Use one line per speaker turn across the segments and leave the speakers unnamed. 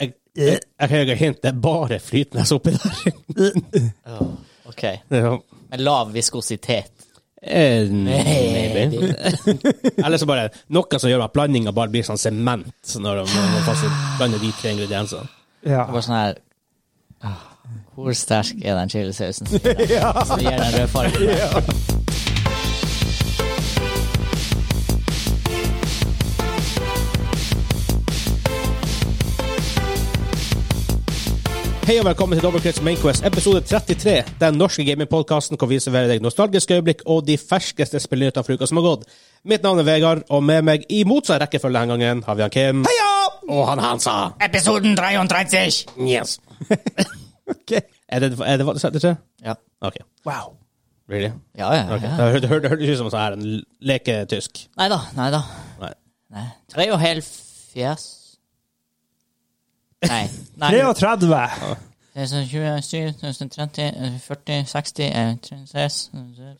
Jeg, jeg, jeg har hint, det er bare flytende oppi der.
Åh, OK.
ja.
Men lav viskositet.
Eh,
Maybe.
Maybe. Eller så bare noe som gjør at blandinga bare blir sånn sement når man, når man faktisk blander de tre ingrediensene.
Ja.
Bare sånn her ah, Hvor sterk er den chilisausen? som gir den- Som gir den røde fargen.
Hei og velkommen til Dobbeltkrets Mainquest, episode 33. Den norske gamingpodkasten hvor vi serverer deg nostalgiske øyeblikk og de ferskeste spillnyhetene for uka som har gått. Mitt navn er Vegard, og med meg i motsatt rekkefølge denne gangen har vi han Kim. Heia! Og han Hansa.
Episoden 33!
Yes.
Ok.
Er det er det hva du sa? det er?
Ja.
OK.
Wow.
Really?
Ja, ja.
Ok.
ja.
Det hør- det hør- det hørtes ut som sånn her en leketysk.
Nei da, nei da.
Nei.
Nei. Tre og hel fjes Nei. nei.
33.
Det er sånn 27, 30, eh, 40, 60, eh, 36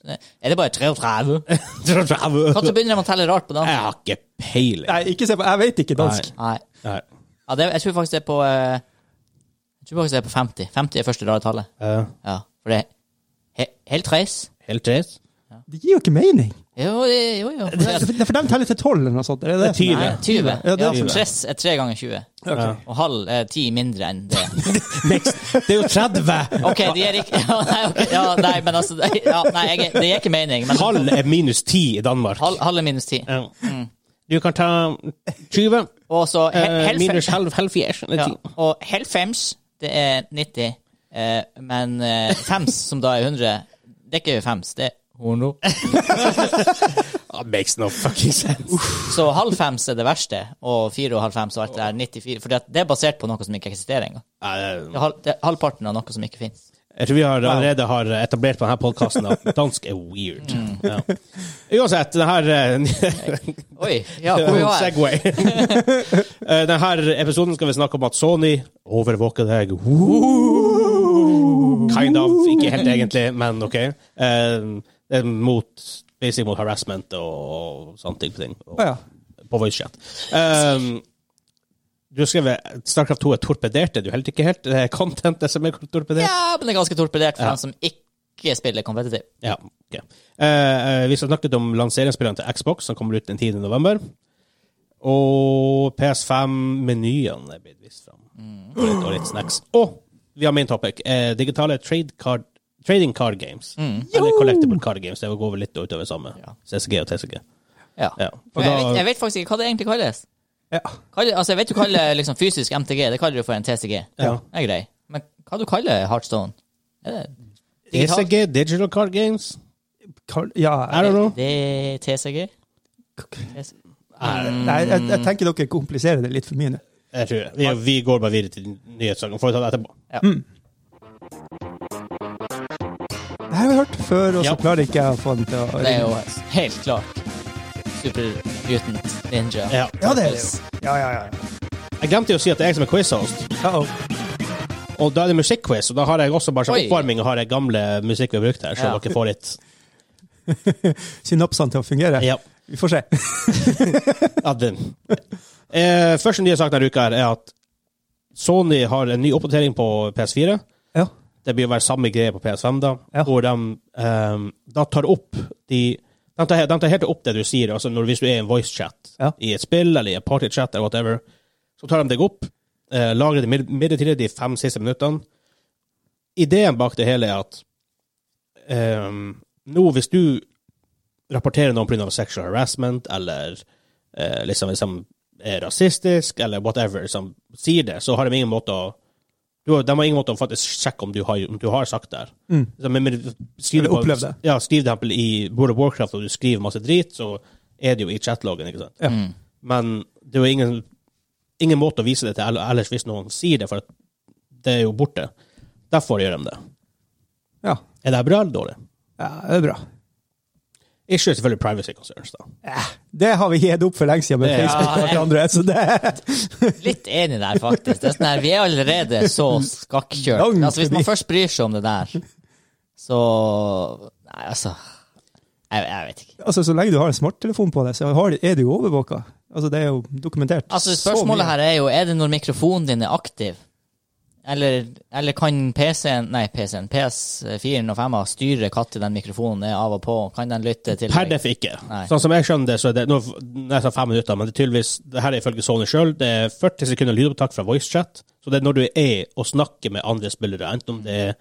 eh, Er det bare 33? Kan du
Jeg
begynne med å telle rart på dansk?
har ikke peiling.
Nei, ikke se på Jeg vet ikke dansk.
Nei.
Nei.
Ja, det, jeg tror faktisk det er på eh, Jeg tror faktisk det er på 50. 50 er første rare tallet.
Eh,
Ja, for det er he, helt treis.
Helt treis?
Det gir jo ikke mening.
Jo, det- jo, jo. for det er-
For for de teller til 12 eller noe sånt. Er det det?
Tyve.
Nei, 20.
Ja,
Ja,
det er
for
tyve.
tress er 3 ganger 20.
Ja.
Og halv er 10 mindre enn det.
Next. Det er jo 30!
OK, de er ikke ja, nei, ok, ja, nei, men altså ja, Nei, jeg, er- det gir ikke mening. Men halv,
Halv er minus 10 i Danmark.
halv er minus 10.
Ja. Du kan ta 20
Og så he,
eh,
helfe-
minus halv, halv fjers.
ja,
Ja.
Og helfems, det er 90. Eh, men eh, fems, som da er 100, det er ikke fems, det er 100.
Ah, makes no fucking sense.
Så halv fems er det verste, og fire og halv fems og alt det der 94. For det det er basert på noe som ikke eksisterer engang.
Nei, det
Det
er-
er halv- det er Halvparten av noe som ikke finnes.
Jeg tror vi har allerede har etablert på denne podkasten at dansk er weird. Ja. Uansett, det her eh,
Oi, ja, hvor vi var
Segway. Eh, Denne episoden skal vi snakke om at Sony overvåker deg. Woo! Kind of. Ikke helt egentlig, men OK. Eh, det er mot, basically mot harassment og sånne ting. på ting.
Å ja.
På voice chat. Eh, du har skrevet Starcraft 2 er torpedert. Det er du helt ikke helt. Det er contentet som er torpedert.
Ja, men det er ganske torpedert for
Ja.
dem som ikke spiller kompetitiv.
Ja, ok. Eh, eh, vi skal snakke om lanseringsspillene til Xbox, som kommer ut den 10. november. Og PS5-menyene er blitt vist fram.
Mm.
Og litt- Og litt snacks. Og vi har main topic. eh, digitale trade card, trading card games. Eller collectible card games. Det går vel litt utover samme.
Mm. Ja.
CCG og TCG.
Ja.
Ja.
For
Og
jeg, vet,
da,
jeg vet faktisk ikke hva det egentlig kalles.
Ja.
Kaller, altså, jeg vet du kaller liksom, fysisk MTG, det kaller du for en TCG.
Ja.
Det er grei. Men hva du kaller Heartstone? Er det digital-
TCG, E digital card games?
Kar- ja.
I don't know.
Det er TCG? TCG?
Nei, jeg, jeg tenker dere kompliserer det litt for mye nå.
Jeg tror det. Vi, vi går bare videre til nyhetssaken. Får vi ta det etterpå?
Det har vi hørt før, og så
Ja.
klarer ikke jeg å få den til å
Det er jo helt klart Super Mutant Ninja.
Ja.
Ja, det er det jo. Ja, ja, ja.
Jeg glemte jo å si at det er jeg som er quiz-host.
Uh-oh.
Og da er det musikkquiz, og da har jeg også bare sånn
Oi.
oppvarming og har jeg gamle musikk vi har brukt her, så
Ja.
dere får litt
Synapsene til å fungere.
ja,
Vi får se.
advent. Eh, første nye sak denne uka her er at Sony har en ny oppdatering på PS4.
Ja.
Det blir å være samme greie på PS5, da,
Ja.
hvor de ehm, da tar opp de de tar, de tar helt opp det du sier, altså når, hvis du er i en voice-chat
Ja.
i et spill eller i en party-chat, eller whatever, så tar de deg opp, eh, lagrer det mid- midlertidig de fem siste minuttene. Ideen bak det hele er at ehm, nå hvis du rapporterer noen pga. sexual harassment, eller eh, liksom, liksom er rasistisk, eller whatever, som sier det, så har de ingen måte å du, har- De har ingen måte å faktisk sjekke om du har, om du har sagt det. her.
Mm.
Så, men, men, skriver
Eller
du på-
opplevd det.
Ja, skriv det eksempel i World of Warcraft, og du skriver masse drit, så er det jo i chatloggen, ikke sant?
Ja.
Mm.
Men det er jo ingen, ingen måte å vise det til eller- ellers hvis noen sier det, for at det er jo borte. Derfor gjør de det.
Ja.
Er det bra eller dårlig?
ja, det er bra.
Ikke selvfølgelig privacy concerns, da.
Det har vi gitt opp for lenge siden med
Ja.
Facebook og alt andre, så det
Litt enig der, faktisk. Det er sånn her, vi er allerede så skakkjørt.
Langt
Altså, hvis man
forbi.
først bryr seg om det der, så Nei, altså Jeg, jeg vet ikke.
Altså, så lenge du har en smarttelefon på deg, så har, er du jo overvåka. Altså, det er jo dokumentert.
Altså,
så
spørsmålet
mye.
her er jo, er det når mikrofonen din er aktiv? Eller, eller kan PC-en, nei PC-en, PS4 og 5 styre når den mikrofonen er av og på? Kan den lytte til
Per
deg?
def ikke.
Nei.
Sånn som jeg skjønner det, så er det nå nå er det sånn fem minutter, men det er tydeligvis det her er ifølge Sony sjøl. Det er 40 sekunder lydopptak fra voicechat. Så det er når du er og snakker med andre spillere, enten om det er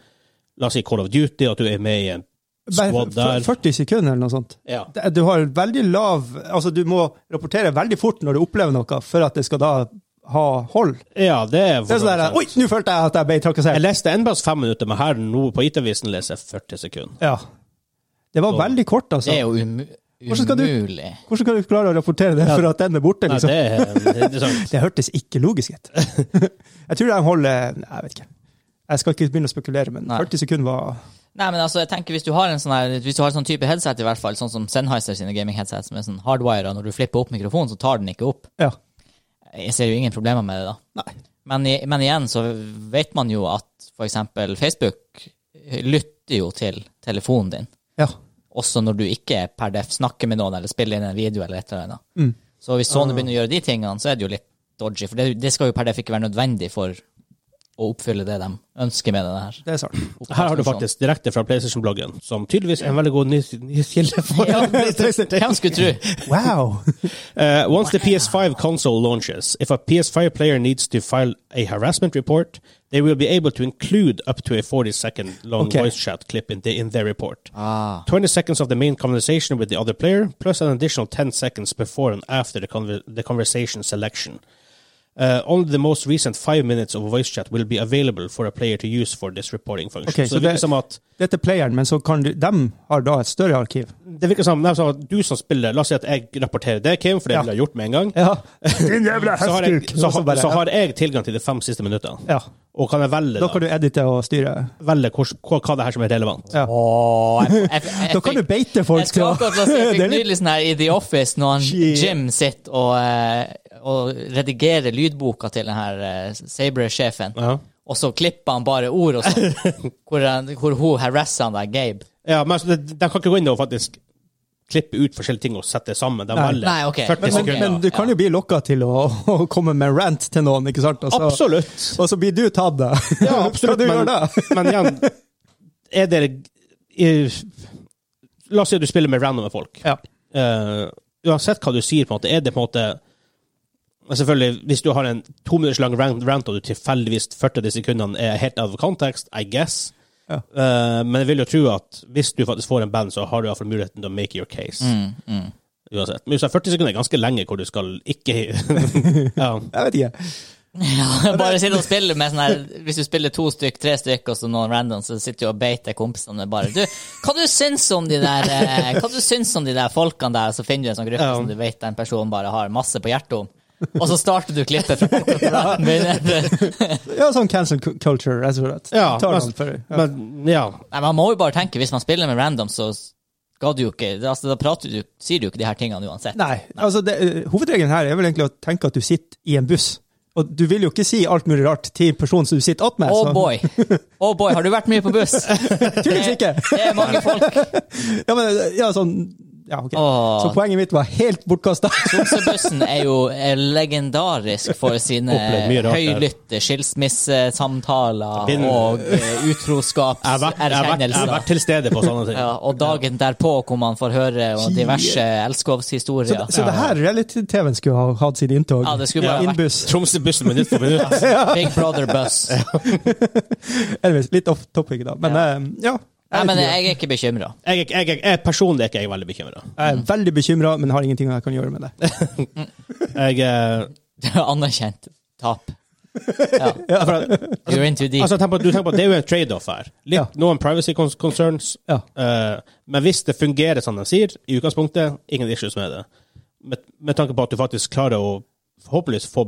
la oss si Call of Duty, at du er med i en
Bare
squad der.
40 sekunder eller noe sånt.
Ja.
Det- Du har veldig lav Altså, du må rapportere veldig fort når du opplever noe, for at det skal da ha hold.
ja, det er
Det er sånn der Oi, nå følte jeg at jeg ble
Jeg
trakassert.
leste NBAs fem minutter, men her nå på IT-avisen leser jeg 40 sekunder.
Ja. Det var
Så-
veldig kort, altså.
Det er jo umu
Hvordan skal du-
umulig.
Hvordan skal du klare å rapportere det for at den er borte?
Nei,
liksom?
det er det er sånn- interessant.
Det hørtes ikke logisk ut. jeg tror de holder Jeg vet ikke. Jeg skal ikke begynne å spekulere, men
Nei.
40 sekunder var
Nei, men altså, jeg tenker hvis du har en sånn her, hvis du har en sånn type headset i hvert fall, sånn som Sennheiser sine gaming-headsets med sånn hardwire, og når du flipper opp mikrofonen, så tar den ikke opp.
Ja.
Jeg ser jo ingen problemer med det da.
Nei.
Men, i- men igjen så vet man jo at for eksempel Facebook lytter jo til telefonen din.
Ja.
også når du ikke per def snakker med noen eller spiller inn en video eller et eller annet.
Mm.
Så hvis Sony begynner å gjøre de tingene, så er det jo litt dodgy, for det, det skal jo per def ikke være nødvendig for å oppfylle det de ønsker med det her.
Det er sant.
Her har du faktisk direkte fra PlayStation-bloggen, som tydeligvis er en veldig god nyhetskilde for
Ja, Hvem skulle tro?
Wow!
Uh, once the PS5 console launches, if a PS5 player needs to file a harassment report, they will be able to include up to a 40 second long
Okay.
voice chat clip in, the, in their report.
Ah,
20 seconds of the main conversation with the other player, plus an additional 10 seconds before and after the, conver- the conversation selection. Uh, only the most recent five minutes of voice chat will be available for a player to use for this reporting function.
Okay,
så,
så
det virker
det-
som at,
Dette er playeren, men så kan du De har da et større arkiv.
det virker som, nei, så at du som spiller, la oss si at jeg rapporterer det, Kim, for det
Ja.
ville jeg gjort med en gang.
Ja. Din jævla
så har, jeg, så, har,
bare-
så har jeg tilgang til de fem siste minuttene.
Ja.
Og kan jeg velge,
Da kan
da,
du edite og styre.
velge hvor, hva, hva det her som er relevant.
Ja.
Åh, jeg, jeg, jeg, jeg,
Da kan du beite folk.
jeg skulle akkurat til å si, jeg
Det
fikk
er litt-
nydelig sånn her i The Office, når han
Shit.
Jim sitter og, eh, og redigerer lydboka til den her eh, Sabre-sjefen,
Ja.
og så klipper han bare ord og sånn, hvor, han- hvor hun harasser han der, Gabe.
Ja, men altså, de, de kan ikke gå inn og faktisk klippe ut forskjellige ting og sette sammen. De
Nei.
velger
Nei, ok.
40
Men, men,
sekunder.
men du kan jo bli lokka til å, å komme med rant til noen, ikke sant? Og så,
absolutt.
og så blir du tatt, da.
Ja, absolutt.
Skal du
men,
gjøre det?
men igjen, er det er, La oss si at du spiller med randome folk.
Ja.
Eh, uansett hva du sier, på en måte, er det på en måte Men Selvfølgelig, Hvis du har en to minutters lang rant, rant og du tilfeldigvis 40 av de sekundene er helt out of context, I guess
Ja.
Eh, Men jeg vil jo tro at hvis du faktisk får en band, så har du iallfall muligheten til å make your case. Uansett. Men hvis det er 40 sekunder er ganske lenge hvor du skal ikke ja.
Jeg vet ikke.
Ja, bare sitte og spille med sånn her Hvis du spiller to stykk, tre stykk, og så noen random, så sitter du og beiter kompisene bare Du, hva du syns om de der eh, Hva du syns om de der folkene der, så finner du en sånn gruppe
Ja.
som du vet den personen bare har masse på hjertet om, og så starter du klippet fra podcasten din.
Ja, sånn cancel cu- culture, rett og slett.
Ja,
Tar
men-
noen for, ja.
Men ja.
Nei, man må jo bare tenke, hvis man spiller med random, så skal du jo ikke altså, Da prater du, sier du jo ikke de her tingene uansett.
Nei, altså det, hovedregelen her er vel egentlig å tenke at du sitter i en buss. Og du vil jo ikke si alt mulig rart til personen som du sitter att med.
Oh
så-
boy! Oh boy, har du vært mye på buss?
Tydeligvis ikke!
Det er mange folk.
Ja, men, ja, sånn, ja, ok.
Åh.
Så poenget mitt var helt bortkasta.
Tromsøbussen er jo er legendarisk for sine
Opplevd mye rart der.
høylytte skilsmissesamtaler
Bind-
og eh,
Jeg har vært, jeg har vært, jeg har vært
utroskapserkjennelser.
til stede på sånne ting.
Ja, og dagen derpå, hvor man får høre og diverse
Så,
elskovshistorier.
så det her reality-TV-en skulle ha hatt sitt inntog.
Ja, det skulle bare vært-
Innbuss.
Tromsø-bussen minutt for minutt.
Big Brother Buss.
Anyways, litt off topic, da. Men eh, ja.
Nei, men
jeg, vet ikke.
jeg er ikke bekymra.
Jeg, jeg, jeg, jeg, personlig er ikke jeg veldig bekymra.
jeg er veldig bekymra, men har ingenting jeg kan gjøre med det.
Jeg, eh,
Anerkjent tap. Ja.
Ja, for, at-
You're into deep.
altså, tenk på, du tenker på at Det er jo en trade-off her. Litt,
Ja.
Noen privacy cons- concerns.
ja.
eh, men hvis det fungerer som de sier, i utgangspunktet, ingen issues med det. Med, med tanke på at du faktisk klarer å forhåpentligvis få,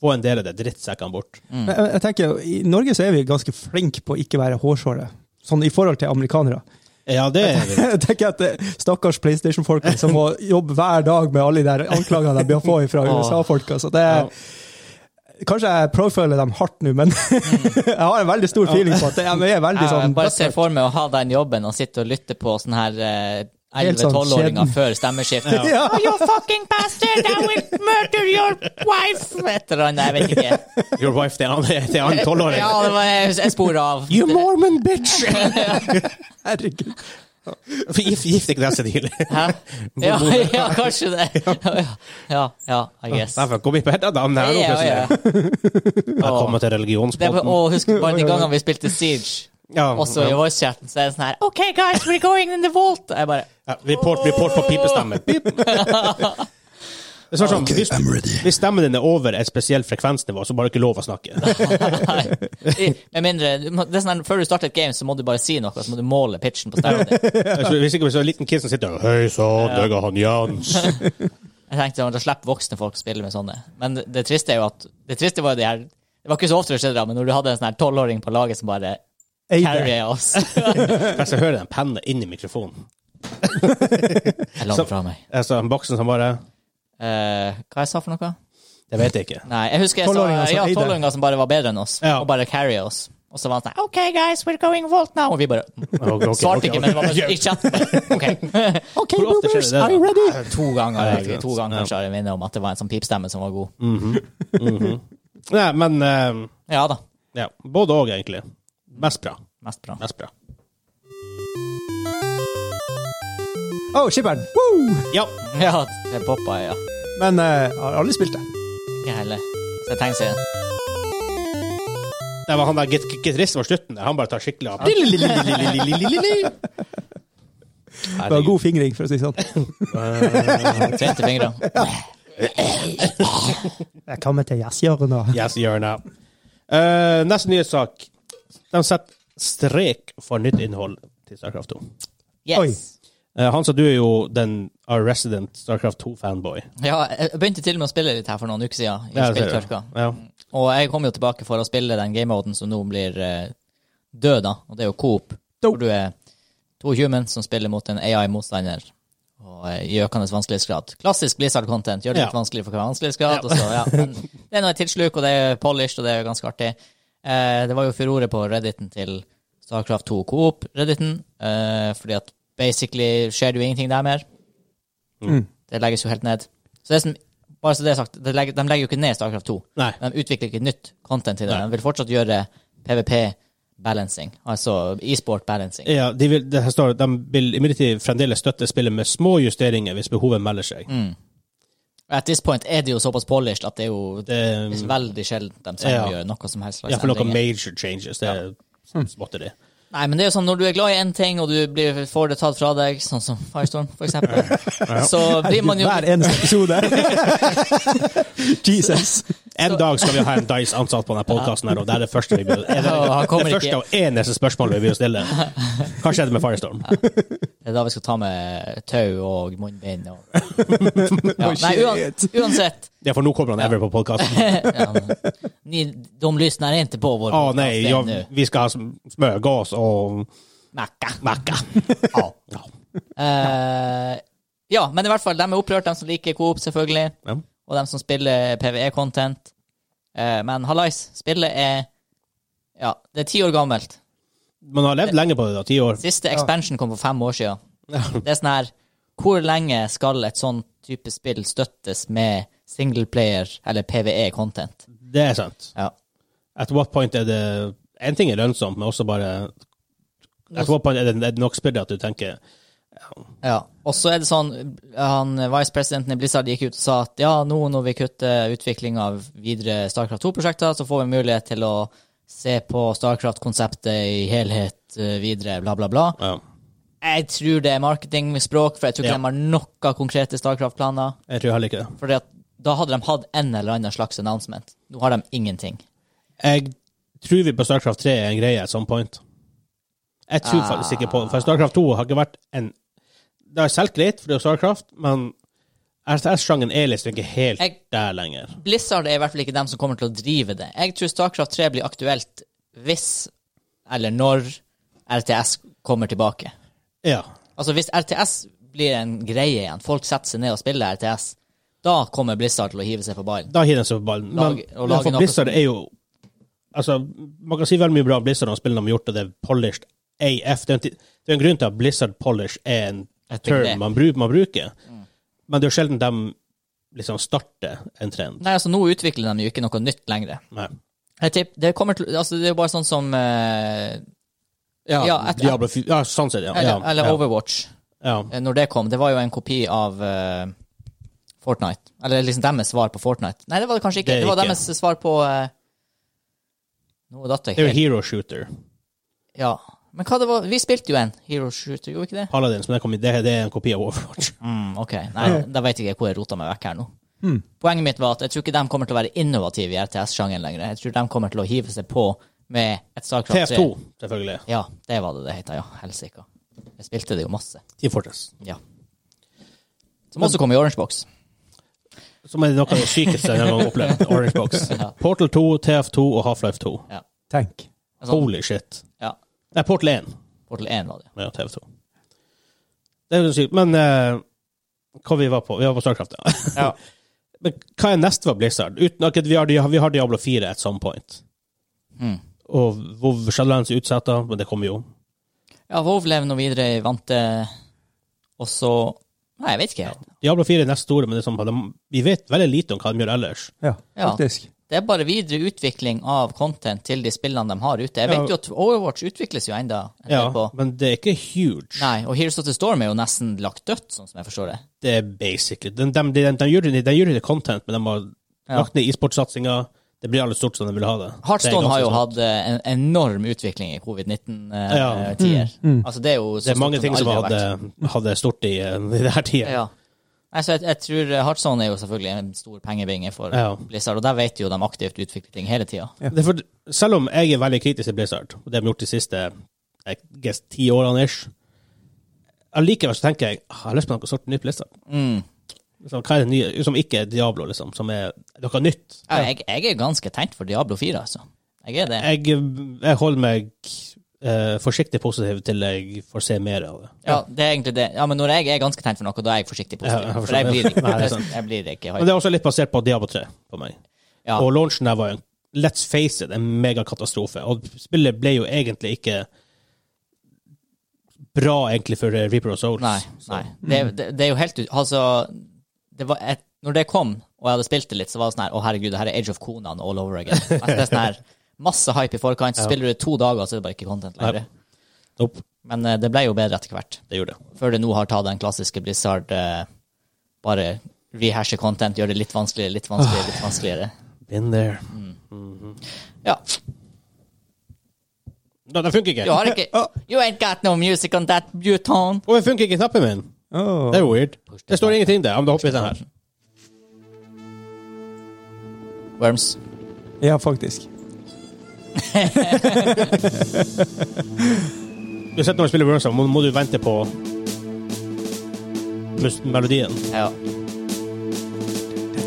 få en del av de drittsekkene bort.
Mm.
Men eh, Jeg, jeg tenker, I Norge så er vi ganske flinke på å ikke være hårsåre, sånn i forhold til amerikanere.
Ja, det er
Jeg tenker at eh, Stakkars PlayStation-folka som må jobbe hver dag med alle de der anklagene de bør få fra
Åh.
USA-folka. Så det er, Kanskje jeg profiler dem hardt nå, men jeg har en veldig stor feeling på at de er
Mm.
veldig
Ja,
sånn
jeg bare ser for meg å ha den jobben og sitte og lytte på sånn her eh,
Helt sånn
11-12-åringer
skjeden.
før stemmeskift.
Ja.
Oh, you fucking bastard! I will murder your wife! Et eller annet, jeg vet ikke.
Your wife til en annen- til en annen tolvåring.
Ja, det var jeg, jeg sporet av.
You Mormon bitch!
Herregud.
Gift, gift ikke deg så tidlig.
Hæ? Ja, ja, kanskje det. Ja, ja, I guess.
Derfor kom vi på helt annen her nå,
Ja, ja.
plutselig. Jeg kommer til
Det er,
religionspodden.
og husk bare de gangene vi spilte Siege,
Ja,
også i
ja.
voice-chatten, så er det sånn her OK, guys, we're going in the vault! Og Jeg bare
Ja, Report, report på pipestemme. Pip. Det er sånn som, hvis, hvis stemmen din er over et spesielt frekvensnivå, så bare ikke lov å snakke.
Nei. Med mindre du må- det er sånn, her, Før du starter et game, så må du bare si noe, så må du måle pitchen på stemmen din.
Altså, Hvis ikke hvis det er en liten kid som sitter og Hei sann, jeg er han Jans.
Jeg tenkte å slippe voksne folk å spille med sånne. Men det, det triste er jo at Det triste var jo det her Det var ikke så ofte det skjedde, da, men når du hadde en sånn her tolvåring på laget som bare
Eide.
carrier oss
Hvis jeg hører den pennen inni mikrofonen
Jeg la den fra meg.
Altså, den boksen som bare
Eh, hva jeg sa for noe?
Det vet jeg ikke.
Nei, jeg husker jeg sa
Tolvåringer som
ja,
eide.
tolvåringer som bare var bedre enn oss,
Ja.
og bare carry oss. Og så var han sånn OK, guys, we're going vault now. Og vi bare svarte ikke, men det var bare i chatten. bare, OK.
OK,
Hvor ofte skjer
boomers,
det der,
are you
da?
ready?
To ganger
Ja,
jeg,
ikke
to
sant.
ganger
Ja.
kanskje har jeg minne om at det var en sånn pipstemme som var god.
Nei, men eh,
Ja da.
ja, Både og egentlig. Mest bra.
Mest bra.
Mest bra.
Oh, skipperen. Woo!
Ja.
Ja, det poppa, ja.
Men eh, har aldri spilt det.
Ikke heller. Så jeg tenker seg
Det var han der git- gitaristen på slutten der. Han bare tar skikkelig av.
Det var god fingring, for å si det sånn.
Trente fingrene.
Jeg kommer til jazzhjørnet.
Yes, hjørnet. Uh, neste nyhetssak. De setter strek for nytt innhold til Starcraft 2.
Yes.
Eh, Hansa, du er jo den a resident Starcraft 2-fanboy.
Ja, jeg begynte til og med å spille litt her for noen uker siden,
Ja,
i
det ser jeg.
spilltørka.
Ja.
Og jeg kom jo tilbake for å spille den gamemoden som nå blir eh, død, da. Og det er jo Coop.
Dope.
Hvor du er to humans som spiller mot en AI-motstander. Og eh, i økende vanskelighetsgrad. Klassisk Blizzard-content. Gjør det litt
Ja.
vanskelig for hver vanskelighetsgrad. Og så, ja. Men det er nå et tilsluk, og det er polished, og det er ganske artig. Eh, det var jo furore på redditen til Starcraft 2 Coop-redditen, eh, fordi at basically skjer det jo ingenting der mer.
Mm.
Det legges jo helt ned. Så det som, bare så det er sagt, det legger, de legger jo ikke ned Starcraft 2.
Nei.
De utvikler ikke nytt content til det.
Nei.
De vil fortsatt gjøre PVP-balancing, altså e-sport-balancing.
Ja, de vil, det her står, de vil imidlertid fremdeles støtte spillet med små justeringer hvis behovet melder seg.
Mm. At this point er det jo såpass polished at det er jo
Det, um,
det er veldig sjelden de selv
Ja.
gjør noe som helst slags
ja, for noen
endringer.
major changes. Det er småtteri.
Nei, men det er jo sånn når du er glad i én ting, og du blir, får det tatt fra deg, sånn som Firestorm, for eksempel, så blir man jo
Hver eneste episode. Jesus.
En dag skal vi ha en Dice ansatt på denne podkasten, og det er det første vi blir, er det,
Ja, han kommer
det
ikke.
første og eneste spørsmålet vi blir å stille. Hva skjedde med Firestorm?
Det er da vi skal ta med tau og munnbind og ja.
Oh,
Nei, uan,
shit.
uansett.
Ja, for nå kommer han ever på podkasten.
ja, men, ni, de lyssnar inte på vår
Å
podcast
Ah, nei, ja,
ännu.
vi skal ha sm- smørgås og
Macka.
macka. Ja. ja.
Eh, ja, men i hvert fall, de er opprørt, de som liker Coop, selvfølgelig.
Ja.
Og de som spiller PVE-content. Eh, men hallais, spillet er Ja, det er ti år gammelt.
Man har levd lenge på det, da. Ti år.
Siste expansion kom for fem år siden. Det er sånn her Hvor lenge skal et sånn type spill støttes med singleplayer eller PVE-content?
Det er sant.
Ja.
At what point er det En ting er lønnsomt, men også bare At what point er det, er det nok spillere at du tenker
Ja, og så er det sånn han, Vice-presidenten i Blizzard gikk ut og sa at ja, nå når vi kutter utvikling av videre Starcraft 2-prosjekter, så får vi mulighet til å se på Starcraft-konseptet i helhet eh, videre, bla, bla, bla.
ja.
Jeg tror det er marketingspråk, for jeg tror ikke
Ja.
de har noe konkrete Starcraft-planer.
Jeg tror heller ikke det.
For da hadde de hatt en eller annen slags announcement. Nå har de ingenting.
Jeg tror vi på Starcraft 3 er en greie at some point. Jeg tror faktisk ikke på det, for Starcraft 2 har ikke vært en Det har solgt greit, for det er Starcraft, men RTS-sjangeren er liksom ikke helt
Jeg-
der lenger.
Blizzard er i hvert fall ikke dem som kommer til å drive det. Jeg tror Starcraft 3 blir aktuelt hvis, eller når, RTS kommer tilbake.
Ja.
Altså Hvis RTS blir en greie igjen, folk setter seg ned og spiller RTS, da kommer Blizzard til å hive seg på ballen.
Da hiver den seg på ballen. Men,
Lag-
men
og lage
for
noe
Blizzard er jo Altså, man kan si veldig mye bra om Blizzard og spillene de har gjort, og det er polished AF. Det er en, ti- det er en grunn til at Blizzard Polish er en
Et
term
begrep.
man, bru- man bruker. Men det er jo sjelden de liksom starter en trend.
Nei, altså, nå utvikler de jo ikke noe nytt lenger.
Nei.
Jeg tipper, det kommer til Altså, det er jo bare sånn som eh,
Ja,
Ja, et-
Diablo 4 Ja, sånn sett, ja.
Eller,
ja,
eller
ja,
Overwatch.
ja.
Eh, Når det kom, det var jo en kopi av eh, Fortnite. Eller liksom deres svar på Fortnite. Nei, det var det kanskje ikke.
Det
Det,
er
var
ikke.
deres svar på eh, Nå datt jeg
Det er jo
helt
Hero Shooter.
Ja. Men hva det var Vi spilte jo en Hero Shooter, gjorde vi ikke det?
Paladins, men det, kom, i- det, det er en kopi av Overwatch.
Mm, ok. Nei, da vet jeg ikke hvor jeg rota meg vekk her nå.
Mm.
Hmm.
Poenget mitt var at jeg tror ikke de kommer til å være innovative i RTS-sjangeren lenger. Jeg tror de kommer til å hive seg på med et Starcraft 3.
TF2, selvfølgelig.
Ja, det var det det heta, ja. Helsike. Jeg spilte det jo masse.
Team Fortress.
Ja. Som også kom i Orange Box.
Som er noe av det sykeste jeg har opplevd. Orange Box.
Ja.
Portal 2, TF2 og Half-Life 2.
Tenk.
Sånn.
Holy shit.
Ja.
Nei, Portal 1.
Portal 1 var det.
Ja, TV2. Det er jo sykt. Men eh, hva vi var på? Vi var på Starcraft, ja.
Ja.
Men hva er neste for Blizzard? Uten, ok, vi, har, Dia- vi har Diablo 4 at some point.
Mm.
Og WoW Shadowlands er utsatt, da, men det kommer jo.
Ja, Vov lever nå videre, vant det, og så Nei, jeg vet ikke helt.
Diablo 4 er neste store, men det er sånn, de, vi vet veldig lite om hva de gjør ellers.
Ja,
Ja.
faktisk.
Det er bare videre utvikling av content til de spillene de har ute. Jeg
Ja.
vet jo at Overwatch utvikles jo enda en
Ja,
del på.
men det er ikke huge.
Nei, og Heroes of the Storm er jo nesten lagt dødt, sånn som jeg forstår det.
Det er basically De, de, de, de, gjør, det- de gjør det content, men de har
Ja.
lagt ned e-sportsatsinga. Det blir alle stort som de vil ha det. Det er
Heartstone har
ganske
jo
sånn.
hatt eh, en enorm utvikling i covid-19-tider.
Ja.
Altså, det er jo
Det er
så stort
mange
det
ting som
aldri har
hadde,
vært.
hadde stort i, eh, i det her tida.
Ja. Nei, så jeg, jeg tror eh, Hearthstone er jo selvfølgelig en stor pengebinge for
Ja.
Blizzard, og der vet jo de aktivt utvikler ting hele tida.
Ja.
Det er for, selv om jeg er veldig kritisk til Blizzard, og det har de gjort de siste I guess, ti årene ish, allikevel så tenker jeg ah, jeg har lyst på noe sort nytt Blizzard.
Mm.
Liksom, hva er det nye, som ikke er Diablo, liksom, som er noe nytt.
Ja, jeg, jeg er ganske tent for Diablo 4, altså. Jeg er det.
Jeg, jeg holder meg eh, forsiktig positiv til jeg får se mer av det.
Ja, det er egentlig det. Ja, men når jeg er ganske tent for noe, da er jeg forsiktig positiv.
Ja, jeg
for jeg
forstår.
blir ikke,
Nei, det er
jeg,
sant.
blir ikke
Men
hype.
det er også litt basert på Diablo 3 på meg.
Ja.
Og launchen der var jo, en- let's face it, en megakatastrofe. Og spillet ble jo egentlig ikke bra egentlig for eh, Reaper of Souls.
Nei,
Så-
nei. Det, det, det er jo helt ut... Altså, det var et, når det kom, og jeg hadde spilt det litt, så var det sånn her Å, herregud, det her er Age of Conan all over again. Altså, det er sånn her Masse hype i forkant, så
Ja.
spiller du det to dager, så er det bare ikke content lenger.
Nei. Nope,
Men eh, det ble jo bedre etter hvert.
det gjorde det.
Før det nå har tatt den klassiske Blizzard eh, Bare rehashe content, gjøre det litt vanskeligere, litt vanskeligere, litt vanskeligere.
Been there.
Ja.
Nei, den funker ikke.
Du har ikke
Ah.
You ain't got no music on that butone.
Og den funker ikke knappen min.
Åh.
Det er jo weird. Det står ingenting der. Ja, men da hopper vi til den her.
Worms.
Ja, faktisk.
Du har sett når du spiller Worms, må, må du vente på mus- melodien.
Ja.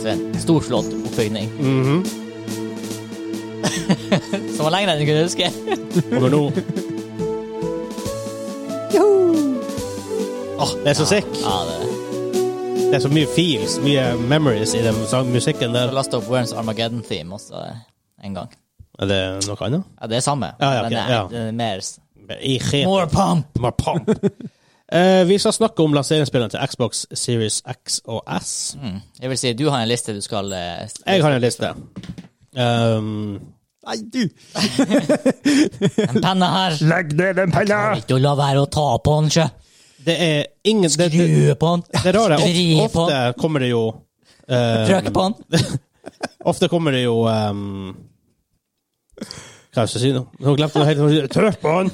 Så en storslått oppbygning.
Mhm.
Som var lenger enn jeg kunne huske.
Kommer nå. Åh, det er så sick.
Ja, det er det.
Det er så mye feels, mye memories i den sang- musikken
Jeg
der.
lasta opp Worms Armageddon-theme også eh, en gang.
Er det noe annet?
Ja, det er samme.
Ja, ja, ok,
Den er,
ja.
den er mer s-
I skje-
More pump!
More pump. Eh, vi skal snakke om lanseringsspillene til Xbox Series X og S.
Mm. Jeg vil si, du har en liste du skal eh, s-
Jeg har en liste. Um,
Nei, du!
En penne her!
Legg ned den penna!
Ikke la være å ta på den, sjø!
det er ingen det, det,
Skru på den!
Det rare
Vri
ofte,
på
ofte
den!
kommer det jo eh,
Trykk på den!
Ofte kommer det jo um, Hva skal jeg si nå? Nå glemte jeg helt Trykk på den!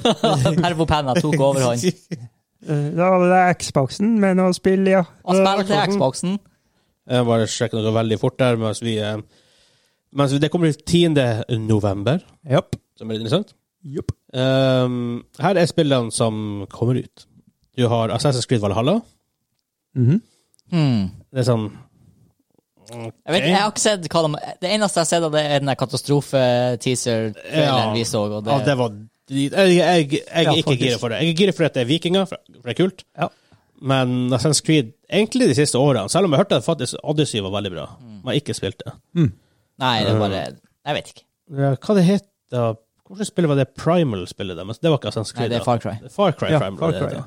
Pervopenna tok overhånd.
Eh, Da var det Xboxen med noe spill, ja. Eh,
Og spill til Xboxen.
Jeg bare sjekker noe veldig fort der mens vi eh, mens vi- Det kommer 10. november,
Japp.
som er litt interessant.
Japp.
Um, her er spillene som kommer ut. Du har Assassin's Creed Valhalla.
Mhm.
Hmm.
Det er sånn
Jeg vet,
Ok.
jeg har ikke sett hva de, Det eneste jeg har sett av det, er den der katastrofe-teaser-traileren
Ja.
vi så. Og det,
Ja, ah, det var drit. Jeg, jeg, jeg er
Ja,
ikke
faktisk.
gira for det. Jeg er gira for at det er vikinger, for for det er kult.
Ja.
Men Assassin's Creed, egentlig de siste årene, selv om jeg hørte at faktisk Odyssey var veldig bra,
Mm.
men jeg ikke spilte.
Nei, det er bare
Mm.
Jeg vet ikke.
Ja, Hva det het da? Hvilket spill var det Primal-spillet deres? Det var ikke Assassin's
Nei,
Creed.
det er Far Cry.
da. Far Cry
Ja,
Primal.
Far
det,
Cry,
heter.
ja.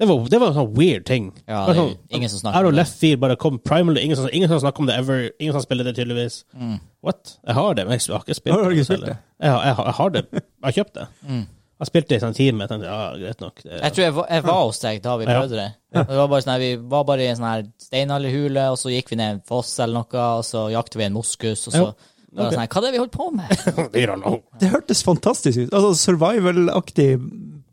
Det var, det var en sånn weird ting.
Ja,
Bare
det er
sånn,
ingen som snakker
Out
om
of
det.
left field bare kom primarily. Ingen som, ingen som snakker om det ever. Ingen som spiller det, tydeligvis.
Mm.
What? Jeg har det, men jeg har ikke spilt
Har du ikke
det.
spilt det?
Jeg har, jeg, har, jeg har det. Jeg har kjøpt det.
Mm.
Jeg spilte det i en time. Jeg tenkte, ja, greit nok. Det,
Jeg tror jeg var, jeg var hos deg da vi
Ja.
prøvde det. Og det var bare sånn her, vi var bare i en sånn her steinalderhule, og så gikk vi ned en foss eller noe, og så jakta vi en moskus, og så
Ja.
var det sånn her, Hva er det vi holdt på med?
I don't know.
Det hørtes fantastisk ut. Altså survival-aktig,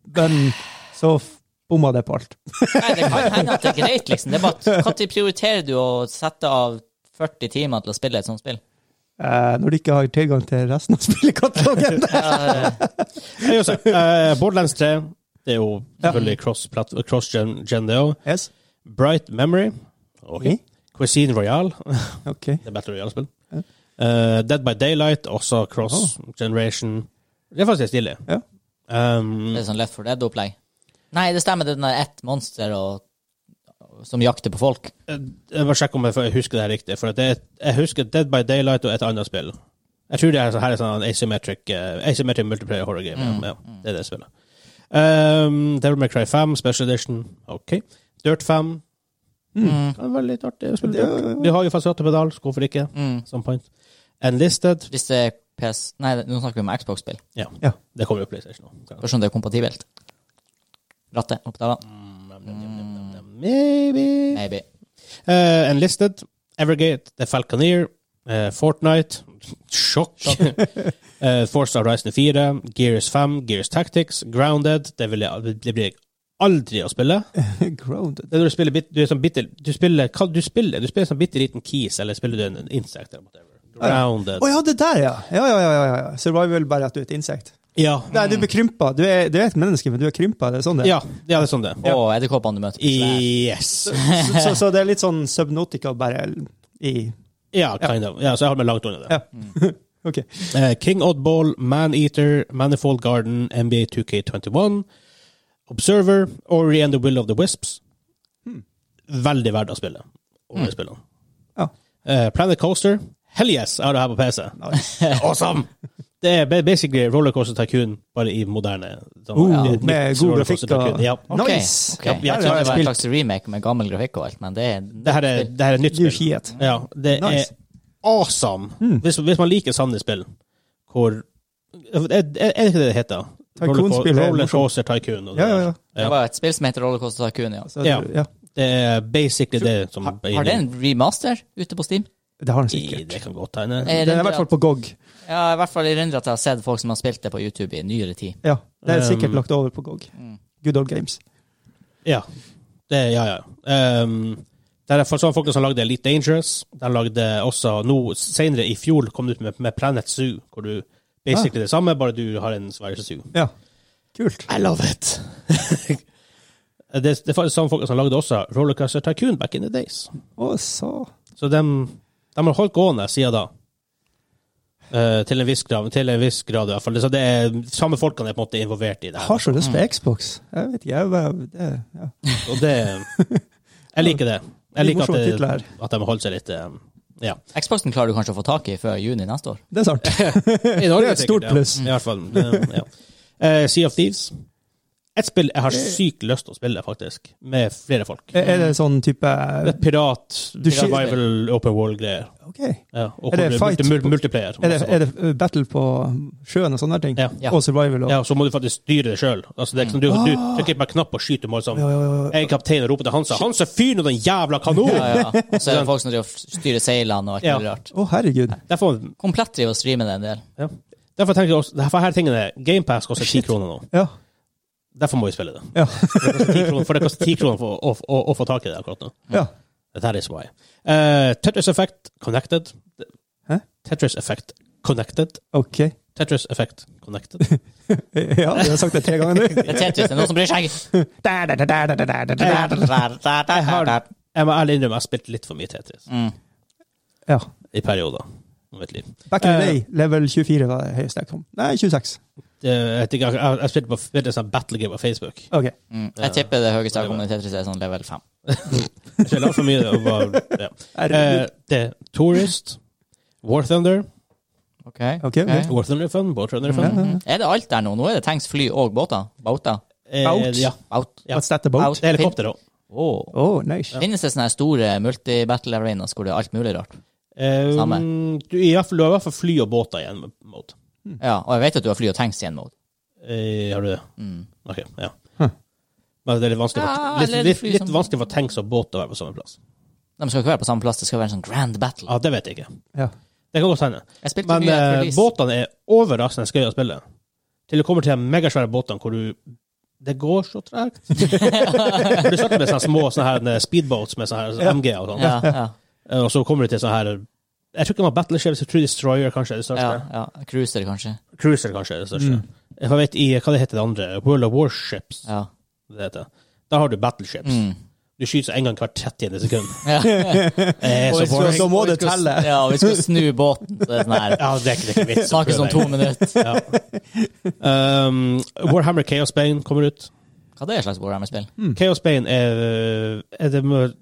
men så f- bomma det på alt.
Nei, det kan hende at det er greit, liksom. Det er bare at Når prioriterer du å sette av 40 timer til å spille et sånt spill?
Eh, når de ikke har tilgang til resten av spillekatalogen.
Ja,
Jeg gjør så. Eh, Borderlands 3, det er jo selvfølgelig cross-gen, cross gen- gen det òg.
yes.
Bright Memory. Okay. Cuisine Royale.
Ok.
Det er Battle Royale-spill.
Ja.
Eh, Dead by Daylight, også Cross Generation. Det er faktisk stilig.
Ja.
Um,
Det er sånn Left for Dead-opplegg. Nei, det stemmer, det er den der ett monster og, som jakter på folk.
jeg jeg må sjekke om jeg, jeg husker det her riktig. For at det, er- jeg husker Dead by Daylight og et annet spill. Jeg tror det er, så her er sånn asymmetric, eh, asymmetric multiplayer horror game. ja.
Mm,
Ja, det er det spillet. Um, Devil May Cry 5, Special Edition. OK. Dirt 5.
Mm.
Det var litt artig å spille.
Ja, ja, ja.
Vi har jo fasattepedal, så hvorfor ikke?
Mm.
Some point. Enlisted.
Hvis det er PS Nei, nå snakker vi om Xbox-spill.
Ja.
Ja.
Det kommer jo PlayStation nå. Mm,
Spørs om det er kompatibelt. Rattet, oktaver.
Maybe.
Maybe.
Eh, Enlisted, Evergate, The Falconeer, eh, Fortnite, Sjokk, uh, Force Horizon 4, Gears 5, Gears Tactics, Grounded Det, vil jeg, det blir jeg aldri å spille.
Grounded.
Det er når du spiller, bit- du er sånn bitte Du spiller hva du spiller, du spiller sånn bitte liten keys, eller spiller du en insekt eller whatever. Grounded.
Å ja, det der, ja. Ja, ja, ja, ja, ja. Survival, bare at du er et insekt.
Ja.
Nei, du blir krympa. Du er, du er et menneske, men du er krympa. Det er sånn det er.
Mm. Ja, ja, det er sånn det er.
Og edderkoppene du møter. på svær.
Yes.
Så, så, så det er litt sånn Subnotica, bare i
Ja, kind of. Ja, så jeg holder meg langt unna det.
Ja. OK.
Eh, King Oddball, Maneater, Manifold Garden, NBA 2K21, Observer, Ori and the Will of the Wisps.
Hmm.
Veldig verdt å spille. Og jeg spiller den.
Mm. Ja.
Eh, Planet Coaster, hell yes, jeg har det her på PC. awesome! Det er ba- basically Rollercoaster Tycoon, bare i moderne sånn,
Oh,
nytt
med god
Rollercoaster
grafikk og
Tycoon. Ja.
Ok,
Nice!
Ja,
ok. Jeg
ja,
trodde
ja,
det var en
spilt.
slags remake med gammel grafikk og alt, men det er
Det her er, det her er et nytt
New
spill.
shit.
Ja, det
Nice.
er awesome.
Mm.
Hvis, hvis man liker sanne spill, hvor Er er- er det ikke det det heter?
Tycoon-spill er morsomt.
Rollercoaster Tycoon. Og det
Ja, ja,
der.
ja.
Det var et spill som heter Rollercoaster Tycoon, ja.
Så,
Ja.
ja.
Det er basically det som
Har det en remaster ute på Steam?
Det har han
I-
sikkert.
Det kan godt hende.
Eh,
Den er i hvert fall på GOG.
Ja, i hvert fall i rundre at jeg har sett folk som har spilt det på YouTube i nyere tid.
Ja, det er sikkert
Um,
lagt over på GOG.
Mm.
Good old games.
Ja. Det, ja, ja. Um, der er for- sånne folk som lagde Elite Dangerous. De lagde også nå, Senere i fjor kom de ut med, med Planet Zoo, hvor du
Ah.
basically det samme, bare du har en svær zoo.
Ja. Kult.
I love it! det, det er faktisk samme folk som lagde også Rollercoaster Tycoon back in the days.
Å, så.
Så de, de har holdt gående siden da. Eh, til en viss grad, til en viss grad i hvert fall. Så det er samme folkene er på en måte involvert i det.
Jeg
her.
har så lyst på
Mm.
Xbox. Jeg vet ikke, jeg bare det, ja.
Og det Jeg liker det. Jeg
Litt
liker at,
morsomme
det,
titler.
at de holder seg litt eh, Ja.
Xboxen klarer du kanskje å få tak i før juni neste år.
Det er sant.
I
Det er et stort
sikkert,
pluss.
Ja. I hvert fall. eh, ja. Eh, sea of Thieves. Et spill jeg har sykt lyst til å spille, faktisk. Med flere folk.
Er er det sånn type
Mm. Det er pirat,
Du skyter-
survival, open world-greier.
OK. Er
Ja, og
Er det
multi-
fight?
mul- multiplayer.
det, er det battle på sjøen og sånne ting?
Ja.
Ja.
Og survival og
Ja, så må du faktisk styre det sjøl. Altså, det er ikke som du, du
Ah!
trykker på en knapp og skyter mål som
Ja, ja, ja.
Jeg er kaptein og roper til Hansa 'Hansa, fyr nå den jævla kanonen!'
Ja, ja. Og så er det folk som driver og styrer seilene og alt mulig
Ja.
rart.
Å, herregud.
Derfor,
Komplett driver og streamer det en del.
ja. derfor tenker jeg også Derfor her tingene GamePass koster ti kroner nå.
Ja.
Derfor må vi spille det.
Ja.
For det koster 10 kroner- For det koster ti kroner for å, å, å få tak i det akkurat nå.
ja.
That is why. Eh, Tetris Effect Connected.
Hæ?
Tetris Effect Connected.
OK.
Tetris Effect Connected.
Ja, vi har sagt det tre ganger nå.
Det er Tetris, det er noen som bryr seg.
Jeg, har, jeg må ærlig innrømme, jeg har spilt litt for mye Tetris
Mm.
Ja.
i perioder. av mitt liv.
Back in the day,
Eh.
level 24 var det høyeste jeg kom. Nei, 26.
Det, jeg, tenker, jeg, jeg spilte på spilte en sånn battle game på Facebook.
OK.
Mm. Jeg tipper det høyeste jeg har kommet i Tetris, er sånn level 5.
Så jeg la for mye og var, ja.
Herregud.
Eh, Det er Tourist, War Thunder
Ok.
Ok, ok.
War Thunder er fun, War Thunder er fun.
Mm. Er det alt der nå? Nå er det tanks, fly og båter. Båter.
Eh,
Bout?
Ja.
Out.
Ja.
What's that about?
Out.
Det er helikopter òg.
Åh.
Oh, nice.
Finnes det sånne her store multibattle arenas hvor det er alt mulig rart? Samme.
Eh, du, i hvert fall- du har i hvert fall fly og båter igjen. Mode.
Ja, og jeg vet at du har fly og tanks igjen mode.
Eh, har du det?
Mm.
OK, ja.
Huh.
Men det er litt vanskelig,
Ja,
for, litt,
eller
litt,
fly
litt
sammen.
vanskelig for tanks og båter å være på samme plass.
De skal ikke være på samme plass, det skal være en sånn grand battle.
Ja, Det vet jeg ikke.
Ja.
Det kan godt hende.
Jeg spilte
Ah, Men
mye
eh,
Release.
båtene er overraskende skøye å spille. Til det kommer til de megasvære båtene hvor du Det går så tregt. For du starter med sånne små sånne her, eh, speedboats med sånne her MG og sånn,
Ja, ja,
Eh, og så kommer du til sånne her Jeg tror ikke det var Battleships, jeg tror Destroyer kanskje er det
ja,
største.
ja. Cruiser, kanskje.
Cruiser kanskje er det største. Jeg vet i hva det heter det andre, World of Warships,
Ja.
det heter. Da har du Battleships.
Mm.
Du skyter en gang hvert 30. sekund.
ja.
Eh,
Og
så
hvis
boring.
du- Da må
Og vi
det
skal-
telle.
Ja, og vi skal snu båten. Så det er sånn her.
Ja, det er ikke, det er ikke vits. å
Snakkes om
prøve
to
engang.
minutter.
Ja. Um, Warhammer Chaos Bane kommer ut.
Hva det er slags Warhammer-spill?
Chaos Bane er, er det med,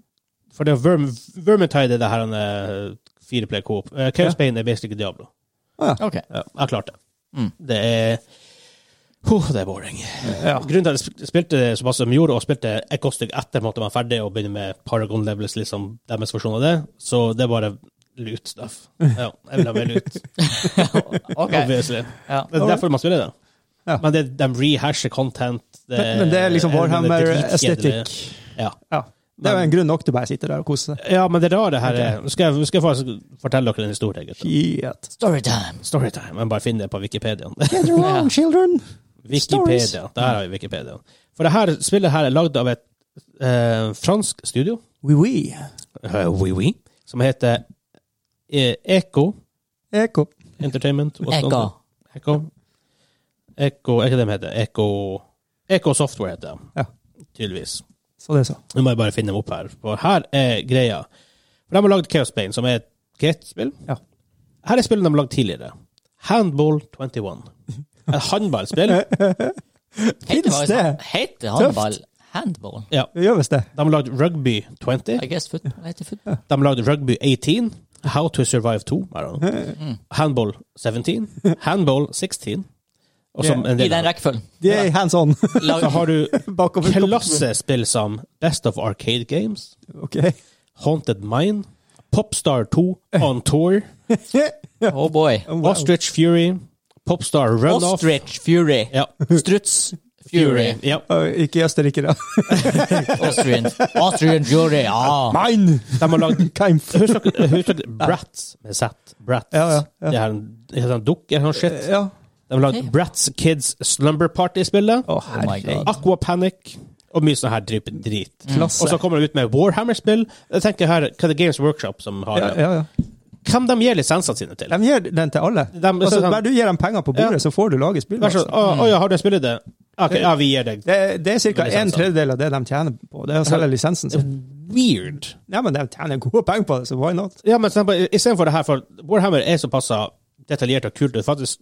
For det er Verm, Vermintide er det her han er fireplay coop. Eh, Chaos
Ja.
Bane er basically Diablo.
Ok.
Ja, jeg har klart det.
Mm.
Det er Huh, det er boring.
Ja.
Grunnen til at jeg sp- spilte det såpass som jeg gjorde, og spilte et godt stykke etter at jeg var ferdig, og begynne med Paragon Levels, liksom deres versjon av det, så det er bare loot stuff. Ja, jeg vil ha mer loot,
Ok.
obviously.
Ja.
Det er derfor man spiller det.
Ja.
Men det, de rehasher content. det-
Men, men det er
det-
liksom
det- det er
Warhammer
dritkjedelig.
aesthetic.
Ja.
Ja. Det er jo en grunn nok til å bare sitte der og kose seg.
Ja, men det rare her er Nå skal jeg, skal jeg faktisk fortelle dere en historie, gutter.
Shit.
Storytime.
Storytime. Jeg bare finner det på Wikipedia.
Get around, children!
Wikipedia. Der har vi Wikipedia. For det her spillet her er lagd av et eh, fransk studio,
Oui, oui.
eh, oui, oui, som heter eh, Eco
Eko.
Entertainment. what's
Echo.
not- Echo. Echo, er ikke det de heter? Echo, Echo Software heter det.
Ja.
Tydeligvis.
Så det, så.
Nå må jeg bare finne dem opp her. For her er greia. For De har lagd Chaos Bane, som er et greit spill.
Ja.
Her er spillet de har lagd tidligere. Handball 21. Et handballspill.
Finnes
Heter
det?
faktisk- Heter håndball handball?
Ja.
Det gjør visst det.
De har lagd Rugby 20.
I guess football. Hva heter football?
De har lagd Rugby 18. How to Survive 2. I don't know.
Mm.
Handball 17. Handball 16. Og som en
I
del
den rekkefølgen.
De er hands on.
Lag-
så har du
Bakover.
klassespill som Best of Arcade Games,
Ok.
Haunted Mine, Popstar 2, On Tour,
Eh. Oh boy.
Wow.
Ostrich Fury, Popstar Runoff
Ostrich Fury.
Ja.
Struts Fury.
Ja.
Øh, Ikke i Østerrike, da.
Austrian. Austrian Fury, ja.
Mine!
De har lagd
Kampf.
Husker dere- husker dere Bratz med Z? Bratz.
Ja, ja, ja.
Det er en, det er en dukk eller noe shit.
Ja.
De har lagd
Ok.
Bratz Kids Slumber Party-spillet.
Å,
Oh my
herregud.
god.
Aqua Panic. Og mye sånn her dryp drit.
Mm. Klasse.
Og så kommer de ut med Warhammer-spill. Jeg tenker her, Hva er det Games Workshop som har
Ja,
det?
ja, ja.
Hvem de gir lisensene sine til?
De gir den til alle.
De-
altså,
så de-
bare du gir dem penger på bordet,
Ja.
så får du lage spill.
Vær så,
altså.
å, å ja, har du spillet det? Ok, ja, vi gir deg.
Det, det er ca.
Lisenser.
en tredjedel av det de tjener på. Det er
Altså,
å selge lisensen sin.
Weird.
Ja, men de tjener gode penger på det, så why not?
Ja, men istedenfor det her, for Warhammer er såpass detaljert og kult. og faktisk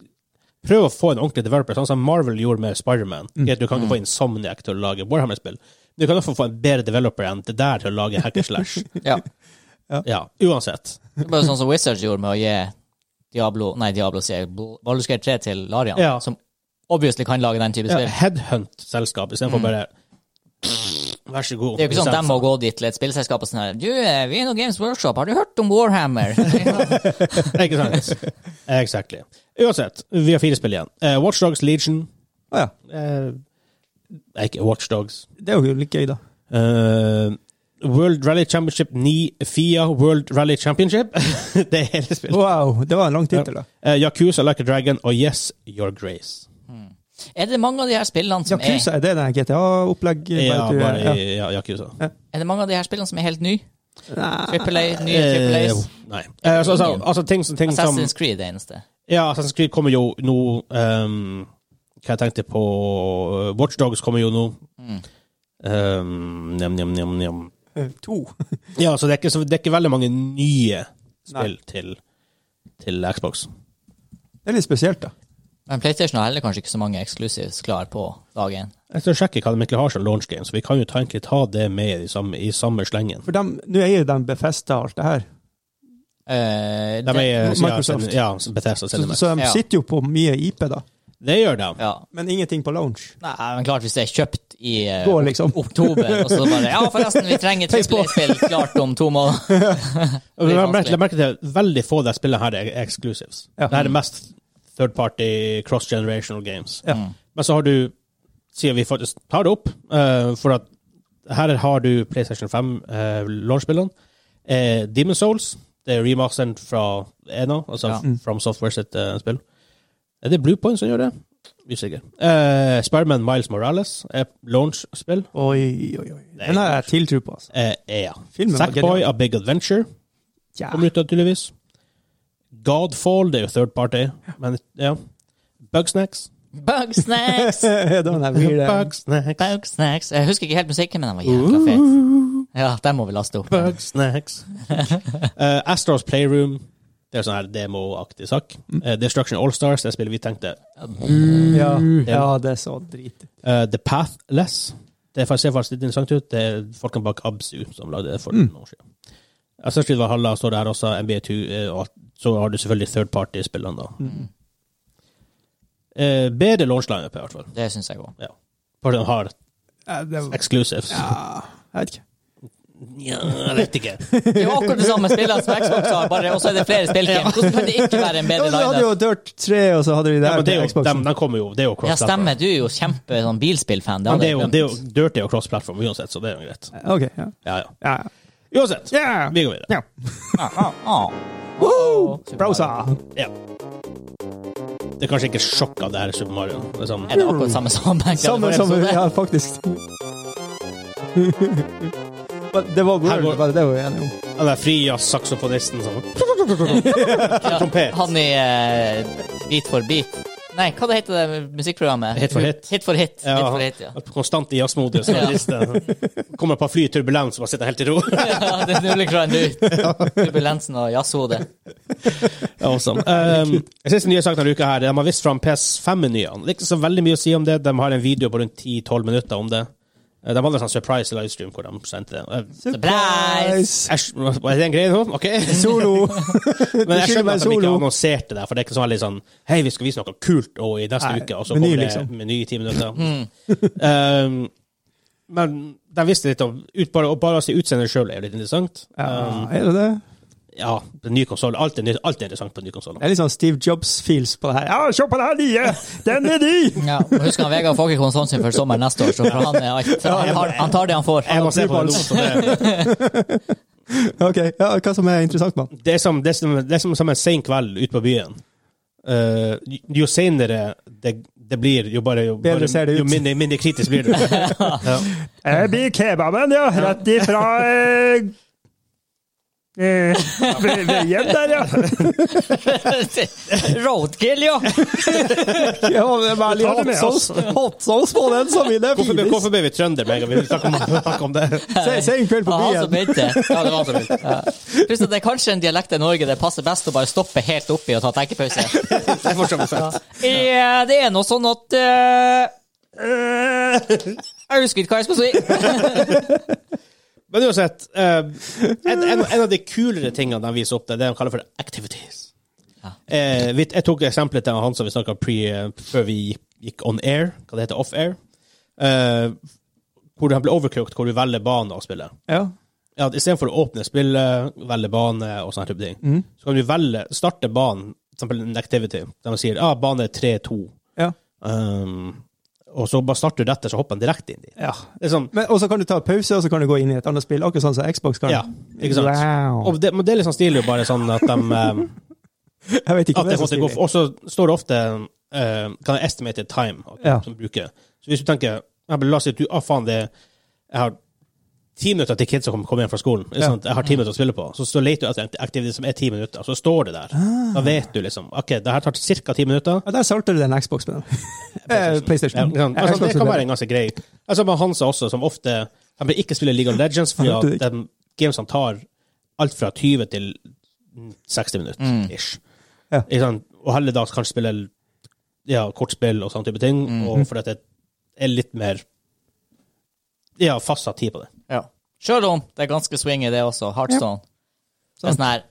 Prøv å få en ordentlig developer, sånn som Marvel gjorde med Spiderman. Mm. Du kan ikke få Insomniac til å lage Warhammer-spill. Du kan også få en bedre developer enn det der til å lage hack and slash.
ja.
ja, uansett.
Det er bare sånn som Wizards gjorde med å gi Diablo Nei, Diablo sier jeg. Baldur's Gate 3 til Larian,
Ja.
som obviously kan lage den type
Ja,
spill.
Headhunt-selskap istedenfor bare Vær så god.
Mm. Det er jo ikke sånn at de må
lisens.
gå dit til et spillselskap og sånn her Du, eh, vi er nå Games Workshop, har du hørt om Warhammer? Ja.
Ikke sant? Exactly. Uansett, vi har fire spill igjen. Uh, Watchdogs Legion.
Å ja.
eh, Nei, ikke Watchdogs.
Det er jo litt gøy, da.
Eh, World Rally Championship 9, FIA World Rally Championship. det er hele spillet.
Wow, det var en lang tittel, da.
Eh, Yakuza, Like a Dragon og Yes, Your Grace.
Er det mange av de her spillene som er
Yakuza, er det den GTA-opplegg?
Ja,
du-
bare i ja, Yakuza.
Er det mange av de her spillene som er helt nye?
Nei.
Triple A, nye Triple
Eh,
A's?
nei. Eh, altså, altså, altså, ting, som- ting som
Assassin's Creed er det eneste.
Ja, Assassin's Creed kommer jo nå ehm, Hva jeg tenkte på Watchdogs kommer jo nå. Ehm, Njam, njam, njam, njam.
Eh, To.
Ja, så det er ikke, så det er ikke veldig mange nye
Nei.
spill til, til Xbox.
Det er litt spesielt, da.
Men PlayStation har heller kanskje ikke så mange exclusives klar på dag én.
Jeg skal sjekke hva de egentlig har som launch game, så vi kan jo ta, egentlig ta det med i samme, i samme slengen.
For dem- nå eier de befesta alt det her.
Eh,
De
det-
er, ja,
Eh,
Microsoft.
Ja, Bethesda
Så,
Cinemax.
så de
Ja.
sitter jo på mye IP, da.
Det gjør de.
Ja.
Men ingenting på lounge.
Nei, men klart hvis det er kjøpt i eh,
Går liksom.
oktober, og så bare Ja, forresten, vi trenger
Tenk på.
trippel-spill klart om to måneder.
Og
Det er
Jeg merker-
vanskelig.
jeg merker at det er veldig få av de spillene her er exclusives.
Ja.
Det her er mest third party, cross-generational games.
Ja.
Mm.
Men så har du, siden vi faktisk tar det opp, eh, for at her har du PlayStation 5 uh, launchspillene. Eh, Demon Souls, det er remasteren fra Ena, altså
Ja.
Mm.
f- From Software sitt eh, spill. Er det Bluepoint som gjør det? Usikker. Uh, Spiderman Miles Morales er launchspill.
Oi, oi, oi. Den har jeg tiltro på, altså.
Eh, ja.
Filmen var
Sackboy,
genial.
A Big Adventure.
Ja.
Kommer ut naturligvis. Godfall, det er jo third party. Men ja. Bugsnacks.
Bugsnacks!
Den er weird.
Bugsnacks.
Bugsnacks. Jeg husker ikke helt musikken, men den var jævla fet. Ja, den må vi laste opp.
Bugsnacks. uh, Astros Playroom. Det er sånn her demoaktig sak. Eh, Destruction Allstars, det spillet vi tenkte.
Ja. ja, det er så drit.
Eh, The Pathless. Det ser faktisk litt interessant ut. Det er folkene bak Absu som lagde det for noen år siden. Assassin's Creed Valhalla står det her også. NBA2. eh, og så har du selvfølgelig third party-spillene, da. Eh, bedre launchline-up, i hvert fall.
Det syns jeg òg.
Ja. Bare den har
Ja, det var...
exclusives.
ja, jeg vet ikke.
Ja, jeg vet ikke.
Det er jo akkurat det samme spillet som Xbox har, bare, og så er det flere spillteam. Hvordan kan det ikke være en
Ja,
bedre
men du hadde
lineup?
jo Dirt 3, og så hadde vi det
Ja,
her.
men det er jo,
Xboxen.
de, de kommer jo, det er jo
Ja,
cross-platform.
stemmer. Du er jo kjempe sånn bilspillfan. liksom.
Men det er jo,
hadde
det er
jeg
jo
glemt.
dirty og cross-platform uansett, så det er jo greit.
Ok, ja.
Ja, ja.
ja.
Uansett,
ja. ja.
vi går videre.
ja.
Ah, ah, ah.
Woo!
Super
Browser.
Ja. Det er kanskje ikke sjokk av det her Super Mario. Det er sånn,
Er det akkurat samme som Bengt hadde
Samme
forrige
som
episode?
Ja, faktisk. Men det var
Her går-
World, var det det vi var enige om?
den der frijazz-saksofonisten som
Ja,
trompet.
Han i eh, Beat for beat. Nei, hva det heter det musikkprogrammet?
Hit for hit.
Hit for hit.
Ja,
hit,
han-
for hit ja.
Konstant i jazzmodus. og
Ja.
liste. Kommer på fly i turbulens og bare sitter helt i ro.
ja, det nuller kranen ut. Turbulensen og jazzhodet.
Awesome. Um, jeg synes den nye saken denne uka her, de har vist fram PS5-menyene. Det er ikke så veldig mye å si om det. De har en video på rundt 10-12 minutter om det. Eh, De hadde en sånn surprise livestream hvor de sendte det. Eh,
Surprise!
æsj, hva er det en greie nå? Ok.
Solo.
Men jeg
skylder
skjønner
meg
at de ikke
solo.
annonserte det, for det er ikke sånn veldig sånn Hei, vi skal vise noe kult og i neste
Nei,
uke, og så
meny,
kommer det
liksom. Mm.
meny i ti minutter. um, men de visste litt om ut, bare, og bare å si utseendet sjøl er jo litt interessant.
Ja,
Um,
er det det?
ja, på ny konsoll. Alt, er ny- alt er interessant på en ny konsoll.
Det er litt sånn Steve Jobs-feels på det her. Ja, se på det her nye! Den er ny!
Ja, og husk han Vegard får ikke konsollen sin før sommeren neste år, så for han, er alt, han, har- han tar det han får.
Jeg må se på det nå. så Det,
Ok, ja, hva som er interessant med den?
det, er som, det, er som, det er som, som en sen kveld ute på byen. Eh, jo- jo senere det, det blir, jo bare Jo,
Bedre
bare,
ser det ut.
jo mindre, mindre kritisk blir du. ja.
Jeg blir kebaben, ja. Rett ifra eh, eh, ved- ved hjem der, ja.
Roadkill, ja!
ja men veldig
Ta det
hot
med, altså.
sauce- hot sauce på den, så vil det
Hvorfor, ble-
finis.
hvorfor ble vi trøndere med en gang? Vi vil snakke om, snakke om det.
Se, se en kveld på
Han som
byen.
Eh, begynte. Ja, det var han som begynte. Ja. Pluss at det er kanskje en dialekt i Norge det passer best å bare stoppe helt oppi og ta tenkepause.
Det er fortsatt fett.
Eh, Det er nå sånn at eh,
Eh,
Jeg husker ikke hva jeg skal si.
Men uansett, eh, en, en, en av de kulere tingene de viser opp, det er det de kaller for activities.
Ja.
Eh, vi- jeg tok eksempelet til han som vi snakka pre eh, før vi gikk on air, hva det heter, off air, eh, hvor han ble overcooked, hvor du velger bane å spille.
Ja.
Ja, Istedenfor å åpne spillet, velge bane og sånne type ting, så kan du velge, starte banen, for eksempel en activity, der man sier ah, bane 3-2,
Ja.
um, og så bare starter du dette, så hopper han direkte inn dit.
ja.
Det er sånn,
Men, og så kan du ta pause, og så kan du gå inn i et annet spill, akkurat sånn som Xbox kan.
Ja, ikke sant.
Wow.
Og det, men det er litt sånn stilig bare sånn at de eh,
Jeg vet ikke
at
hva
det
det er
måtte gå Og så står det ofte eh, kan jeg estimate time at,
Ja.
som bruker. Så hvis du tenker ja, men La oss si at du ah, faen, det, jeg har ti minutter til kidsa kommer kommer hjem fra skolen. Ikke
Ja. Mm.
sant? Jeg har ti minutter å spille på. Så, så leter du etter en aktivitet som er ti minutter, så står det der.
Ah.
Da vet du liksom OK, det her tar ca. ti minutter.
Ja, der solgte du den Xboxen. Eh,
Ja,
PlayStation.
ikke sant? altså, det kan være en ganske grei Altså med Hansa også, som ofte Han vil ikke spille League of Legends, fordi
Han vet
at de gamesene tar alt fra 20 til 60 minutter, ish.
Ja.
Ikke sant? Og heller da kanskje spille ja, kortspill og sånne type ting, og fordi at det er litt mer Ja, fastsatt tid på det.
Ja. Sjøl om det er ganske swingy, det også. Heartstone. Det er sånn her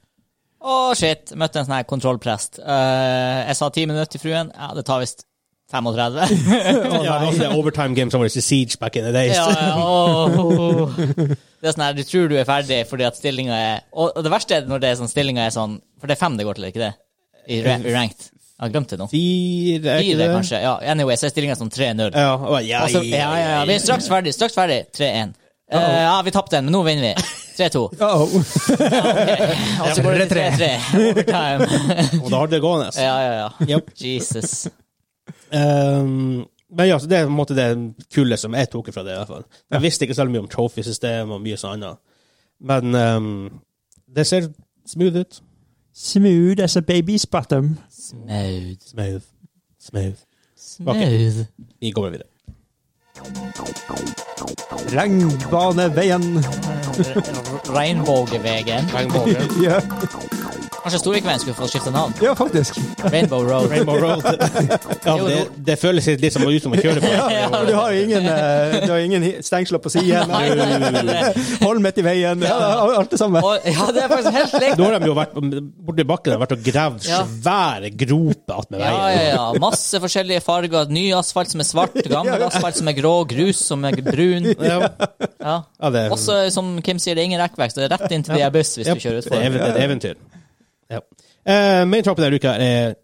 Å, shit. Møtte en sånn her kontrollprest. Eh, jeg sa ti minutter til fruen. Ja, det tar visst 35.
ja, det var sånne overtime games som var i Siege back in the days.
Ja, ja, åh, åh. Det er sånn her, du tror du er ferdig fordi at stillinga er Og og det verste er når det er sånn stillinga er sånn For det er fem det går til, ikke det? I, ra- i ranked. Jeg har glemt det nå.
Fire, er ikke
Fire,
det?
kanskje. Ja, anyway, så er stillinga sånn 3-0.
Ja, og bare, ja,
Og så- Ja, ja, ja. Vi er straks ferdig. Straks ferdig. 3-1. Eh, ja, vi tapte den, men nå vinner vi. 3-2.
Uh-oh.
Og så går det til 3-3. Overtime.
Og da har det gående. altså.
Ja, ja, ja.
Yep.
Jesus.
Ehm, men ja, så det er på en måte det kullet som jeg tok fra det, i hvert fall. Jeg visste ikke så mye om trophy-system og mye sånn annet. Men ehm, det ser smooth ut.
Smooth as a baby's bottom.
Smooth.
Smooth. Smooth.
Smooth.
Vi går videre.
Regnbaneveien.
Regnbogevegen.
Rainbow,
Ja,
Kanskje Storvikveien skulle få skifta navn?
ja, faktisk.
Rainbow Road.
Rainbow Road. ja, det, det føles litt som, ut som å kjøre på.
For du har jo ingen, eh, du har ingen hi- stengsler på
Nei,
siden.
nei, nei, nei.
Holm midt i veien. Ja, alt det samme.
Og, ja, det er faktisk helt likt.
Nå har de jo vært borti bakken og vært og gravd
Ja.
svære groper attmed
Ja, ja,
veien.
ja. Masse forskjellige farger. Ny asfalt som er svart, gammel asfalt som er grå, grus som er brun.
Ja.
Ja.
Ja, det,
Også, som Kim sier, det er ingen rekkverk, så det er rett inn til de er buss hvis
Ja,
du kjører
Det er
utfor.
even- et eventyr. Ja. Eh, main topic denne uka er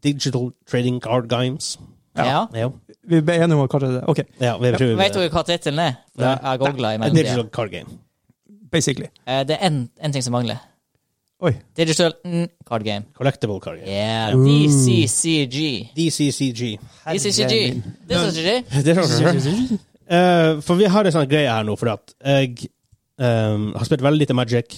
Digital Trading Card Games.
Ja.
Ja,
Vi ble enige om hva det er. Ok,
ja vi tror
Vet dere hva tittelen er? For jeg har googlet i
A
mellomtida.
Digital Card Game.
basically.
Eh, Det er én ting som mangler.
Oi.
Digital mm, card game.
Collectible Card Game.
Yeah. DCCG.
DCCG.
DCCG. DCCG.
Det er sånn. Eh, for vi har en sånn greie her nå, fordi at jeg eh, har spilt veldig lite Magic.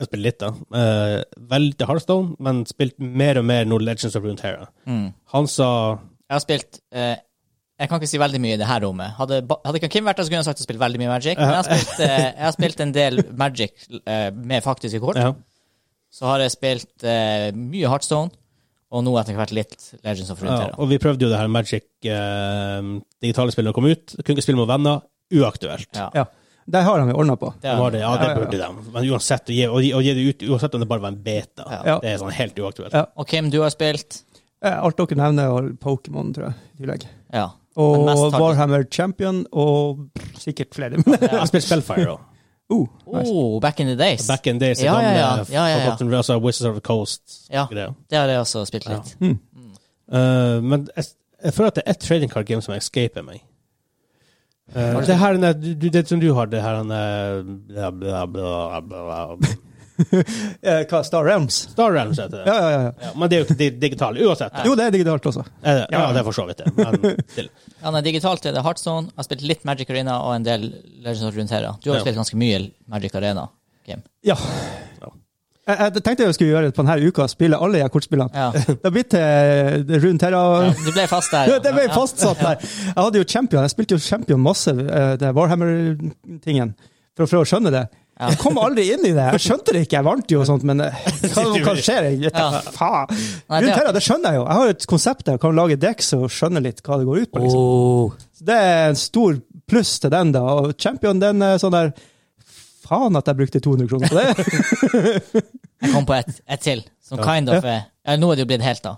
Jeg spiller litt, da. Eh, veldig lite Hearthstone, men spilt mer og mer nå Legends of Runeterra.
Mm.
Han sa
Jeg har spilt eh, Jeg kan ikke si veldig mye i det her rommet. Hadde, ba- hadde ikke Kim vært der, så kunne jeg sagt at jeg spilte veldig mye Magic. Men jeg har spilt, eh, jeg har spilt en del Magic eh, med faktiske kort.
ja.
Så har jeg spilt eh, mye Heartstone, og nå etter hvert litt Legends of
Ja,
Runeterra.
og vi prøvde jo det her Magic eh, digitale spillet når det kom ut. Kunne ikke spille med venner. Uaktuelt.
Ja.
Ja. Der har han jo ordna på.
Det
Det
er-
var det, ja, det
Ja, ja, ja.
burde de. Men uansett, å gi, å gi, å gi det ut, uansett om det bare var en beta,
Ja.
det er sånn helt uaktuelt.
Ja.
Og Kim, du har spilt
Eh, Alt dere nevner, er Pokémon, tror jeg. i tillegg.
Ja.
Og
Men mest har-
Warhammer Champion, og sikkert flere. Men,
Jeg har spilt Spellfire òg.
oh, nice.
Oh, back in the days.
Back in days.
Ja, ja, ja.
gamle
Ja, ja, ja.
Forgotten Realms, altså Wizards of the Coast.
Ja.
greier.
Det har jeg også spilt litt.
Eh, men jeg, jeg føler at det er ett trading card game som escaper meg. Eh,
Har du-
det her, den der- du, det som du har, det her han, eh, bla, bla, bla, bla, bla.
Eh, hva, Star Realms?
Star Realms heter det.
Ja, ja, ja, ja.
Ja, men det er jo ikke di- digitalt, uansett.
Jo, det er digitalt også.
Eh, Ja, det er for så vidt det. Men til.
Ja, nei, digitalt er det Heartstone. Jeg har spilt litt Magic Arena og en del Legends of Runeterra. Du har
Ja.
spilt ganske mye Magic Arena, Kim.
Ja. Jeg, jeg tenkte jeg skulle gjøre det på denne uka, spille alle de her kortspillene.
Ja.
Det har blitt til rundt her.
Ja,
Og,
du ble fast der.
det ble fastsatt der. Jeg hadde jo Champion, jeg spilte jo Champion masse, eh, det Warhammer-tingen, for å prøve å skjønne det.
Ja.
Jeg kom aldri inn i det. Jeg skjønte det ikke, jeg vant jo og sånt, men eh, hva, hva skjer? Jeg, vet
Ja.
da faen.
Nei, det-
Rundt her, det skjønner jeg jo. Jeg har jo et konsept der, jeg kan lage decks og skjønne litt hva det går ut på. Liksom.
Oh.
Så det er en stor pluss til den, da. Og Champion, den er sånn der Faen at jeg brukte 200 kroner på det!
Jeg kom på et, et til, som kind of er ja, Nå er det jo blitt helt, da.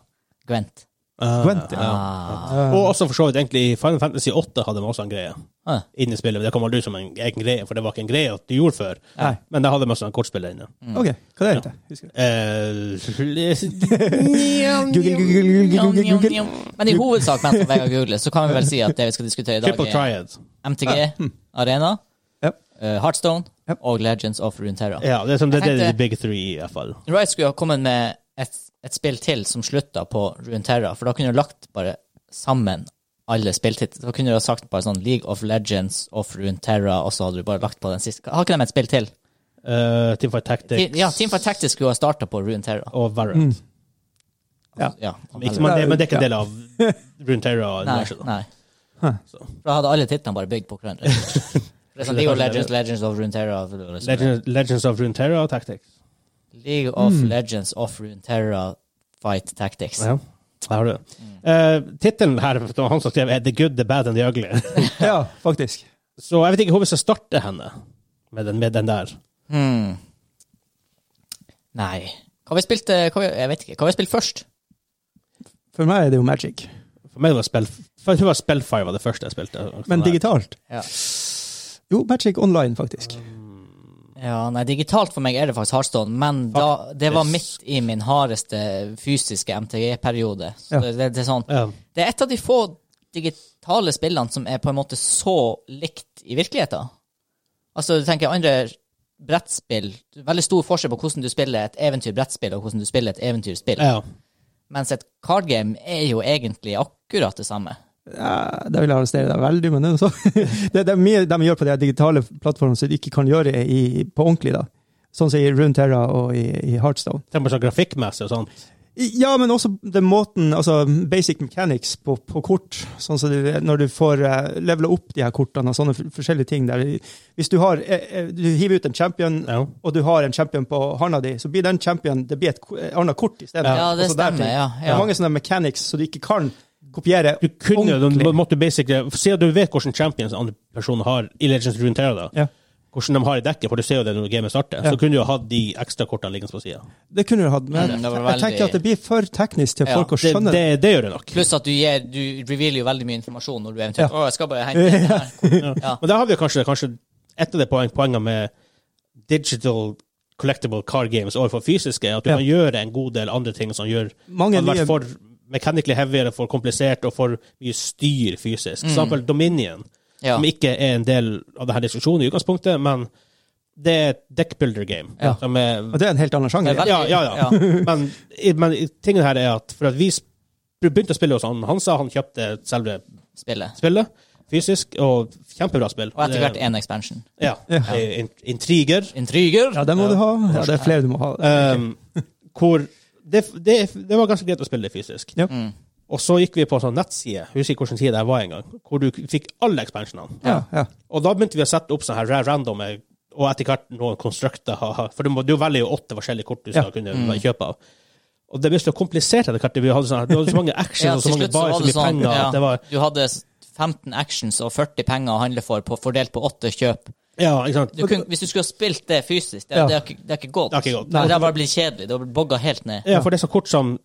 Gwent.
Eh,
Gwent, ja.
Ah.
Og også for så vidt egentlig i Final Fantasy 8 hadde man også en greie
Ah.
inn i spillet. Men det kom aldri ut som en egen greie, for det var ikke en greie at du gjorde før.
Nei.
Men det hadde man også en kortspiller inne.
Ok, hva det heter det? Husker du?
Eh,
Google, Google, Google, Google, Google.
Men i hovedsak, mens jeg begynner å google, så kan vi vel si at det vi skal diskutere i dag,
Triple
er
Triad.
MTG, hmm, Arena,
Ja.
eh, Heartstone
Ja.
og Legends of Runeterra.
Ja, det er som det, det er
Jeg
de big three, i hvert fall.
Riot skulle ha kommet med et, et spill til som slutta på Runeterra, for da kunne du lagt bare sammen alle spilltitler. Da kunne du ha sagt bare sånn League of Legends of Runeterra, og så hadde du bare lagt på den siste. Har ikke de et spill til?
Uh, Teamfight Tactics
Ti- Ja, Teamfight Tactics skulle ha starta på Runeterra.
og Varant.
Ja.
Ikke, men, det, men det er ikke en del av Runeterra. og
Nei,
Universal.
nei.
Så.
For da hadde alle titlene bare bygd på hverandre. Det er sånn League of Legends, Legends of Runeterra
Legends, Legends of Runeterra og Tactics.
sånn. League of Legends of Runeterra Fight Tactics. Hmm.
Ja, der har du det. Eh, Tittelen her, det var han som skrev, er The Good, The Bad and The Ugly.
Ja, faktisk.
Så jeg vet ikke hvor vi skal starte henne med den, med den der.
Hmm. Nei. Hva vi spilte hva vi, Jeg vet ikke. Hva vi spilte først?
For meg er det jo Magic.
For meg var det Spell, for jeg tror det var Spellfire var det første jeg spilte. Sånn
Men digitalt?
Ja.
Jo, Magic Online, faktisk.
Mm.
Ja, nei, digitalt for meg er det faktisk Hearthstone, men da, det var midt i min hardeste fysiske MTG-periode. Så
Ja.
det, det, det er sånn
Ja.
Det er et av de få digitale spillene som er på en måte så likt i virkeligheten. Altså, du tenker andre brettspill Veldig stor forskjell på hvordan du spiller et eventyrbrettspill, og hvordan du spiller et eventyrspill.
Ja.
Mens et cardgame er jo egentlig akkurat det samme.
Ja, da vil jeg arrestere deg veldig, men det er, så. det, det er mye de gjør på de digitale plattformene som de ikke kan gjøre i, på ordentlig. da. Sånn som i Runeterra og i, i Heartstone.
Tenk på sånn grafikkmessig og sånt.
Ja, men også den måten, altså basic mechanics på, på kort. Sånn som det- når du får uh, levela opp de her kortene og sånne f- forskjellige ting der. Hvis du har, eh, eh, du hiver ut en champion,
Ja.
og du har en champion på handa di, så blir den champion, det blir et ko- eh, annet kort i stedet.
Ja, det
Og så der
stemmer,
ting.
ja,
Det
ja.
er mange sånne mechanics så du ikke kan kopiere
Du kunne jo,
ordentlig.
du måtte basically Se at du vet hvordan champions andre personer har i Legends of Runeterra, da.
Ja.
Hvordan de har i dekket, for du ser jo det når gamet starter.
Ja.
Så kunne du jo hatt de ekstra kortene liggende på sida.
Det kunne du hatt, men
Mm, det var
jeg tenker
veldig-
at det blir for teknisk til
Ja,
folk å
Det,
skjønne.
det, det gjør det nok.
Pluss at du, gir, du revealer jo veldig mye informasjon når du eventuelt Å, jeg skal bare hente
Ja.
Men der har vi jo kanskje, kanskje et av de poeng, poengene med digital collectible card games overfor fysiske, er at du
Ja.
kan gjøre en god del andre ting som gjør
Mange
hadde
nye-
vært for mechanically heavyere, for komplisert og for mye styr fysisk.
Mm.
For eksempel Dominion,
Ja.
som ikke er en del av denne diskusjonen i utgangspunktet, men det er et deckbuilder game.
Ja.
Som er,
Og det er en helt annen
Det
sjanger.
er veldig-
ja, ja, ja. men, men tingen her er at for at vi sp- begynte å spille hos han Hansa, han kjøpte selve
Spillet.
spillet fysisk, og kjempebra spill.
Og etter
Det-
hvert én expansion.
ja.
Ja.
eh, in- Intriger.
Intriger.
Ja, den må du ha. Ja, det er flere du må ha.
ehm, Hvor det, det, det var ganske greit å spille det fysisk.
Ja.
Mm.
Og så gikk vi på en sånn nettside, husker ikke hvilken side det var engang, hvor du fikk alle expansionene.
Ja, ja.
Og da begynte vi å sette opp sånne her randome, og etter hvert noen constructer, ha- ha- for du, må, du velger jo åtte forskjellige kort du skal
Ja.
kunne
Mm.
kjøpe av. Og det ble så komplisert etter hvert. Vi hadde, sånn, her- det var så mange actions
Ja,
og så
til
mange
slutt så
bars
var
og så
det
mye
sånn
penger
ja,
at det var
Du hadde 15 actions og 40 penger å handle for, på, fordelt på 8 kjøp.
Ja, ikke sant.
Du kunne, hvis du skulle ha spilt det fysisk, det,
Ja.
det, har, ikke, det har ikke gått.
Det har ikke gått.
Det har bare blitt kjedelig. Det har bogga helt ned.
Ja, for det er så kort som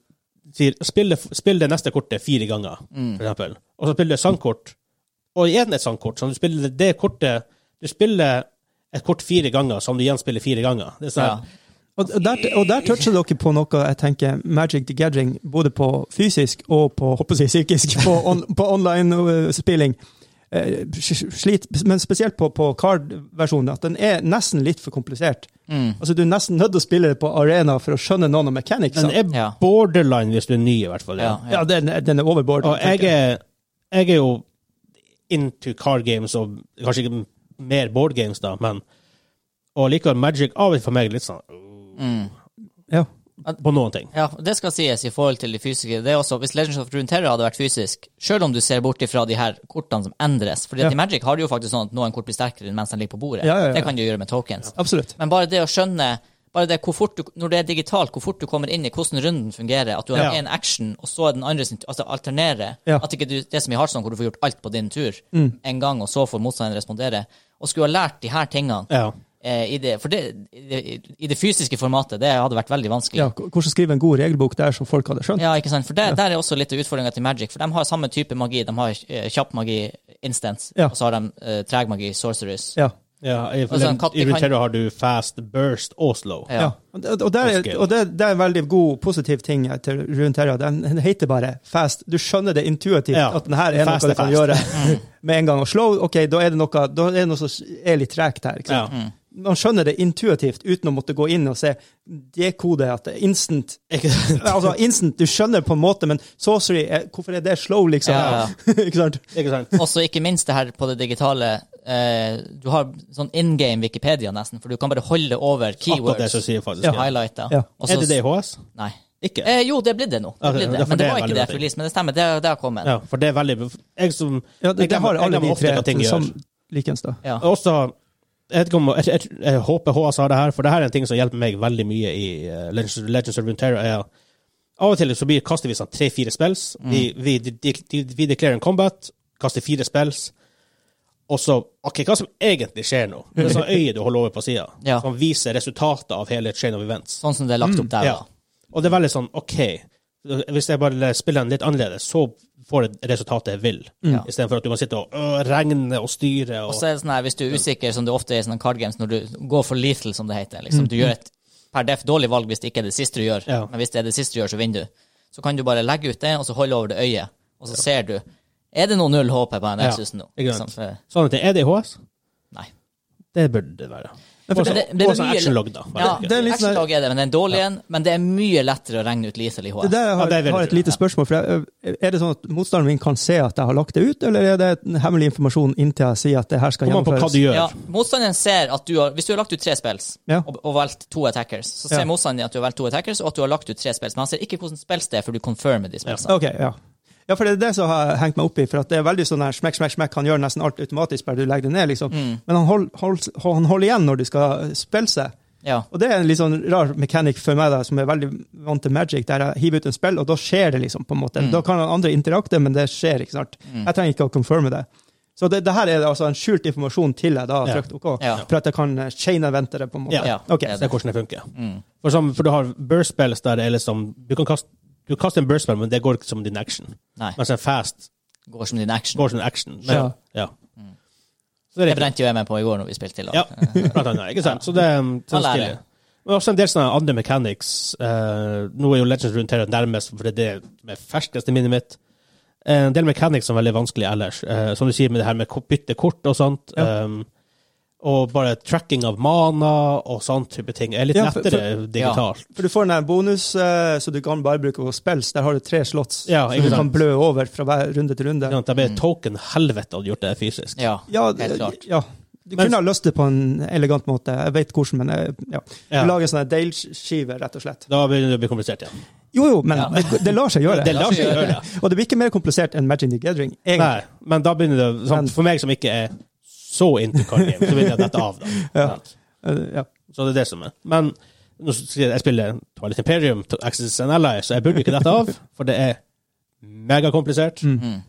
sier spill det, spill det neste kortet fire ganger,
Mm.
for eksempel. Og så spiller du et sangkort, og igjen et sangkort. Så du spiller det kortet Du spiller et kort fire ganger, som du gjenspiller fire ganger. Det er sånn,
Ja.
her,
Og og der, og der toucher dere på noe jeg tenker Magic the Gathering, både på fysisk og på håper jeg, psykisk, på, on, på online-spilling. Eh, Slit, men spesielt på, på card-versjonen, at den er nesten litt for komplisert. Altså, Du er nesten nødt til å spille det på arena for å skjønne noen av mechanics.
Den er
Ja.
borderline hvis du er ny, i hvert fall.
Ja, ja.
Ja, den, er- den er overboard.
Og jeg er, jeg er jo into card games, og kanskje ikke mer board games, da, men Og likevel, Magic av og til for meg er litt sånn
ja.
På noen ting.
Ja, det skal sies i forhold til de fysiske. Det er også, Hvis Legends of Runeterra hadde vært fysisk, selv om du ser bort ifra de her kortene som endres Fordi at
Ja.
i Magic har du jo faktisk sånn at noen kort blir sterkere enn mens de ligger på bordet.
Ja, ja, ja.
Det kan du gjøre med tokens.
Absolutt.
Men bare det å skjønne bare det hvor fort du, Når det er digitalt, hvor fort du kommer inn i hvordan runden fungerer, at du
Ja.
har en action, og så er den andre sin Altså alternere.
Ja.
At ikke du, det er som i Heartstone, hvor du får gjort alt på din tur en gang, og så får motstanderen respondere. Og skulle ha lært de her tingene
Ja.
eh, i, det, for det, i, det, i det fysiske formatet, det hadde vært veldig vanskelig.
Ja, k- hvordan skrive en god regelbok der som folk hadde skjønt?
Ja, ikke sant? For det, Der er også litt av utfordringa til Magic. For de har samme type magi. De har eh, kjapp magi, instance,
Ja.
og så har de eh, treg magi, sorcerers.
Ja.
ja I,
Altså, en katt-
i Runeterra har du fast, burst og slow.
Ja.
Ja. Og, det- og, der, er- og det, det er en veldig god, positiv ting til rundt her. ja. Den, den heter bare Fast. Du skjønner det intuitivt
Ja.
at den her er
Fast
noe
er
du kan
fast. Mm.
gjøre med en gang. Og slow, ok, da er det noe, da er det noe som er litt tregt her. Ikke
Ja.
sant?
mm.
Man skjønner det intuitivt uten å måtte gå inn og se dekode at det er instant
Ikke sant?
altså instant, Du skjønner på en måte, men sorcery, er- hvorfor er det slow, liksom?
Ja,
ikke sant?
Ikke sant?
Og så ikke minst det her på det digitale eh, Du har sånn in game Wikipedia, nesten, for du kan bare holde over
Akkurat det
keywords.
som sier faktisk.
Ja.
Ja.
Highlighta.
Ja.
og så-
Er det det i HS?
Nei.
Ikke?
Eh, jo, det er blitt det nå. Det
Ok,
er blitt det.
derfor
Men det
det er
var
veldig bra
ikke det etter
ting.
release, men det stemmer. Det, det har kommet.
Ja, for det er veldig Jeg som
Ja, det,
jeg
det har
glemmer- jeg
alle
glemmer
de
ofte hva ting
tre
gjør.
som likens, da.
Ja.
Og Også, jeg, vet ikke om, jeg, jeg, jeg håper HS har det her, for det her er en ting som hjelper meg veldig mye i eh, Legends, Legends of Runeterra. er Av og til så blir, kaster vi sånn tre-fire spills.
Mm.
Vi, vi, de, de, vi declarer en combat, kaster fire spills. Og så OK, hva som egentlig skjer nå? Det er sånn øye du holder over på sida,
Ja.
som viser resultatet av hele chain of events.
Sånn som
Mm,
det er lagt opp der,
Ja. Og det er veldig sånn OK, hvis jeg bare spiller den litt annerledes, så får det resultatet jeg vil,
Mm.
Ja.
istedenfor at du må sitte og øh, regne og styre.
Og
Og,
så er det sånn her, hvis du er usikker, som du ofte er i sånne card games, når du går for lethal, som det heter, liksom, du gjør et per def dårlig valg hvis det ikke er det siste du gjør,
Mm, Ja.
men hvis det er det siste du gjør, så vinner du. Så kan du bare legge ut det, og så holde over det øyet, og så ser du, er det noe null HP på den
Ja,
Nexusen nå?
ikke sant.
Liksom, for-
sånn at det er det i HS?
Nei.
Det burde det være. sånn-
Men for
Og så-
det- det- det er
og så
mye-
actionlogg, da.
Ja,
det er litt sånn her-
Hashtag er det, men det er en dårlig en, men det er mye lettere å regne ut lethal i
Det
HS.
der jeg
Ja,
har,
det er veldig
har et
true.
lite spørsmål. For jeg, ø, er det sånn at motstanderen min kan se at jeg har lagt det ut, eller er det en hemmelig informasjon inntil jeg sier at det her skal
Kommer an på hva du
gjennomføres?
gjør.
Ja, motstanderen ser at du har, hvis du har lagt ut tre spills,
Ja.
og, og valgt to attackers, så ser
Ja.
motstanderen at du har valgt to attackers, og at du har lagt ut tre spills, men han ser ikke hvordan spills det er, for du confirmer de spillsene.
Ok, ja. Ja, for det er det som har hengt meg opp i, for at det er veldig sånn her smekk, smekk, smekk, han gjør nesten alt automatisk bare du legger det ned, liksom.
Mm.
Men han holder hold, hold, han holder igjen når du skal spille seg.
Ja.
Og det er en litt sånn rar mechanic for meg, da, som er veldig vant til magic, der jeg hiver ut en spill, og da skjer det, liksom, på en måte.
Mm.
Da kan andre interakte, men det skjer ikke sant.
Mm.
Jeg trenger ikke å confirme det. Så det, det her er altså en skjult informasjon til jeg da har
Ja.
trykt OK,
Ja.
for at jeg kan eh, chain-evente det, på en måte.
Ja.
Ja,
Ok.
det er
Se
det.
hvordan det funker.
Mm.
For, som, for du har burst spells der det er liksom Du kan kaste du kaster en burst spell, men det går ikke som din action.
Nei.
Mens en fast
Går som din action.
går som en action. Men,
Ja.
ja.
Mm.
Så det er litt,
Det brente jo jeg meg på i går når vi spilte i lag.
Ja. blant annet, ikke sant? Så det er um, sånn
Man lærer.
stilig. Men også en del sånne andre mechanics. eh, nå er jo Legends rundt her nærmest, for det er det som er ferskeste minnet mitt. Eh, En del mechanics som er veldig vanskelig ellers. Eh, som du sier med det her med ko- bytte kort og sånt.
Ja.
Um, og bare tracking av mana og sånn type ting er litt
Ja, for- for-
lettere digitalt.
For du får den her bonus, eh, så du kan bare bruke på spills. Der har du tre slotts,
Ja,
så
ikke
du
sant.
kan blø over fra hver runde til runde.
Ikke sant? sånn- Det ble token-helvete hadde gjort det fysisk.
Ja.
Ja,
Helt klart.
ja. Du
Men-
kunne ha løst det på en elegant måte. Jeg vet hvordan, men eh, ja.
Ja.
Du lager sånne dale-skiver, rett og slett.
Da begynner det å bli komplisert igjen.
Jo, jo, men
Ja.
det, det lar seg gjøre.
Det lar seg
gjøre
gjøre.
Og det blir ikke mer komplisert enn Magic the Gathering, egentlig.
Nei, men da begynner det sånn,
Men-
For meg som ikke er så into card game, så begynner jeg å dette av, da.
Ja. Eh, ja.
Så det er det som er. Men nå sier jeg jeg spiller Twilight Imperium, to- Axis and Ally, så jeg burde jo ikke dette av, for det er megakomplisert.
Mm.
Mm.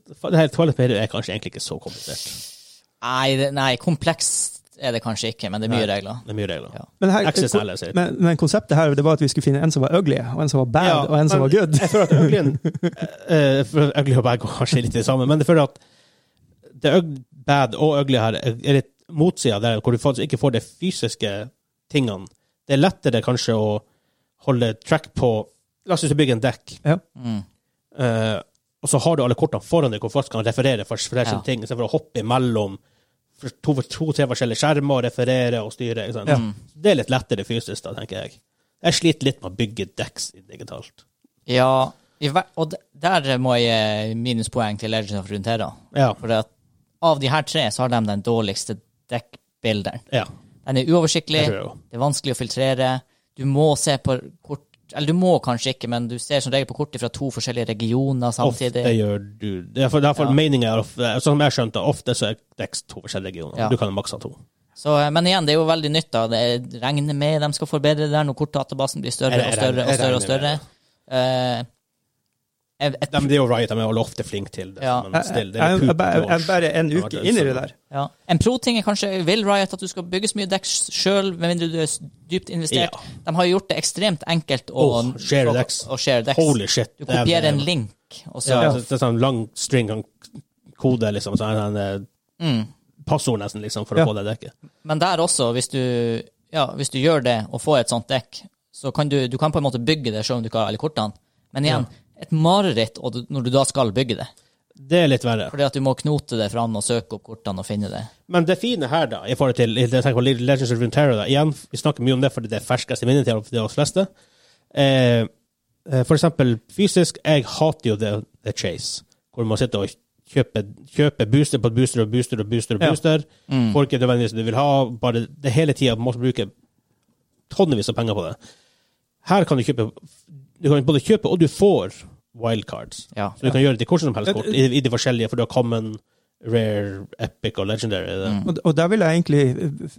Eh, for det her Twilight Imperium er kanskje egentlig ikke så komplisert.
Nei, det, nei, komplekst er det kanskje ikke, men det er mye regler.
Det er mye regler.
Ja.
Men, her,
Axis and Ally, sier jeg.
men, men konseptet her det var at vi skulle finne en som var ugly, og en som var bad,
Ja,
og en som
men-
var good.
Jeg føler at Øglien eh, eh, for Ugly og Bad går kanskje litt i det samme, men jeg føler at det øg- Bad og Ugly her er er litt motsida der, hvor du faktisk ikke får de fysiske tingene. Det er lettere kanskje å holde track på La oss si du bygger en dekk,
Mm.
eh, og så har du alle kortene foran deg hvor folk kan referere for for
Ja.
forskjellige ting, istedenfor å hoppe imellom for to, for to-tre forskjellige skjermer og referere og styre. Ikke sant?
Mm.
Det er litt lettere fysisk, da, tenker jeg. Jeg sliter litt med å bygge decks digitalt.
Ja, i hver, og d- der må jeg gi minuspoeng til Legend of Runeterra.
Ja.
For at av de her tre, så har de den dårligste dekkbilderen.
ja.
Den er uoversiktlig,
Jeg tror det også.
det er vanskelig å filtrere, du må se på kort Eller du må kanskje ikke, men du ser som regel på kortet fra to forskjellige regioner samtidig.
Ofte gjør du det. er for- Det er for
Ja.
meningen er, ofte- sånn som jeg skjønte, ofte så er Dex to forskjellige regioner.
Ja.
Du kan maksa to.
Så, eh, men igjen, det er jo veldig nytt. da. Det regner med de skal forbedre det der når kortdatabasen blir større
Jeg-
og
jeg
større og
regner-
større.
jeg
og større.
regner
Eh, jeg, jeg,
De, det er jo Riot, de er jo ofte flinke til det.
Ja.
Men
Jeg,
still,
jeg,
det er
jeg,
poop
jeg, jeg er
launch.
bare en uke inn i det der.
ja. En pro-ting er kanskje Vil Riot at du skal bygge så mye dekk sjøl, med mindre du er s- dypt investert?
Ja.
De har jo gjort det ekstremt enkelt å
Åh, share
å-
decks.
å share decks.
Holy shit.
Du
det er-
kopierer en link, og så
Ja, det det er sånn lang string av kode, liksom. Sånn, sånn, eh,
mm.
passord, nesten, liksom, for
Ja.
å få det dekket.
Men der også, hvis du, ja, hvis du gjør det og får et sånt dekk, så kan du, du kan på en måte bygge det selv om du ikke har alle kortene. Men igjen, et mareritt og du, når du da skal bygge det.
Det er litt verre.
Fordi at du må knote det fram og søke opp kortene og finne det.
Men det fine her, da, i forhold til jeg tenker på Legends of Runeterra, da, igjen, vi snakker mye om det fordi det er ferskeste minnet til de av oss fleste. Eh, eh, for eksempel fysisk, jeg hater jo The, the Chase, hvor man sitter og kjøper, kjøper booster på booster og booster og booster. og
Ja.
booster.
Mm.
Får ikke nødvendigvis det du vil ha, bare det hele tida må du bruke tonnevis av penger på det. Her kan du kjøpe Du kan både kjøpe, og du får wildcards.
Ja.
Så du kan gjøre det til hvordan som helst kort, i, i de forskjellige, for du har common, rare, epic og legendary. Det.
Mm.
Og, og der vil jeg egentlig eh,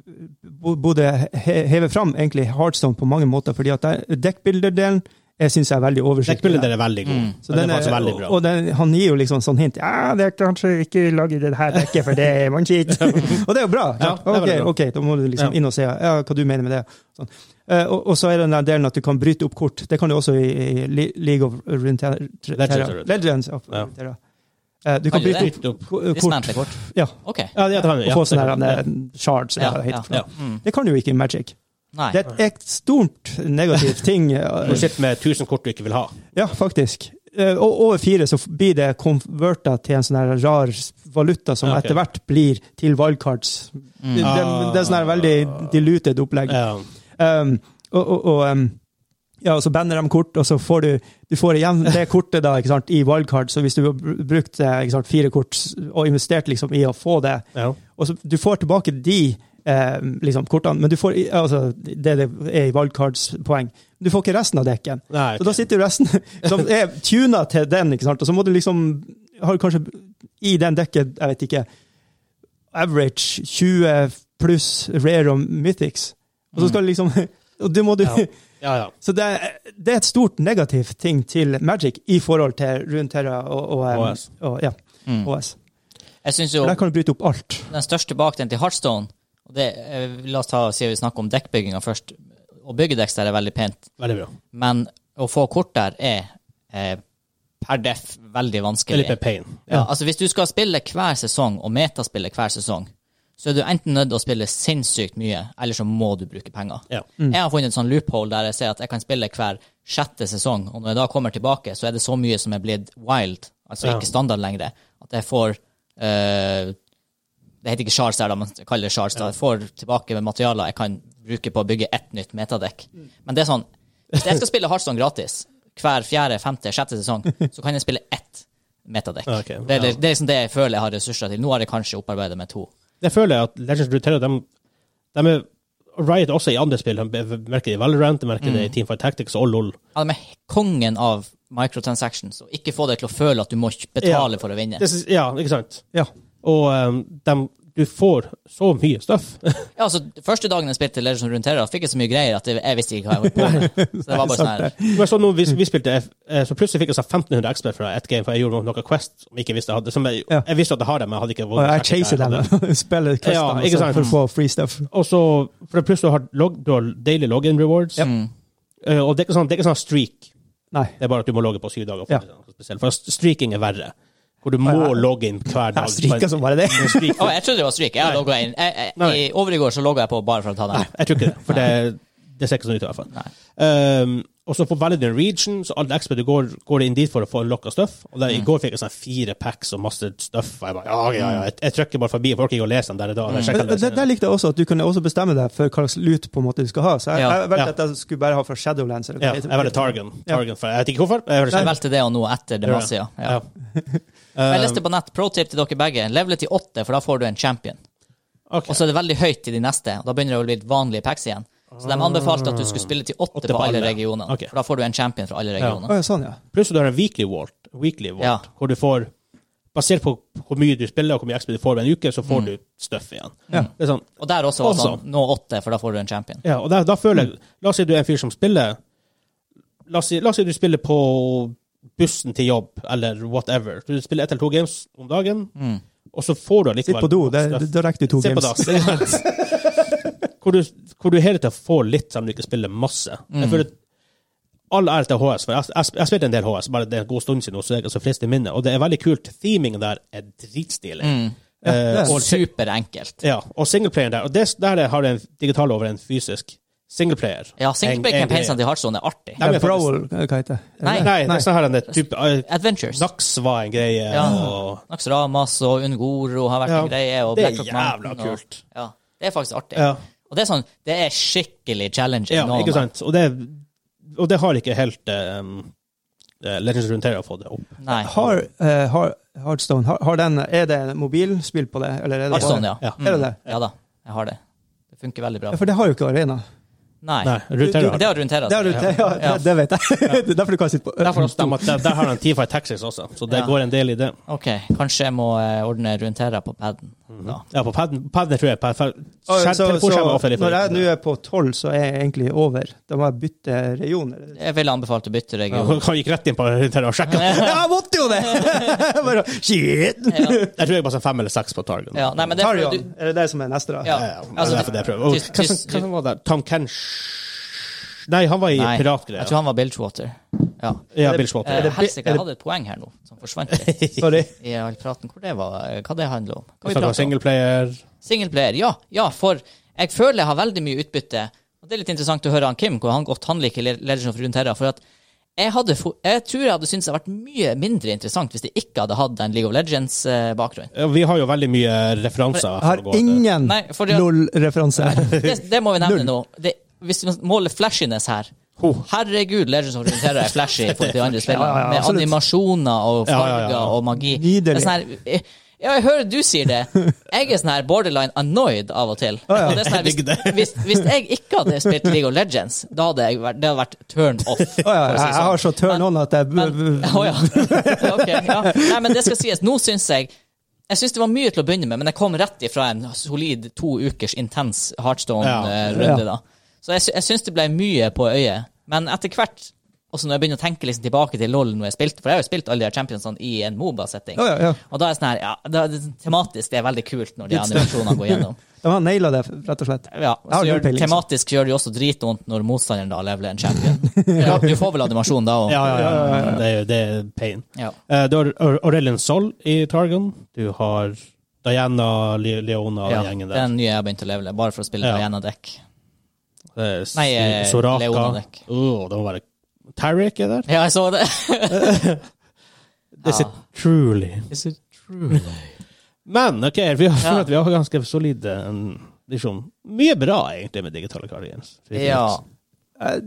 bo- både he- heve fram egentlig Heartstone på mange måter, fordi at der- dekkbilderdelen jeg syns jeg er veldig oversiktlig.
Dekkbildet der er veldig god.
Mm.
Så den er faktisk veldig
og-
bra.
Og den, han gir jo liksom sånn hint. Ja, det er kanskje ikke lager det her dekket, for det er mannskitt. og det er jo bra.
Ja, det er
ok,
veldig bra.
ok, da må du liksom
Ja.
inn og se ja, hva du mener med det. Sånn. Eh, og, og så er det den der delen at du kan bryte opp kort. Det kan du også i, i Le- League of Runeterra.
Legends.
Legends of
Ja.
Runeterra. Eh, du kan
Kan du
bryte
Dypt
det?
opp
opp.
ko- kort
Dismantle kort.
Ja.
OK.
Ja, det kan vi.
og
Ja,
få
det
sånne
kan
der,
vi.
eh, shards.
Ja,
eller hva det heter.
ja. Mm.
Det kan du jo ikke i Magic.
Nei.
Det er et stort negativt ting.
Du
eh,
sitter med 1000 kort du ikke vil ha.
Ja, faktisk. Eh, Og over fire så blir det konverta til en sånn her rar valuta som
Ja, Ah, ok.
etter hvert blir til wildcards. Det,
Mm.
det, det er sånn her veldig diluted opplegg.
Ja.
Um, og, og, og, um, ja, og så banner de kort, og så får du, du får igjen det kortet da, ikke sant, i wildcard. Så hvis du har br- brukt eh, ikke sant, fire kort og investert liksom, i å få det,
Ja.
og så du får tilbake de eh, liksom, kortene, men du får i- altså, det det er i wildcards-poeng. Du får ikke resten av dekken.
Nei,
Så da sitter jo resten som er tuna til den, ikke sant? og så må du liksom har du kanskje i den dekket, jeg vet ikke, average 20 pluss rare og mythics. Og så skal du liksom og det må du,
Mm. Ja. ja, ja.
Så det er, det er et stort negativt ting til Magic i forhold til Runeterra og, og, um,
OS.
og ja,
Mm.
OS.
Jeg syns
For
jo
der kan du bryte opp alt.
den største bakdelen til Heartstone og det, eh, La oss ta, siden vi snakker om dekkbygginga først. Å bygge dekk der er veldig pent,
Veldig bra.
men å få kort der er eh, per def veldig
Det er
vanskelig.
litt mer pain.
Ja, altså Hvis du skal spille hver sesong, og metaspille hver sesong, så er du enten nødt til å spille sinnssykt mye, eller så må du bruke penger.
Ja.
Jeg har funnet et sånn loophole der jeg ser at jeg kan spille hver sjette sesong, og når jeg da kommer tilbake, så er det så mye som er blitt wild, altså
Ja.
ikke standard lenger, at jeg får eh, Det heter ikke shards der, da, men jeg kaller det shards. da, Jeg får tilbake med materialer jeg kan bruke på å bygge ett nytt metadekk.
Mm.
Men det er sånn Hvis jeg skal spille Heartstone gratis hver fjerde, femte, sjette sesong, så kan jeg spille ett metadekk.
Ok.
Det, er, det er liksom det jeg føler jeg har ressurser til. Nå har jeg kanskje opparbeidet meg to.
Det føler jeg at Legends of Runeterra, de, de er Riot også i andre spill. De merker det i Valorant, de merker
Mm.
det i Teamfight Tactics og LOL.
Ja, de er kongen av microtransactions, og ikke få deg til å føle at du må ikke betale for å vinne.
Det synes- ja, ikke sant?
Ja.
Og um, de, du får så mye stuff.
Ja, altså, Første dagen jeg spilte Legends of Runeterra, fikk jeg så mye greier at jeg, jeg visste ikke hva jeg holdt på med. Så det var bare sånn her.
Men så nå, vi, vi spilte, eh, så plutselig fikk jeg så 1500 XP fra ett game, for jeg gjorde noe- noe Quest som jeg ikke visste jeg hadde. Som jeg,
Ja.
jeg visste at jeg har det, men jeg hadde ikke
Og jeg
sjekke
chaser
hva
dem.
hadde.
Spiller questene
Ja, ikke
altså,
sant.
for å få free stuff.
Og så, for plutselig har log, du har daily login rewards,
Mm.
Eh, og det er ikke sånn, det er ikke sånn streak.
Nei.
Det er bare at du må logge på syv dager. For,
Ja.
noe spesielt. for streaking er verre. Hvor du må
Ja, ja.
logge inn hver dag.
Jeg stryker som bare det.
Du stryker.
Å, jeg trodde det var stryk. Jeg logga inn. Jeg, jeg, I
Nei.
overgård så logga jeg på bare for å ta den.
Jeg tror ikke det, for det, det ser ikke sånn ut i hvert fall.
Nei.
Ehm, og så på Validin Region, så alle XP du går, går inn dit for å få lokka stuff. Og
Mm.
der, I går fikk jeg sånn fire packs og masse stuff. Og jeg bare, ja, ja, ja. Jeg, jeg trykker bare forbi, for jeg orker ikke å lese dem der i dag. Jeg sjekker
Mm. Men
dem
der, der likte jeg også at du kunne også bestemme deg for hva slags lut på en måte du skal ha. Så jeg,
Ja.
jeg valgte
Ja.
at jeg skulle bare ha fra Shadowlands. eller hva
Ja,
det heter.
jeg velger Targan.
Ja.
Targan for, jeg vet ikke hvorfor. Jeg, sånn.
Jeg
velger
valgte det og noe etter Demacia. Ja.
ja.
Jeg leste på nett pro tip til dere begge. Level til åtte, for da får du en champion.
Ok.
Og så er det veldig høyt til de neste, og da begynner det å bli litt vanlige packs igjen. Så de anbefalte at du skulle spille til åtte på alle regionene,
Ok.
for da får du en champion fra alle
Å,
regionene.
ja, sånn, ja.
Pluss at du har en weekly vault, weekly vault
Ja.
hvor du får Basert på hvor mye du spiller og hvor mye XP du får ved en uke, så
Mm.
får du stuff igjen.
Ja.
Det er sånn,
Og der også var det
Også.
sånn, nå åtte, for da får du en champion.
ja, og da, da føler jeg La oss si du er en fyr som spiller La oss si, la oss si du spiller på bussen til jobb, eller whatever. Du spiller ett eller to games om dagen,
Mm.
og så får du allikevel
Sitt på do. det-
stuff.
det- Da rekker du to
Sitt på
games.
dass. ikke sant? hvor, du, hvor du hele tida får litt, selv om du ikke spiller masse.
Mm.
Jeg føler at All ære til HS, for jeg, jeg, jeg spilte en del HS, bare det er en god stund siden, og så er jeg så frist i minnet. Og det er veldig kult. Themingen der er dritstilig.
Mm.
det
Eh,
er
og,
Superenkelt.
ja, og singleplayeren der. Og det, der har jeg en digital over en fysisk. Singleplayer. En-
Ja,
en
singleplay-campaignene
greie.
til Heartstone sånn, er artig.
Nei,
Ja,
men faktisk-
Eh, Brawl, hva heter det?
Nei.
Nei, det er sånn her en type eh,
Adventures.
Nax var en greie,
Ja.
og
Naxramas og Ungoro har vært
Ja,
en greie. Og
det er
Black Rock
jævla
Mountain og-
kult.
Ja, det er faktisk artig.
Ja.
Og det er sånn, det er skikkelig challenging.
Ja,
noen
ikke
av-
sant? Og det, og det har ikke helt eh, um, eh, Legends of Runeterra fått det opp.
Nei.
Har, eh, har, Hearthstone, har, har den, er det en mobilspill på det? Eller er det
Hearthstone,
bare-
ja.
Ja.
Mm.
Er det det?
Ja da, jeg har det. Det funker veldig bra.
Ja, For det har jo ikke arena.
Nei.
Nei, Runeterra
Det har Runeterra.
Det har du,
altså.
ja,
Ja.
det, det vet jeg. Det er derfor du kan sitte på
Derfor også, de, der, der har han T-Fight Taxis også, så det
Ja.
går en del i det.
OK, kanskje jeg må eh, ordne Runeterra på paden.
Mhm.
da.
Ja, på paden, paden tror jeg pad, pad,
Så, så,
telefonskjermen er ofte litt for
når jeg nå
liten.
er på tolv, så er jeg egentlig over. Da må jeg bytte regioner.
Jeg ville anbefalt å bytte
Ja,
region.
Han gikk rett inn på til å sjekke.
Jeg måtte jo det! Bare, shit!
Ja.
Jeg tror jeg bare sa fem eller seks på Target.
Ja, nei, men det er fordi
Tarion, er det det som er neste, da?
Ja.
altså,
altså,
derfor det jeg prøver. Og
tyst-
Hva som-
tyst-
hva som var der? Tom Kensh Nei, han var i
du, nei,
piratgreia.
jeg tror han var Bilgewater. Ja.
Ja, Bill Schmotter.
Eh,
det-
Helsike,
er
jeg
det-
hadde et poeng her nå, som forsvant litt
Sorry.
i all praten. Hvor det var, hva det handler om? Hva
Vi
vi
snakker om
prater om?
singleplayer.
Singleplayer, ja. Ja, for jeg føler jeg har veldig mye utbytte. Og det er litt interessant å høre han Kim, hvor han godt han liker Le- Legend of Runeterra. For at jeg, hadde, fo- jeg tror jeg hadde syntes det hadde vært mye mindre interessant hvis jeg ikke hadde hatt den League of eh, Legends-bakgrunnen.
Ja, Vi har jo veldig mye referanser.
Jeg har
for å gå til.
ingen
Nei, fordi at-
LOL-referanse.
Det, det må vi nevne nå. Det, hvis man måler flashiness her Herregud, Legends of Runeterra er flashy i forhold til de andre spillene.
Ja, ja, ja,
med
absolutt.
animasjoner og
Ja,
farger
ja, ja, ja.
og magi.
Nydelig.
Det er sånn her, eh, ja, jeg hører du sier det. Jeg er sånn her borderline annoyed av og til. Og det er sånn her,
Jeg digger det.
hvis, hvis, hvis jeg ikke hadde spilt League of Legends, da hadde jeg vært, det hadde vært turn off. for å si
Å ja, jeg, jeg
sånn.
har så turn on at jeg
Men, Å ja. Ok, ja. Nei, men det skal sies. Nå syns jeg Jeg syns det var mye til å begynne med, men jeg kom rett ifra en solid to ukers intens
Ja.
Heartstone-runde, da. Så jeg, sy- jeg syns det ble mye på øyet. Men etter hvert, også når jeg begynner å tenke liksom tilbake til LOL når jeg spilte, for jeg har jo spilt alle de her championsene i en Moba-setting,
Å ja, ja.
og da er jeg sånn her ja, da, det, Tematisk det er veldig kult når de
Litt
animasjonene går gjennom.
De har naila det, rett og slett.
Ja, og
Jeg har
så gjør,
null peiling, så.
tematisk gjør det jo også dritvondt når motstanderen da leveler en champion. Ja, du får vel animasjon da òg.
Ja, ja, ja. Det er, det er pain.
Ja.
Eh, Du har Aur- Aurelion Sol i Targon. Du har Diana Le- Leona og
Ja,
den gjengen
Det
der.
er den nye jeg har begynt å levele, bare for å spille
Ja.
Diana-dekk.
Eh, Su-
Nei, eh,
Soraka.
Leonadek.
Åh, det må være Tarek er der.
Ja, jeg så det.
This
Ja.
is truly. Men ok, vi har,
Ja.
for at vi har ganske solide mm, liksom, Mye bra, egentlig, med digitale cardigans.
ja.
Eh,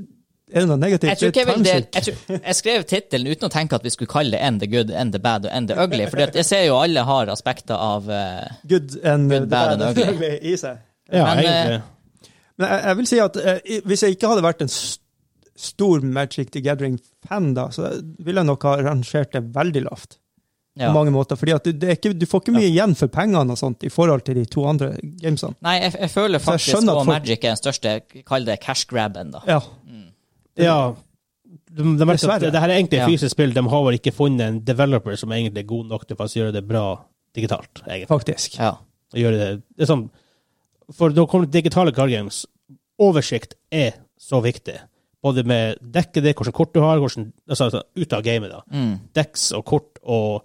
Er det noe negativt?
Jeg tror ikke jeg vil
Det
det.
er
Jeg, tror, jeg skrev tittelen uten å tenke at vi skulle kalle det And the good, and the bad og and the ugly, for jeg ser jo alle har aspekter av eh,
township. Good and
Good, bad and ugly.
i seg.
Ja,
Men, eh,
egentlig.
Men jeg, jeg vil si at eh, i- hvis jeg ikke hadde vært en s- stor Magic the Gathering-fan, da, så ville jeg nok ha rangert det veldig lavt.
ja.
På mange måter, fordi at du, det er ikke, du får ikke mye igjen for pengene og sånt i forhold til de to andre gamesene.
Nei, jeg, jeg føler
Så jeg
faktisk at
skjønner at folk-
Magic er den største, kall det cash grabben, da.
Ja,
Ja. De, de merker at
Dessverre.
det her er egentlig
Ja.
fysisk spill. De har vel ikke funnet en developer som egentlig er god nok til å faktisk gjøre det bra digitalt. egentlig.
faktisk.
Ja.
Og Gjøre det, det er sånn, for da kommer digitale card games. Oversikt er så viktig. Både med dekket ditt, hvilke kort du har, hvordan, altså, altså, ut av gamet. da.
Mm.
Decks og kort og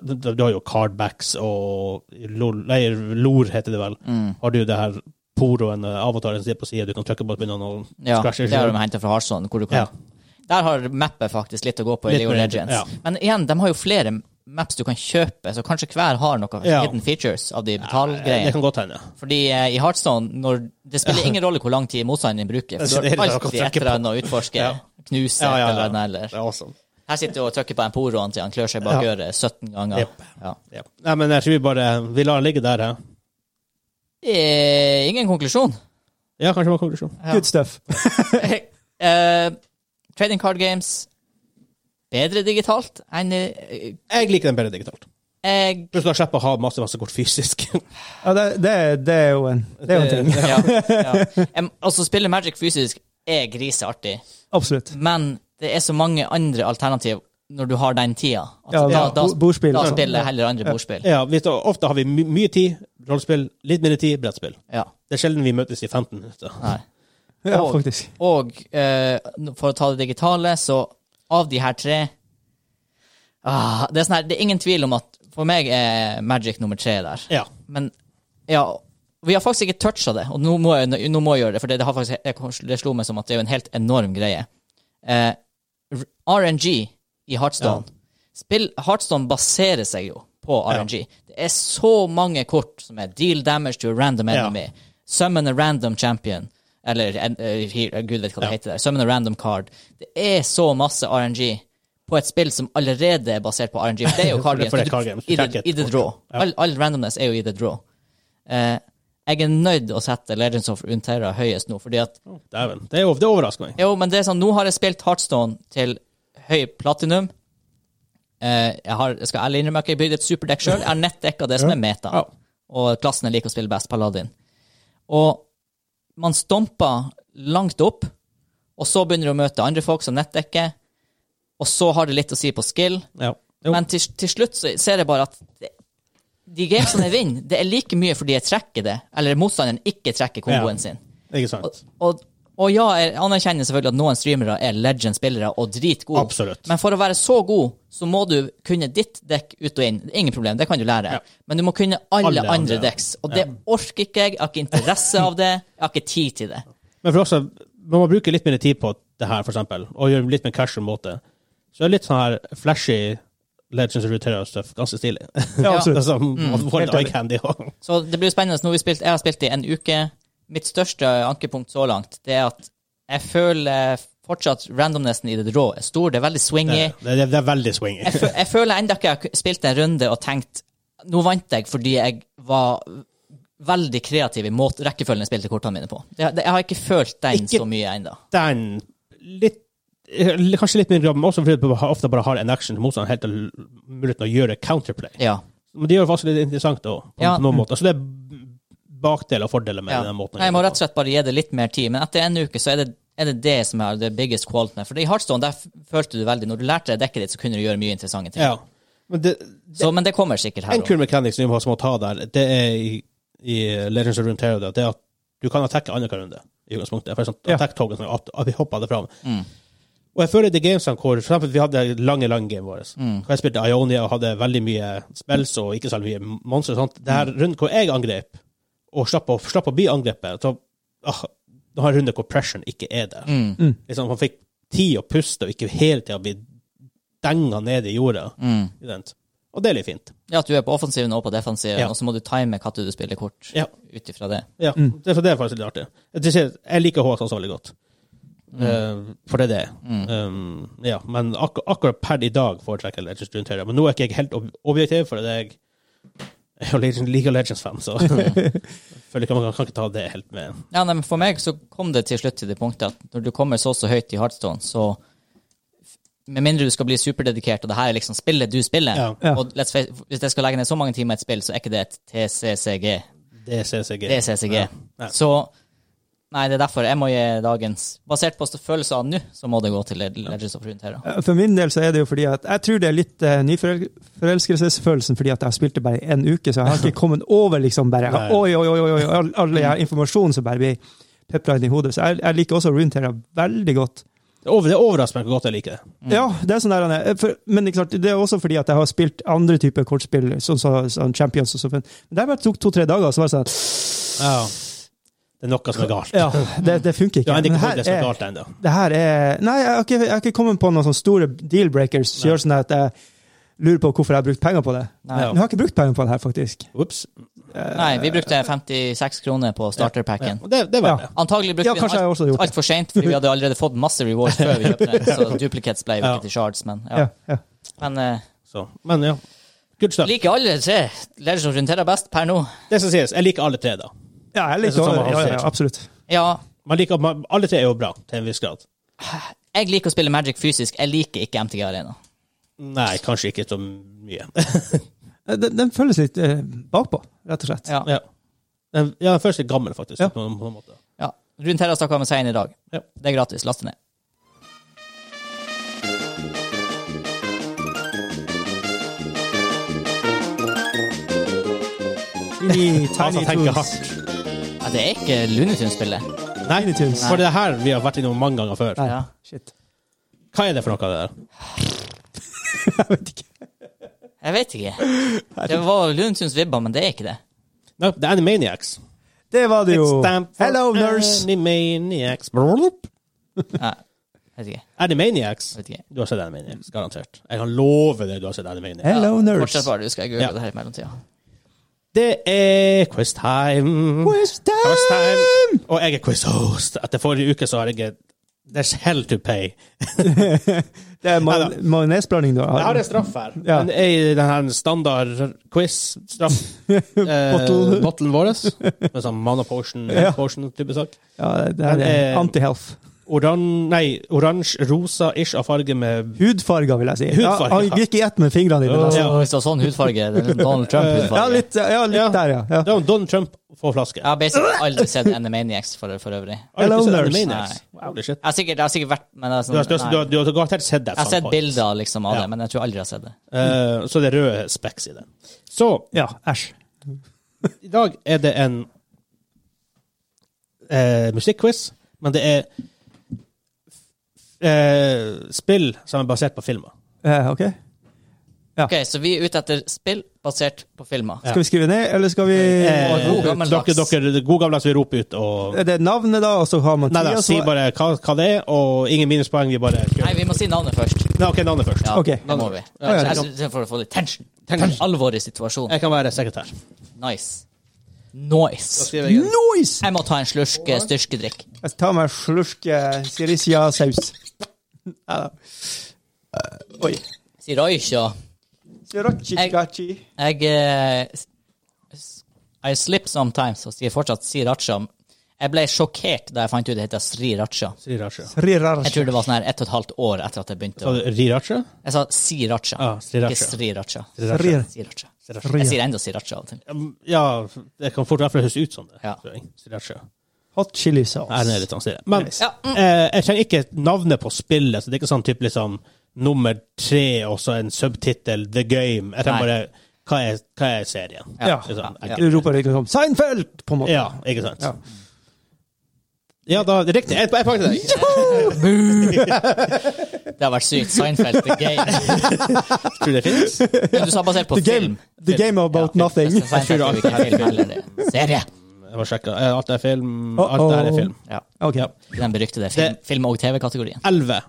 du, du har jo cardbacks og lol, nei, lor, heter det vel.
Mm.
Har du det her poroen, eh, avataren som sitter på sida, du kan trykke på at begynner noen
Ja,
Scratcher,
det har de
ja.
henta fra Hearthstone. Hvor du kan.
Ja.
Der har mappet faktisk litt å gå på i
Litt
League of
mer,
Legends.
ja.
Men igjen, de har jo flere maps du kan kjøpe, så kanskje hver har noe
Ja.
hidden features av de
Det
betalgreiene.
kan godt hende.
Fordi eh, i Hearthstone når, Det spiller ingen rolle hvor lang tid motstanderen bruker, for
Det er
du
det
har
dere
alltid
trekker
et eller annet å utforske.
Ja.
Knuse
Ja, ja,
et eller
ja.
annet. Eller.
Det er awesome.
Her sitter du og trykker på emporoen til han klør seg bak øret 17 ganger.
Jep.
Ja.
Ja. Nei, men jeg tror vi bare Vi lar den ligge der, hæ?
Eh, ingen konklusjon.
Ja, kanskje det var konklusjonen.
Ja.
Good stuff.
eh, trading card games bedre digitalt enn eh,
Jeg liker den bedre digitalt.
jeg
Du skal slippe å ha masse masse kort fysisk.
Ja, det, det, er- det er jo en, det er jo en ting.
ja, ja. Em, Altså, spille Magic fysisk er griseartig,
Absolutt.
men det er så mange andre alternativ når du har den tida. At
Ja,
da, da,
bo- bordspill. sånn.
da spiller jeg heller andre bordspill.
ja, vi, Ofte har vi my mye tid, rollespill, litt mindre tid, brettspill.
Ja,
Det er sjelden vi møtes i 15 minutter.
nei.
Ja,
Og-
faktisk.
Og eh, for å ta det digitale, så av de her tre ah, det, er sånn her, det er ingen tvil om at for meg er Magic nummer tre der.
Ja.
Men ja, vi har faktisk ikke toucha det, og nå må jeg, nå må jeg gjøre det, for det, det, har faktisk, jeg- det slo meg som at det er jo en helt enorm greie. Eh, RNG i Heartstone Spill, Heartstone baserer seg jo på RNG. Det er så mange kort som er deal damage to a random
Ja.
enemy, summon a random champion, eller en- eh, he- gud vet hva
Ja.
det heter der, summon a random card. Det er så masse RNG på et spill som allerede er basert på RNG. For det er jo card games.
For det er
Du-
card games. Du
I,
trekker
the,
et
I the
kort.
draw.
Ja.
All, all randomness er jo i the draw. Eh, jeg er nødt å sette Legends of Runeterra høyest nå, fordi at
Dæven. Det, er jo- det overrasker meg.
jo, men det er sånn, nå har jeg spilt Heartstone til høy platinum. Eh, jeg, har, jeg skal ærlig innrømme at jeg bygde et superdekk sjøl. Jeg har nettdekka det som er meta.
Ja.
og klassen jeg liker å spille best, Paladin. Og man stomper langt opp, og så begynner du å møte andre folk som nettdekker, og så har det litt å si på skill,
Ja. Jo.
men til, til slutt så ser jeg bare at det, de gamesene jeg vinner, det er like mye fordi jeg trekker det, eller motstanderen ikke trekker komboen
Ja.
sin.
Ikke sant?
Og, og ja, jeg anerkjenner selvfølgelig at noen streamere er legend-spillere og dritgode.
Absolutt.
Men for å være så god, så må du kunne ditt dekk ut og inn. Ingen problem, det kan du lære.
Ja.
Men du må kunne alle,
Alle
andre,
andre, ja.
dekks. Og det orker ikke jeg. Jeg har ikke interesse av det. Jeg har ikke tid til det.
Men for også, når man bruker litt mer tid på det her, for eksempel, og gjør litt mer casual måte, så er litt sånn her flashy Legends of Ruteria og stuff ganske stilig.
Ja,
Ja.
Det
absolutt.
er sånn, man får litt
Helt enig.
eye candy også.
Så det blir spennende. Nå har vi spilt, jeg har spilt i en uke. Mitt største ankepunkt så langt det er at jeg føler fortsatt randomnessen i det rå er stor. Det er veldig
Det,
swingy.
det, det er veldig swingy.
jeg, fø- jeg føler enda ikke jeg har spilt en runde og tenkt Nå vant jeg fordi jeg var veldig kreativ i måte, rekkefølgen jeg spilte kortene mine på. Det, det, jeg har ikke følt den
Ikke-
så mye ennå.
Den litt Kanskje litt mindre grad, men også fordi du ofte bare har en action til motstanderen helt til muligheten å gjøre counterplay.
Ja.
Men det gjør det faktisk litt interessant òg, på
Ja.
noen måter. Så det er bakdeler og fordeler med
ja.
den måten. å
Nei, jeg
gjøre
må
det
rett og slett bare gi det litt mer tid. Men etter en uke så er det er det det som er the biggest quality. For i Heartstone der f- følte du veldig Når du lærte deg dekket ditt, så kunne du gjøre mye interessante
på.
ting.
Ja. Men det,
Så, men det kommer sikkert her
En
òg.
kul mechanic som vi må- som må ta der, det er i, i Legends of Runeterra, det er at du kan attacke annenhver runde. i utgangspunktet. For sånn,
Ja.
attack-token, sånn at, at vi hopper det fram. Og jeg føler i de gamesene hvor for eksempel, vi hadde lange, lange game våre. Hvor jeg spilte Ionia og hadde veldig mye spells og ikke så mye monstre. og sånt. Det her runden hvor jeg angrep, og slapp å, slapp å bli angrepet, så ah, nå har jeg en runde hvor pression ikke er der. Liksom, man fikk tid å puste og ikke hele tida bli denga ned i jorda. Ikke sant? Og det er litt fint.
Mm. Ja, at du er på offensiven og på defensiven,
Ja.
og så må du time når du spiller kort,
Ja.
ut ifra det.
Ja,
Mm.
det, for det er faktisk litt artig. Jeg, til sist- jeg liker HS også veldig godt.
Mm.
Eh, for det er det. Um, ja, men akkur akkurat per i dag foretrekker jeg Legends rundt høyre. Men nå er ikke jeg helt ob objektiv, for det er jeg jeg er jo Legends- League of Legends-fan, så føler ikke man kan, kan ikke ta det helt med.
Ja, nei, men For meg så kom det til slutt til det punktet at når du kommer så så høyt i Heartstone, så med mindre du skal bli superdedikert, og det her er liksom spillet du spiller
Ja.
Ja.
og let's face, Hvis jeg skal legge ned så mange timer i et spill, så er ikke det et TCCG.
Det er CCG.
Det er CCG.
Ja. Ja.
Så Nei, det er derfor jeg må gi dagens Basert på følelser av nå, så må det gå til Le- Legends of Runeterra.
Eh, For min del så er det jo fordi at jeg tror det er litt eh, nyforelskelsesfølelsen fordi at jeg spilte bare en uke, så jeg har ikke kommet over liksom bare
Nei.
Oi, oi, oi, oi, oi all- all jeg har informasjon som bare blir pepra inn i hodet. Så jeg, jeg liker også Runeterra veldig godt.
Det over- det overrasker meg hvor godt jeg liker det.
Ja, det er sånn der han er. For, men ikke sant, det er også fordi at jeg har spilt andre typer kortspill, sånn som sånn Champions og sånn. Men der bare tok to-tre dager, så var det sånn
Det er noe som er galt.
Ja, det, det
Du
funker ikke.
har ennå
Men
ikke
her
fått det som er
er-
galt ennå.
det her er Nei, jeg har ikke, jeg har ikke kommet på noen sånne store deal-breakers som gjør sånn at jeg lurer på hvorfor jeg har brukt penger på det.
Nei.
Ja.
Jeg har ikke brukt penger på det her, faktisk.
Ops.
nei, vi
Eh,
brukte 56 kroner på starterpacken.
Og det, det var
Ja.
det.
Antagelig brukte
Ja, kanskje jeg også
vi
har
den
gjort det.
altfor seint, fordi vi hadde allerede fått masse rewards før vi kjøpte den, så duplicates ble jo
Ja.
ikke til shards, men ja.
Eh, Ja, ja.
Men eh,
Så. Men ja. Good stuff.
liker alle tre Legends of Runeterra best per nå.
Det som sies, jeg liker alle tre, da.
ja jeg
Det er
liker
sånn
det.
man
Ja,
ser.
ja, absolutt.
Ja,
Man liker, man, alle tre er jo bra, til en viss grad.
jeg liker å spille Magic fysisk, jeg liker ikke MTG Arena.
Nei, kanskje ikke så mye.
Den, den føles litt eh, bakpå, rett og slett.
Ja.
Ja. Den, ja, den første er gammel, faktisk.
Ja.
På noen, på noen måte.
ja. Runeterra stakk av med seieren i dag.
Ja.
Det er gratis, last det ned.
Tiny,
Altså,
tiny
tenker
tunes.
hardt.
Ja, det er ikke Lunetun-spillet.
Nei,
Tiny tunes.
for det er her vi har vært innom mange ganger før.
Nei,
Ja.
shit.
Hva er det for noe av det der?
Jeg vet ikke.
Jeg vet ikke. Det var Lunetuns vibber, men det er ikke det.
Nei, det er Animaniacs.
Det var det jo.
It's time for
Hello, nurse!
Animaniacs. Brrrrup.
Nei, vet ikke.
Animaniacs.
Vet ikke.
Du har sett Animaniacs, garantert. Jeg kan love deg du har sett Animaniacs.
Hello,
Ja,
nurse.
Fortsett bare, du skal jeg google
Ja.
det her i mellomtida.
Det er quiz time.
Quiz time!
Quiz time. Og jeg er quiz host. Etter forrige uke så har jeg et There's hell to pay.
Det er ma-
Neida.
majonesblanding du
Jeg har
har.
en straff her.
Ja.
Den er i den her standard quiz-straff.
Bottle.
Eh, bottlen vår. Med sånn Mana Potion,
Ja.
Potion-type sak.
Ja, det her
Men,
er
eh,
anti-health.
oran, nei, oransje-rosa-ish av farge med
Hudfarger, vil jeg si.
Hudfarger,
ja, han gikk i ett med fingrene dine.
Så
nesten.
Ja.
Hvis det var sånn hudfarge, det er Donald
Ja,
Trump-hudfarge
litt, ja, litt
Ja.
der, ja. ja.
Det var Don Trump på flaske.
Jeg har basically aldri sett Animaniacs for, for øvrig. Jeg
Har du ikke sett
Hello,
Animaniacs?
nurse.
Holy shit.
har sikkert, jeg har sikkert vært men det er
Du har, du,
sånn,
har,
nei.
du, har, du har garantert sett det.
Jeg har sett bilder liksom, av
Ja.
det, men jeg tror aldri jeg har sett det.
Eh, så det er røde speks i det. Så
Ja, æsj.
i dag er det en eh, musikkquiz, men det er eh, spill som er basert på filmer.
Eh, ok. Ja.
Ok, Så vi er ute etter spill basert på filmer.
Ja.
Skal vi skrive ned, eller skal vi
Eh,
Og god
dere,
gammeldags.
dere, det er god gammeldags vi roper ut og
Er det navnet, da, og så har man
Nei, nei, si bare hva, hva det er, og ingen minuspoeng. Vi bare kjører.
Nei, vi må si navnet først.
Nei, OK, navnet først.
Ja,
Ok.
Det må vi.
Ja, ja,
Jeg synes- For å få litt tension. Alvor i situasjonen.
Jeg kan være sekretær.
Nice.
Da
Nice.
skriver jeg en.
Noise!
Jeg må ta en slurk eh, styrkedrikk.
Jeg tar meg en eh, slurke sirisia-saus. Ja da. Eh, Oi.
Sier Aisha.
Sirachi-kachi.
Jeg eh, s- I slip sometimes og sier fortsatt sriracha. Jeg ble sjokkert da jeg fant ut det heter sriracha.
Sriracha.
Jeg tror det var sånn her ett og et halvt år etter at jeg begynte.
Så
å-
Riracha?
Jeg sa sriracha,
Ja,
ikke
sriracha.
sriracha.
Sriracha.
Sriracha.
Sriracha.
Jeg sier enda sriracha av og til.
Ja, det kan fort i hvert fall høres ut som det.
Ja.
tror jeg. Sriracha.
Hot chili sauce.
Nei, det er litt sånn stille. Men
Ja, mm.
eh, jeg kjenner ikke navnet på spillet, så det er ikke sånn type liksom nummer tre og så en subtittel The Game. Jeg
Nei.
tenker bare hva er, hva er serien?
Ja.
Ikke sant?
Ja.
Du roper ikke sånn Seinfeld! på en måte.
Ja, ikke sant?
Ja.
Ja, da det er riktig. Ett poeng til deg.
Det har vært sykt. Seinfeld, The Game.
Tror du det finnes?
Men du sa basert på
The game,
film.
the game about
Ja,
nothing.
Seinfeld er jo ikke en film heller. det er en Serie.
Jeg må sjekke. Eh, Alt er film.
Uh-oh.
Alt er film.
Ja.
Ok.
I Den beryktede film, film- og TV-kategorien.
Elleve.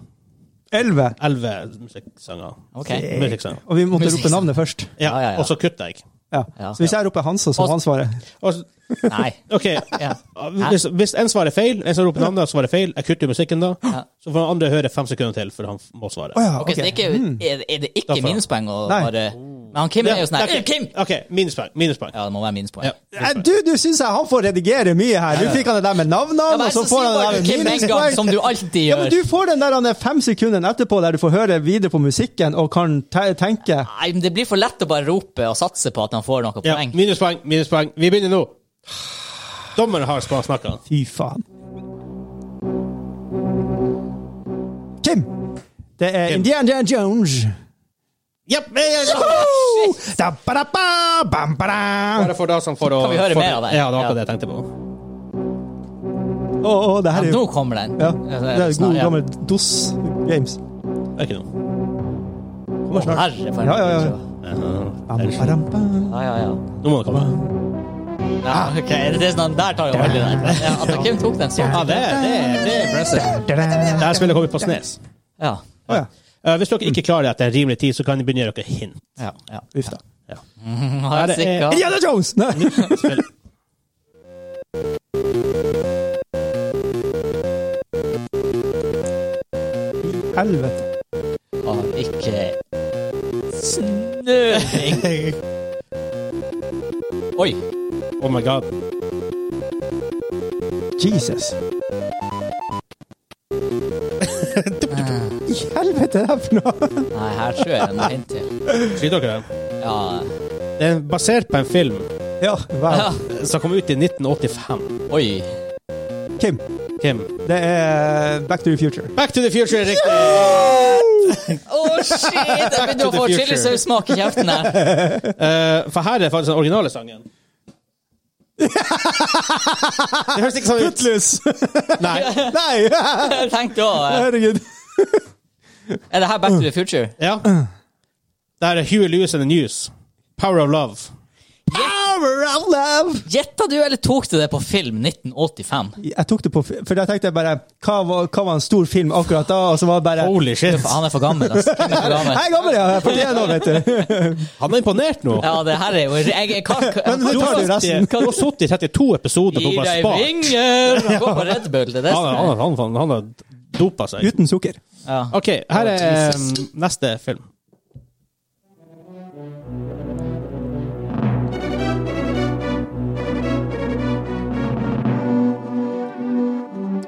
Elleve.
Elleve musikksanger.
Ok.
Musikksanger.
Og vi måtte rope
Musikk.
navnet først.
Ja,
Ja, ja, ja.
og så kutter jeg.
Ja.
Ja.
Så hvis jeg roper Hansa, så
Og-
har han svaret.
Og så-
Nei.
OK.
Ja.
Hvis, hvis en svarer feil, en som roper navnet, og svarer feil, jeg kutter jo musikken da, så får den andre høre fem sekunder til, for han må svare.
Å ja,
Ok, Så det er, ikke, er, er det ikke
Derfor.
minuspoeng å
Nei.
bare Men han Kim er jo sånn her
ok.
«Eh, Kim!
OK, minuspoeng. Minuspoeng.
Ja, det må være minuspoeng.
Ja.
Eh, Du, du syns jeg han får redigere mye her. Du fikk han det der med
Ja,
navnene,
men
og
så
så får
sier
han det
bare
der
Kim
med
en gang, som
minuspoeng.
du alltid
Ja, men
gjør.
du får den der han er fem sekunder etterpå der du får høre videre på musikken og kan te tenke.
Nei, men det blir for lett å bare rope og satse på at han får noen
Ja,
poeng.
minuspoeng, minuspoeng. Vi begynner nå. Dommeren har snakka.
Fy faen. Kim. Det er
Kim.
Indiana Jones.
Yep,
Da, ba, da, ba, bam, ba, da.
Bare for da som får å
Kan vi høre
for-
mer av det?
Ja, det var
Ja.
akkurat det jeg tenkte på.
Å, å, det
Ja,
her
nå
er jo
kommer den.
ja,
Ja,
Det er
snart-
god
ja.
gammel DOS Games.
Det er ikke noe.
Å, Herre, for en
Ja, ja, ja.
video.
Bam, ba, da, ba.
Ja, ja, ja.
Nå må det komme.
ja ok, det er sånn, Der tar jeg veldig den. Ja, at han Kim tok den så
Ja, det, er- det, er- det er impressive.
Da, da, da.
Dette spillet kommer på Snes.
Ja.
Å ja.
Eh, hvis dere ikke klarer det etter en rimelig tid, så kan dere begynne å gjøre dere hint.
ja, ja.
Uff da.
Ja.
Har
det
jeg
er-
sikkert
Indiana Jones! Nei.
Spill.
Helvete.
Å, ikke Snøring! Oi.
Oh my god.
Jesus. I helvete er det her for noe?
Nei, her tror jeg den må hint til.
Sier dere det?
Ja.
Det er basert på en film eh,
Ja,
ja.
wow.
som kom ut i 1985.
Oi.
Kim,
Kim.
det er Back to the Future.
Back to the future Eh, er riktig!
Å, shit! Jeg begynner å få
Future.
chilisaus-smak i kjeften her.
Eh, for her er faktisk den originale sangen. Det høres ikke sånn ut.
Footloose!
Nei.
Nei!
Jeg tenkte også,
Herregud.
eh, Er det her Back to the Future?
Ja. Det her er Huey Lewis and the News. Power of Love.
Power of love!
Gjetta du, eller tok du det på film 1985?
Jeg tok det på For da tenkte jeg bare Hva var, hva var en stor film akkurat da? Og så var det bare
Holy shit.
Han er for gammel, altså. Hvem er for gammel?
Hei, gammel, ja! Jeg er 41 år, vet du.
Han er imponert nå.
Ja, det her er jo jeg, jeg, hva,
Men du tar det jo
Du
resten.
har sittet i 32 episoder på
Gi
bare
deg
spart.
vinger! Gå på Red Bull, det er det
Han,
som
han, han, sånn- han, han har dopa seg.
Uten sukker.
ja.
OK, her er um, neste film.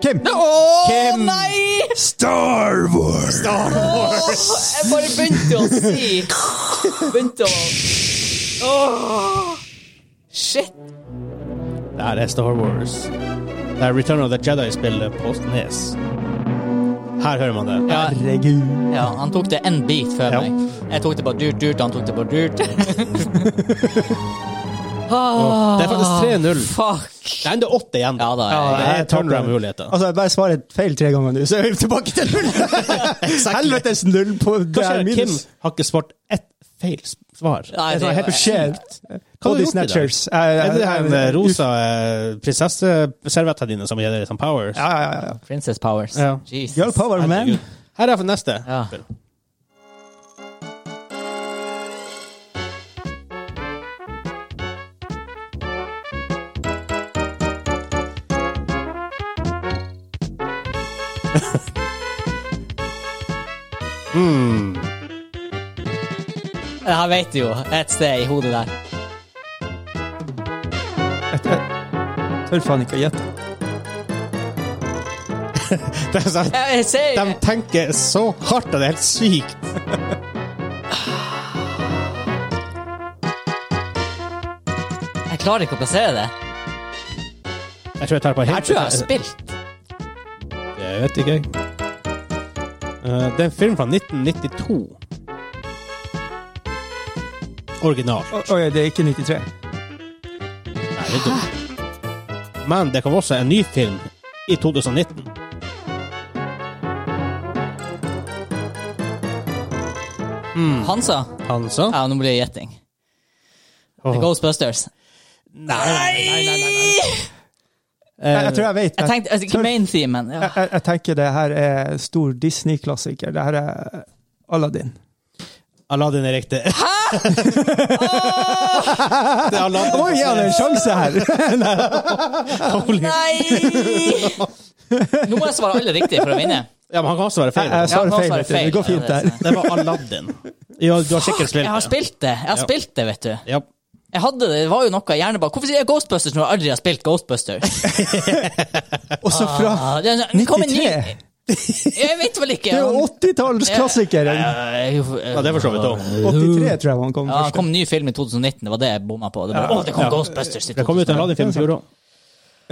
Kim!
Å
Kim.
nei!
Star Wars!
Åh, jeg bare begynte å si Begynte å Åh, Shit.
Det her er Star Wars. Det er Return of the Jedi-spillet på Nes. Her hører man det.
Ja,
Herregud.
ja, han tok det en bit før
Ja.
meg. Jeg tok det bare dyrt, dyrt, han tok det bare dyrt. Ah,
Det er faktisk 3-0.
Fuck.
Nei, det er åtte igjen.
Ja da.
Det
jeg-
er turnaround-muligheter.
Altså, jeg bare svarer feil tre ganger nå, så er vi tilbake til null! Helvetes null på det
Kanskje
er
Kim
minus.
har ikke svart ett feil s- svar.
Nei,
Det
det
er helt beskjedent. Body
gjort i dag?
snatchers.
Er det her med rosa eh, prinsesseserviettene dine som gir deg sånn powers?
Ja, ja, ja, ja.
Princess powers.
Ja.
Jesus.
Girl power, man.
Herregud. Her er for neste.
Ja.
spill. Hmm.
Det her vet du jo. Et sted i hodet der.
Jeg tør faen ikke å gjette.
Det er sant.
Jeg, jeg ser
De tenker så hardt at det er helt sykt.
Jeg klarer ikke å plassere det.
Jeg tror jeg tar på
Jeg tror jeg har spilt.
Det vet ikke jeg. Eh, det er en film fra 1992. Original.
Å, Oi, det er ikke 93.
Nei, det er dumt. Men det kom også en ny film i 2019.
Hansa?
Han sa
Ja, nå blir det gjetting. Det er
Åh.
Ghostbusters.
Nei!
Eh, Jeg, jeg tror jeg vet.
Eh, Jeg
men-
tenkte altså, ikke main-themen. Ja.
Jeg, jeg, jeg tenker det her er stor Disney-klassiker. Det her er Aladdin.
Aladdin er riktig. Hæ?! det er Aladdin.
Oi, ja, det er en sjanse her!
Holy-
Nei! Nå må jeg svare alle riktig for å vinne.
Ja, men han kan også være
Jeg, jeg
feil.
svarer
nå
feil,
svarer
vet du. Det
feil.
går fint
Ja,
der.
det
Det var Aladdin. Ja, du har sikkert spilt
Jeg har
det.
spilt det, jeg har
Ja.
spilt det, vet du.
Ja.
Jeg hadde det, det var jo noe jeg gjerne bare Hvorfor sier jeg Ghostbusters når jeg aldri har spilt Ghostbusters?
Også fra
Ah, det, det kom en ny
93!
Jeg vet vel
Det
ikke.
er jo 80-tallsklassikeren!
ja, det
det
for så vidt òg.
83 tror jeg han kom
Ja, det
først.
kom en ny film i 2019, det var det jeg bomma på. Det, bare, å, det kom Ghostbusters i
Det kom ut en
2019.
Aladdin-film i fjor òg.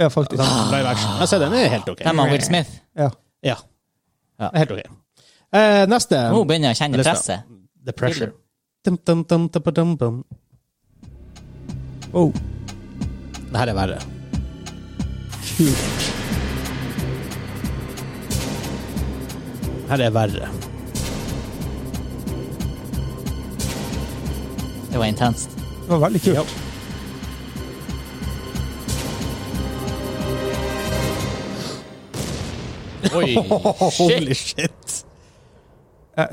Ja, faktisk.
Ah.
Live action. Jeg ser den er helt OK.
Hvem er Will Smith?
Ja.
Ja. Helt OK. Eh, neste.
Nå begynner jeg å kjenne
Lista.
presset.
The Pressure. Dum, dum, dum, dum, dum, dum.
Wow.
Det her er verre.
Kult.
Her er verre.
Det var intenst.
Det var veldig kult.
Oi,
Holy
shit.
shit.
Jeg, jeg,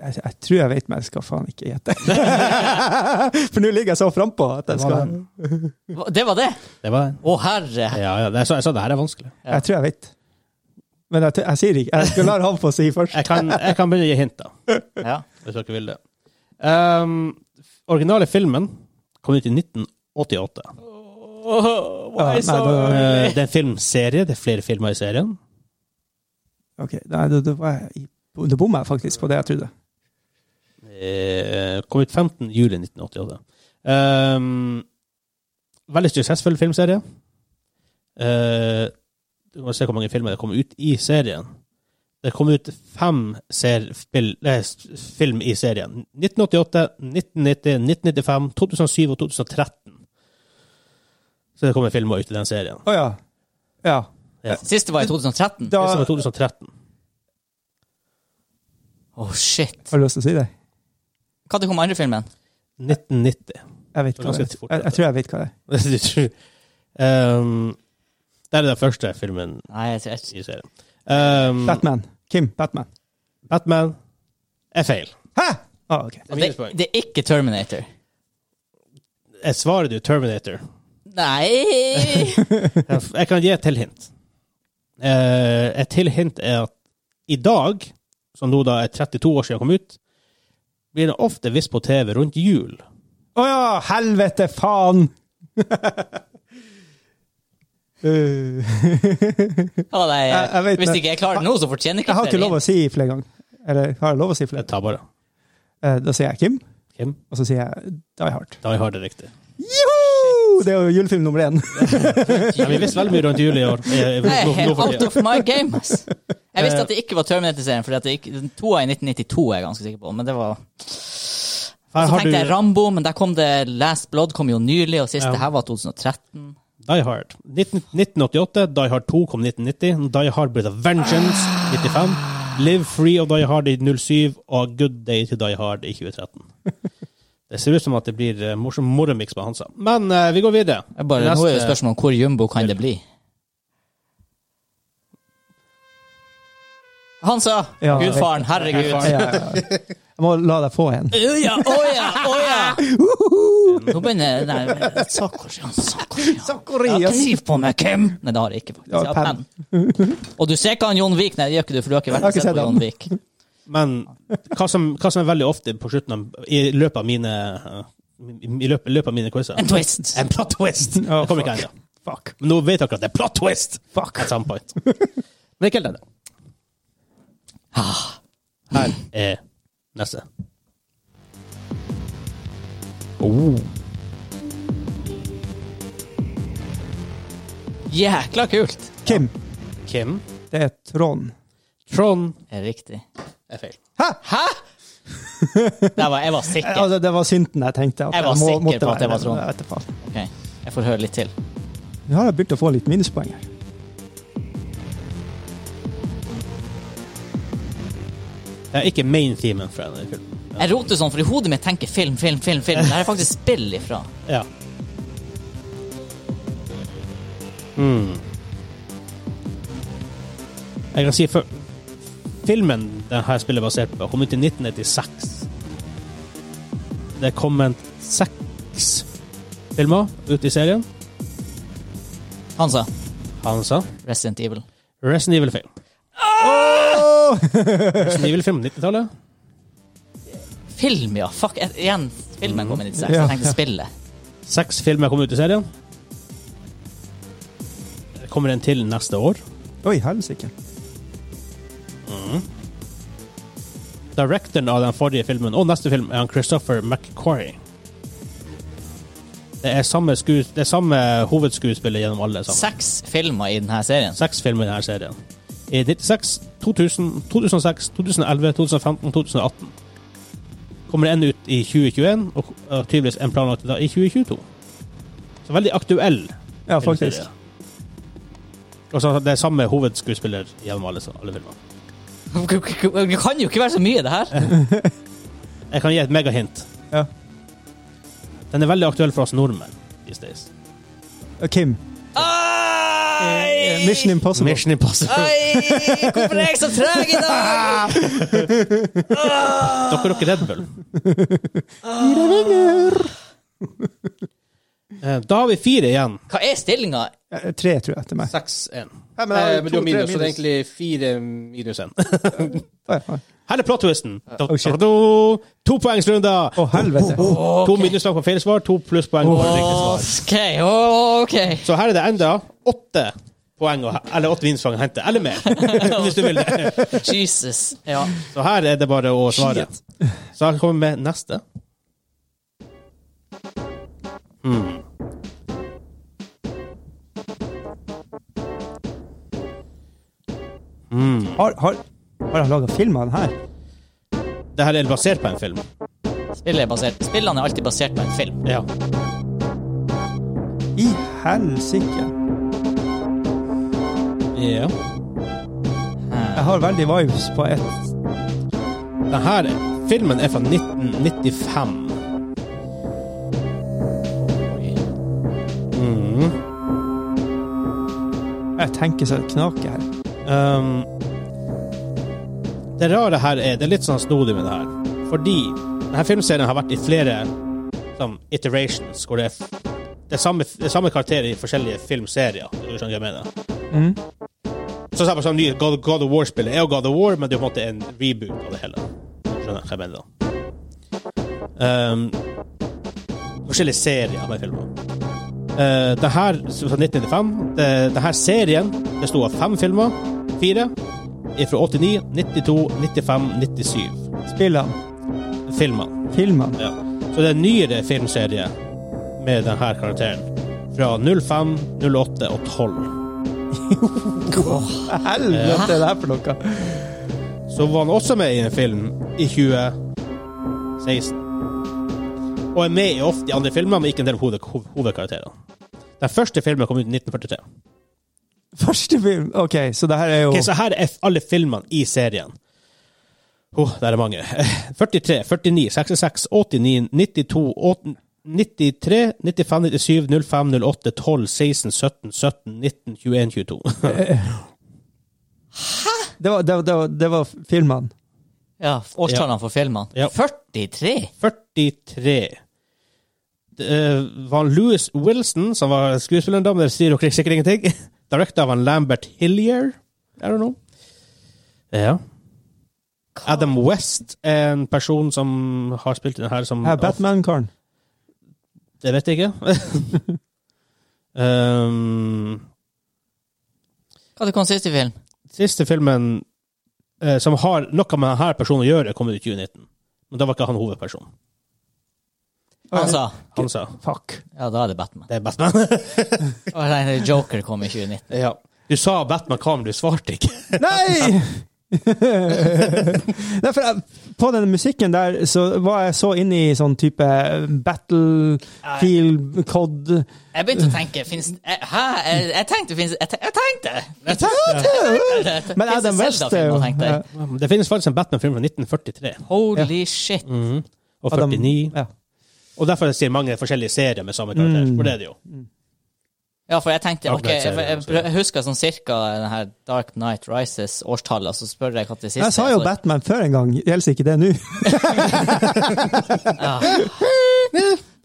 jeg, jeg tror jeg vet, men jeg skal faen ikke gjette. For nå ligger jeg så frampå at jeg
Det var
skal
den.
Hva- Det var det?
Det var
Å, herre.
Ja, ja. Jeg sa, jeg sa det her er vanskelig.
Jeg tror jeg vet. Men jeg, t- jeg sier ikke. Jeg skal la han få si først.
Jeg kan, jeg kan begynne å gi hint, da.
Ja.
Hvis dere vil det. Um, originale filmen kom ut i 1988.
Ja, nei,
Eh,
da,
det er en filmserie. Det er flere filmer i serien.
ok, nei, da, da, var jeg i, da bomma jeg faktisk på det jeg trodde.
Eh, kom ut 15. juli 1988. Um, veldig suksessfull filmserie. Eh, du må se hvor mange filmer det kom ut i serien. Det kom ut fem ser spill, eh, s- film i serien. 1988, 1990, 1995, 2007 og 2013. Så det kommer filmer ut i den serien.
Å ja. Ja.
Siste var i 2013.
Da
Det som er
har
2013.
Å, shit.
du lyst til å si det?
Når kom andre filmen?
1990.
Jeg vet
Det var
hva det
ganske
er.
fort,
Jeg, jeg tror jeg vet hva det er.
Du tror- um, det er den første filmen
Nei, jeg tror ikke
i serien. Um,
Batman. Kim Batman.
Batman er feil.
Hæ?! Ah, ok.
Og det, det er ikke Terminator.
Jeg svarer du Terminator.
Nei
Jeg jeg kan gi et til hint. Eh, et til hint er at i dag, som nå da er 32 år siden jeg kom ut, blir det ofte vist på TV rundt jul.
Å ja! Helvete, faen! Øh.
Å, nei,
Jeg- jeg vet
hvis
det.
ikke jeg klarer det nå, så fortjener ikke
Jeg har ikke
flere
lov å si flere ganger. Eller har jeg lov å si flere?
Jeg tar bare
Eh, Da sier jeg Kim,
Kim.
og så sier jeg Die Hard.
Da har jeg det riktig.
Joho! Det er jo julefilm nummer én.
Ja, vi visste veldig mye rundt jul i år. Eh,
Jeg er
nå- nå
helt
for
out
tiden.
of my game, ass. Jeg visste at det ikke var Terminator-serien, for to av i 1992 er jeg ganske sikker på. Men det var
Her
Så
har
tenkte jeg
du
Rambo, men der kom det Last Blood kom jo nylig, og siste
Ja.
her var 2013.
Die Hard. 19, 1988. Die Hard 2 kom 1990. Die Hard ble The Vengeance 95. Live Free og Die Hard i 07. Og Good Day to Die Hard i 2013. Det ser ut som at det blir eh, morsom morremiks med Hansa. Men eh, vi går videre.
Jeg Bare, nå er jo spørsmålet om hvor jumbo kan det bli? Hansa!
Ja.
Gudfaren, herregud.
Ja, ja, ja. Jeg må la deg få en.
Å ja, å ja, å ja! Nå begynner Nei, Sakorian, Sakorian. Jeg har kniv på meg, Kim! Nei, det har jeg ikke, faktisk.
Ja,
Jeg har penn. Og du ser ikke han Jon Vik? Nei, det gjør ikke du, for du har ikke
Jeg har
vært og
ikke
sett
sett
på
han.
Jon Vik.
Men hva som, hva som er veldig ofte på slutten av, i løpet av mine eh, i løpet, i løpet av mine quizer
En twist!
En plot twist!
Oh,
Jeg kommer ikke ennå.
Fuck.
Men nå vet dere at det er plot twist! Fuck. At some point. Men ikke helt ennå. Ah. Her er neste.
Jækla kult!
Kim,
Kim.
det er Trond.
Trond
Er det Riktig.
er feil.
Hæ?! Der var, jeg var sikker.
Altså, det var synten jeg tenkte. At
Jeg var sikker
måtte
på at det var
være-
Trond.
Jeg vet da faen.
Ok, Jeg får høre litt til.
Nå har jeg begynt å få litt minuspoeng her.
Det er ikke main themen fra denne filmen.
Jeg roter sånn, for i hodet mitt tenker film, film, film. film. Det her er faktisk spill ifra.
Ja. Hmm. Jeg kan si for Filmen dette spillet er basert på, kom ut i 1996. Det er kommet seks filmer ut i serien.
Han sa
Han sa
Resident Evil.
Resident Evil-film. Resident Evil-film 90-tallet.
Film, ja. Fuck, jeg, igjen. Filmen kom i 96.
Ja.
Jeg tenkte spillet.
Seks filmer kom ut i serien. Det kommer en til neste år.
Oi, helsike.
Directoren av den forrige filmen og neste film er han Christopher McQuarrie. Det er samme, skues- det er samme hovedskuespiller gjennom alle sammen.
Seks filmer i denne serien.
Seks filmer i denne serien. I 96, 2000, 2006, 2011, 2015, 2018. Kommer en ut i 2021, og og tydeligvis en planlagt da i 2022. Så veldig aktuell.
Ja, faktisk.
filmserie. Og så det er samme hovedskuespiller gjennom alle, alle filmer.
Det kan jo ikke være så mye, det her.
Jeg kan gi et megahint.
Ja.
Den er veldig aktuell for oss nordmenn these days.
Og Kim,
Ai!
eh, Mission Impossible.
Mission Impossible.
Ai! Hvorfor er jeg så treg i dag?
Dere er ikke Red Bull. Eh, Da har vi fire igjen.
Hva er stillinga?
Eh, Tre, tror jeg, til meg.
6-1.
Ja, Eh, men jeg har jo to, tre minus.
fire minus én.
Oi, oi.
Her er plot-twisten. Da-
Oh, shit. Oh,
da- da- Topoengsrunder.
Å, helvete.
Oh,
To minuspoeng på feil svar, to plusspoeng på
Oh.
riktig svar.
OK, OK.
Så her er det enda åtte poeng, å he- eller åtte minuspoeng å hente. Eller mer, hvis du vil det.
Jesus. Ja.
Så her er det bare å svare. Så her kommer vi med neste.
oh.
Har, har, har han laga film av den her?
Det her er basert på en film.
Spillet er basert. Spillene er alltid basert på en film.
Ja.
I helsike.
ja.
Jeg har veldig vibes på ett.
Den her filmen er fra 1995.
Jeg tenker så det knaker her.
Um, det rare her er Det er litt sånn snodig med det her. Fordi denne filmserien har vært i flere sånn, iterations, hvor det er f- det er samme, det er samme karakterer i forskjellige filmserier. hvis Du skjønner hva jeg mener. Så samme som sånn, nye God, God of War-spillet er jo God of War, men det er på en måte en reboot av det hele. Du skjønner hva jeg mener da. Ehm, Um, forskjellige serier med filmer. Eh, det her, fra 1995, det, det her serien besto av fem filmer. Fire. Fra 89, 92, 95, 97
Spillene,
filmer.
filmene.
Ja. Så det er en nyere filmserie med denne karakteren. Fra 05, 08 og 12.
Helvete, det her for noe!
så var han også med i en film i 2016. Og er med i ofte i andre filmer, men ikke en del av hoved, hov- hovedkarakterene. Den første filmen kom ut i 1943.
Første film! OK, så det her er jo
Ok, så her er f- alle filmene i serien. Oh, der er mange. 43, 49, 66, 89, 92, 8, 93, 95, 97, 05, 08, 12, 16, 17, 17, 19, 21, 22.
Det var, det var, det var, det var filmene.
Ja, årstallene for filmene.
Ja.
43!
43. Det var Louis eh, Wilson, som var skuespilleren da, men det sier dere sikkert ingenting. Directed av han Lambert Hillier. I don't know. Ja. Adam West er en person som har spilt i den her som
Her, Batman-karen.
Det vet jeg ikke. um,
Hva det kom sist i film?
siste filmen eh, som har noe med denne personen å gjøre, kom ut i 2019. Men da var ikke han hovedpersonen.
Han sa
Han sa
Fuck.
Ja, da er det Batman.
det er Batman.
Og nei, Joker kom i 2019.
ja. Du sa Batman hva, men du svarte ikke.
Nei! Nei, for jeg, på den musikken der så var jeg så inne i sånn type battlefield cod
Jeg begynte å tenke finnes, eh, Hæ? Jeg, jeg tenkte finnes, jeg, te- jeg tenkte! Jeg tenkte!
Men Adam West er jo
ja.
Ja, men Det finnes faktisk en Batman-film fra 1943
Holy shit.
Mm.
og
Adam-
49.
ja.
Og derfor sier mange forskjellige serier med samme karakter. For det er det jo.
Ja, for jeg tenkte
Dark
ok,
Knight
jeg,
serien,
jeg,
så-
jeg husker sånn cirka den her Dark Knight Rises-årstallet, og så spør jeg hva til siste
Jeg sa jo
så-
Batman før en gang, gjelder ikke det nå?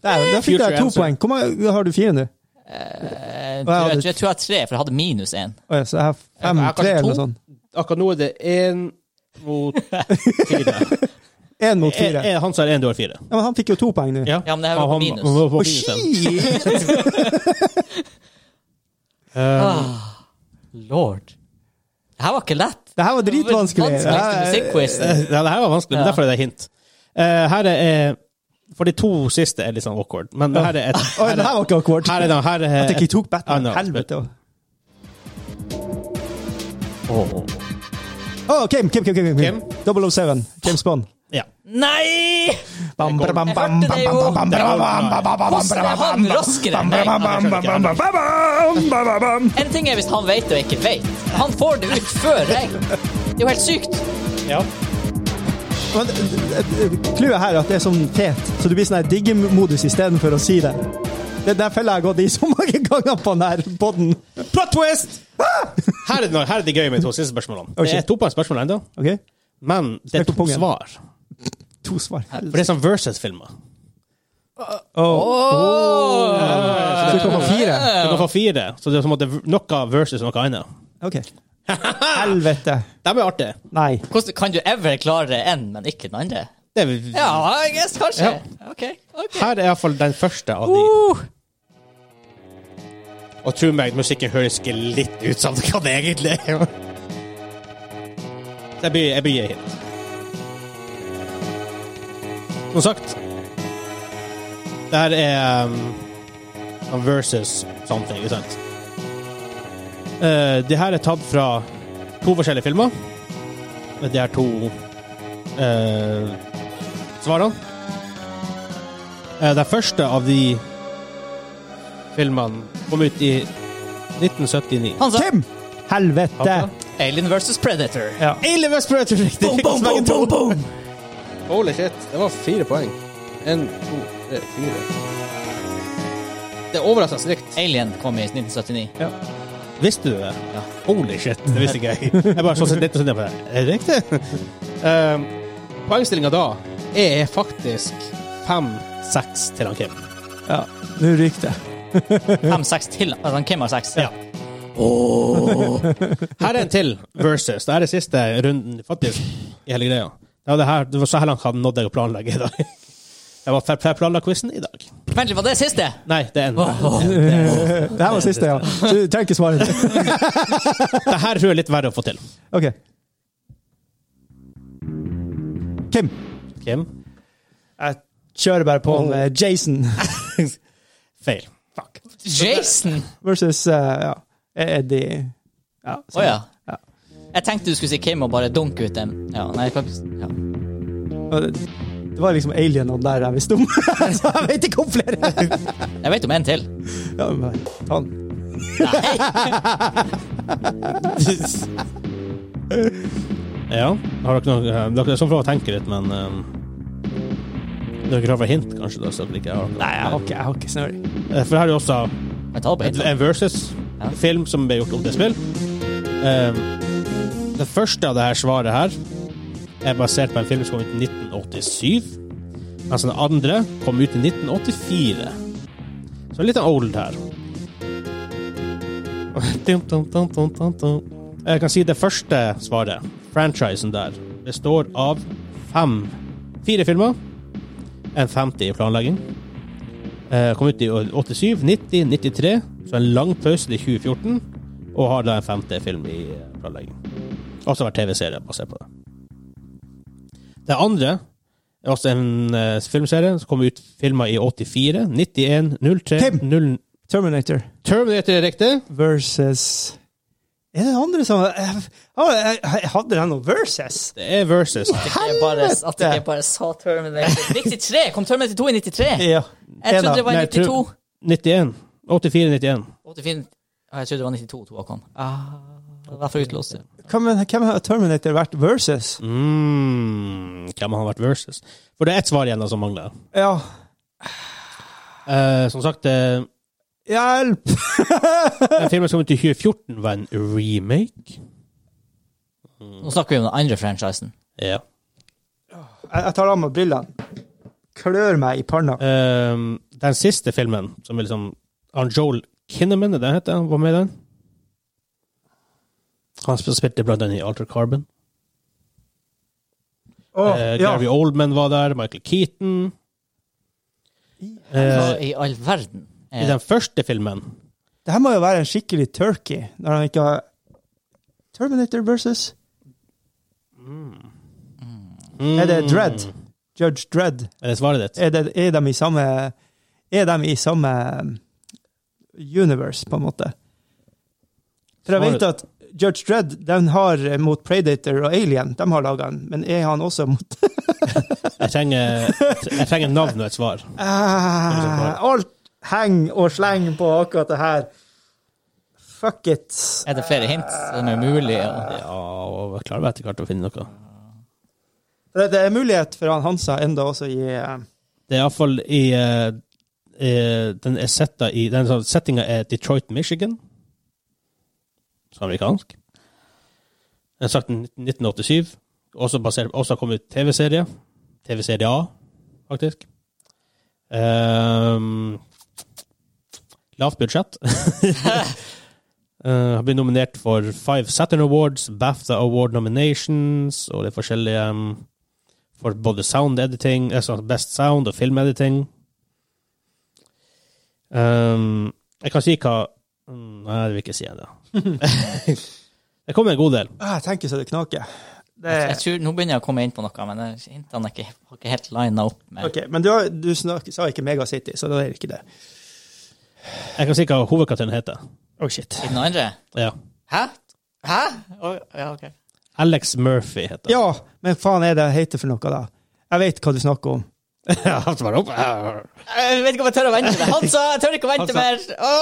Der, der fikk
Future
jeg to
answer.
poeng. Hvor mange har du fire nå?
Eh,
Og jeg hadde-
jeg, jeg tror jeg har tre, for jeg hadde minus én.
Å ja, så jeg har
Jeg
fem,
har kanskje
tre eller noe
to.
sånt.
Akkurat nå er det én mot fire.
Én mot
Er-
fire. Ja,
er Han som er én, du har fire.
men han fikk jo to poeng nå.
Ja, men det her var på
Han-
minus.
han var på
Å,
minusen.
shit!
Lord. Det her var ikke lett.
Det her var dritvanskelig. Det
Vanskeligste
her-
Eh,
musikkquizen.
Ja, det her var vanskelig, men
Ja.
derfor er det hint. Eh, her er For de to siste er litt sånn awkward, men her er et
Oi, det her var ikke awkward.
her er det, her er Ah,
At jeg ikke tok Batman.
Ja, nå.
Helvete. Å, Kim, Kim, Kim, oh Kim, Kim.
Kim.
007. James Bond.
Ja.
Nei!
Bam, bra, bam, bam,
Jeg hørte det jo.
bam, bam, bam, bam, bam, bam, bam, bam,
Hvordan er
bam,
han
bam,
raskere?
bam,
Nei,
han
bam, bam,
skjønner ikke
bam, bam, bam, bam, bam, bam.
En ting er hvis han vet og ikke vet. Han får det ut før jeg. Det er jo helt sykt.
ja.
Men, eh, eh, Clouet her er at det er sånn tet, så du blir sånn her diggemodus istedenfor å si det. Det er derfor jeg har gått i så mange ganger på den her podden.
Plot twist!
Ah!
Her er, det, her er det gøy med de to siste spørsmålene.
Oh,
Det er
shit.
to på en spørsmål ennå,
Ok?
men det er
Smekk på
to
pungen.
svar.
To svar.
For det er sånn versus-filmer.
Så du kan få fire?
Eh.
Du kan få fire, så det er på en måte noe versus noe annet.
Ok. Helvete.
De er artige.
Nei.
Hvordan kan du ever klare en, men ikke den andre?
Det er,
Ja, I guess, kanskje. Ok. ok.
Her er iallfall den første av de.
Uh,
Og tro meg, musikken høres ikke litt ut som hva det egentlig er. Så jeg blir, jeg blir gitt hint. Som sagt Det her er um, sånn versus something, ikke sant? Eh, det her er tatt fra to forskjellige filmer. Det er to eh, svarene. Eh, den første av de filmene kom ut i 1979.
han sa
Kim! Helvete.
Pappa?
Alien versus Predator.
Ja.
Alien vs. Predator riktig.
Boom, boom, boom, boom, boom.
Holy shit, det var fire poeng. En, to, tre, fire. Det er overraskende likt.
Alien kom i 1979.
Visste du det? Holy shit, det visste ikke jeg. Jeg bare så sett litt og så tenkte jeg på det. Er det riktig? Um, Poengstillinga da er faktisk 5-6 til han Kim.
Ja. Nå ryker det.
Fem-seks til. Altså, han Kim har seks.
Ja. Her er en til versus. Det er det siste runden faktisk i hele greia. Det var, det her, det var så her langt han nådde jeg å planlegge i dag. Det var Ferplala-quizen i dag.
Vent litt, var det siste?
Nei, det er en.
Det her var siste, ja. Så du trenger ikke svare.
Det her tror jeg er litt verre å få til.
Ok. Kim.
Kim?
Jeg kjører bare på med Jason
Feil.
Fuck.
Jason?
versus eh, ja, Eddie. Ja,
Å ja.
Ja.
Jeg tenkte du skulle si Kim og bare dunke ut dem. Ja, nei, faktisk, ja.
Og Det det var liksom alienene der jeg visste om, så jeg vet ikke om flere.
Jeg vet om en til.
Ja, men bare ta den.
Ja. Har dere noe eh, Dere er sånn for å tenke litt, men um, Dere er klar for hint, kanskje? da, så dere ikke har
Nei, jeg har ikke, jeg har ikke snøring.
Eh, For her er jo også
Jeg tar på
en
hint.
en versus-film som ble gjort om til spill. Um, det første av det her svaret her er basert på en film som kom ut i 1987. Mens den andre kom ut i 1984. Så litt av old her. Dum, dum, dum, dum, dum, dum. Jeg kan si det første svaret. Franchisen der består av fem fire filmer. En 50 i planlegging. Eh, Kom ut i 87, 90, 93. Så en lang pause til 2014. Og har da en femte film i eh, planlegging. Også vært TV-serie basert på det. Det andre er også en eh, filmserie som kom ut filmer i 84, 91, 03
Kim!
0,
Terminator
Terminator er riktig.
versus Er det andre som jeg, jeg, jeg Hadde den noe versus?
Det er versus.
Jeg bare, at jeg ikke bare sa Terminator 93! Kom Terminator 2 i 93?
Ja.
Jeg trodde det var
Nei,
i
jeg tror-
92.
91. 84-91.
84. Ja, Jeg trodde det var 92 to kom. Ah, Derfor utlåste jeg.
Hvem, hvem har Terminator vært versus?
Mm, hvem har vært versus? For det er ett svar igjen da som mangler.
Ja.
Eh, som sagt, eh,
Hjelp!
den filmen som kom ut i 2014, var en remake.
Nå snakker vi om den andre franchisen.
Ja.
Jeg, jeg tar av meg brillene. Klør meg i panna.
Ehm, den siste filmen, som er liksom han Joel Kinnaman, er det han heter? Han var med i den? Han spil- spilte blant annet i Alter Carbon.
Å,
Eh,
ja.
Gary Oldman var der, Michael Keaton.
Hva
altså,
Eh,
i all verden?
I
Eh,
den første filmen
Det her må jo være en skikkelig turkey, når han ikke har Terminator versus Er det
Mm.
Dredd? Judge Dredd?
Er det svaret ditt?
Er, det, er de i samme Er de i samme um, universe, på en måte? For jeg vet at Judge Dredd den har mot Predator og Alien, de har laga den, men er han også mot
Jeg trenger, jeg trenger navn og et svar.
Ah, Alt henger og slenger på akkurat det her. Fuck it.
Eh, er det flere hint som er mulig? å-
Ja, og jeg klarer vel etter hvert å finne noe.
Det, det er mulighet for han Hansa enda også å gi eh,
Det er iallfall i eh, eh, Den er setta i Den sånn settinga er Detroit, Michigan. Så amerikansk. Den er sagt i 1987. Også, basert, også kom ut TV-serie. TV-serie A, faktisk. Ehm, lavt budsjett. Eh, har blitt nominert for Five Saturn Awards, BAFTA Award nominations og det forskjellige ehm, for både sound editing, altså best sound og film editing. Ehm, jeg kan si hva mm, Nei, jeg vil ikke si det. det kommer en god del.
ah, Jeg tenker så det knaker. Det,
Jeg tror, nå begynner jeg å komme inn på noe, men jeg- hintene er ikke, har ikke helt lina opp. Med.
ok, men du, har- du snak, sa ikke Megacity, så da er det ikke det.
Jeg kan si hva hovedkarakteren heter.
Oh shit.
I den andre?
Ja.
Hæ? Hæ? Å, ja, ok.
Alex Murphy heter
Ja, men faen er det jeg heter for noe, da? Jeg vet hva du snakker om.
han.
Jeg Eh, vet ikke om jeg tør å vente. Han sa jeg tør ikke å vente mer. Å,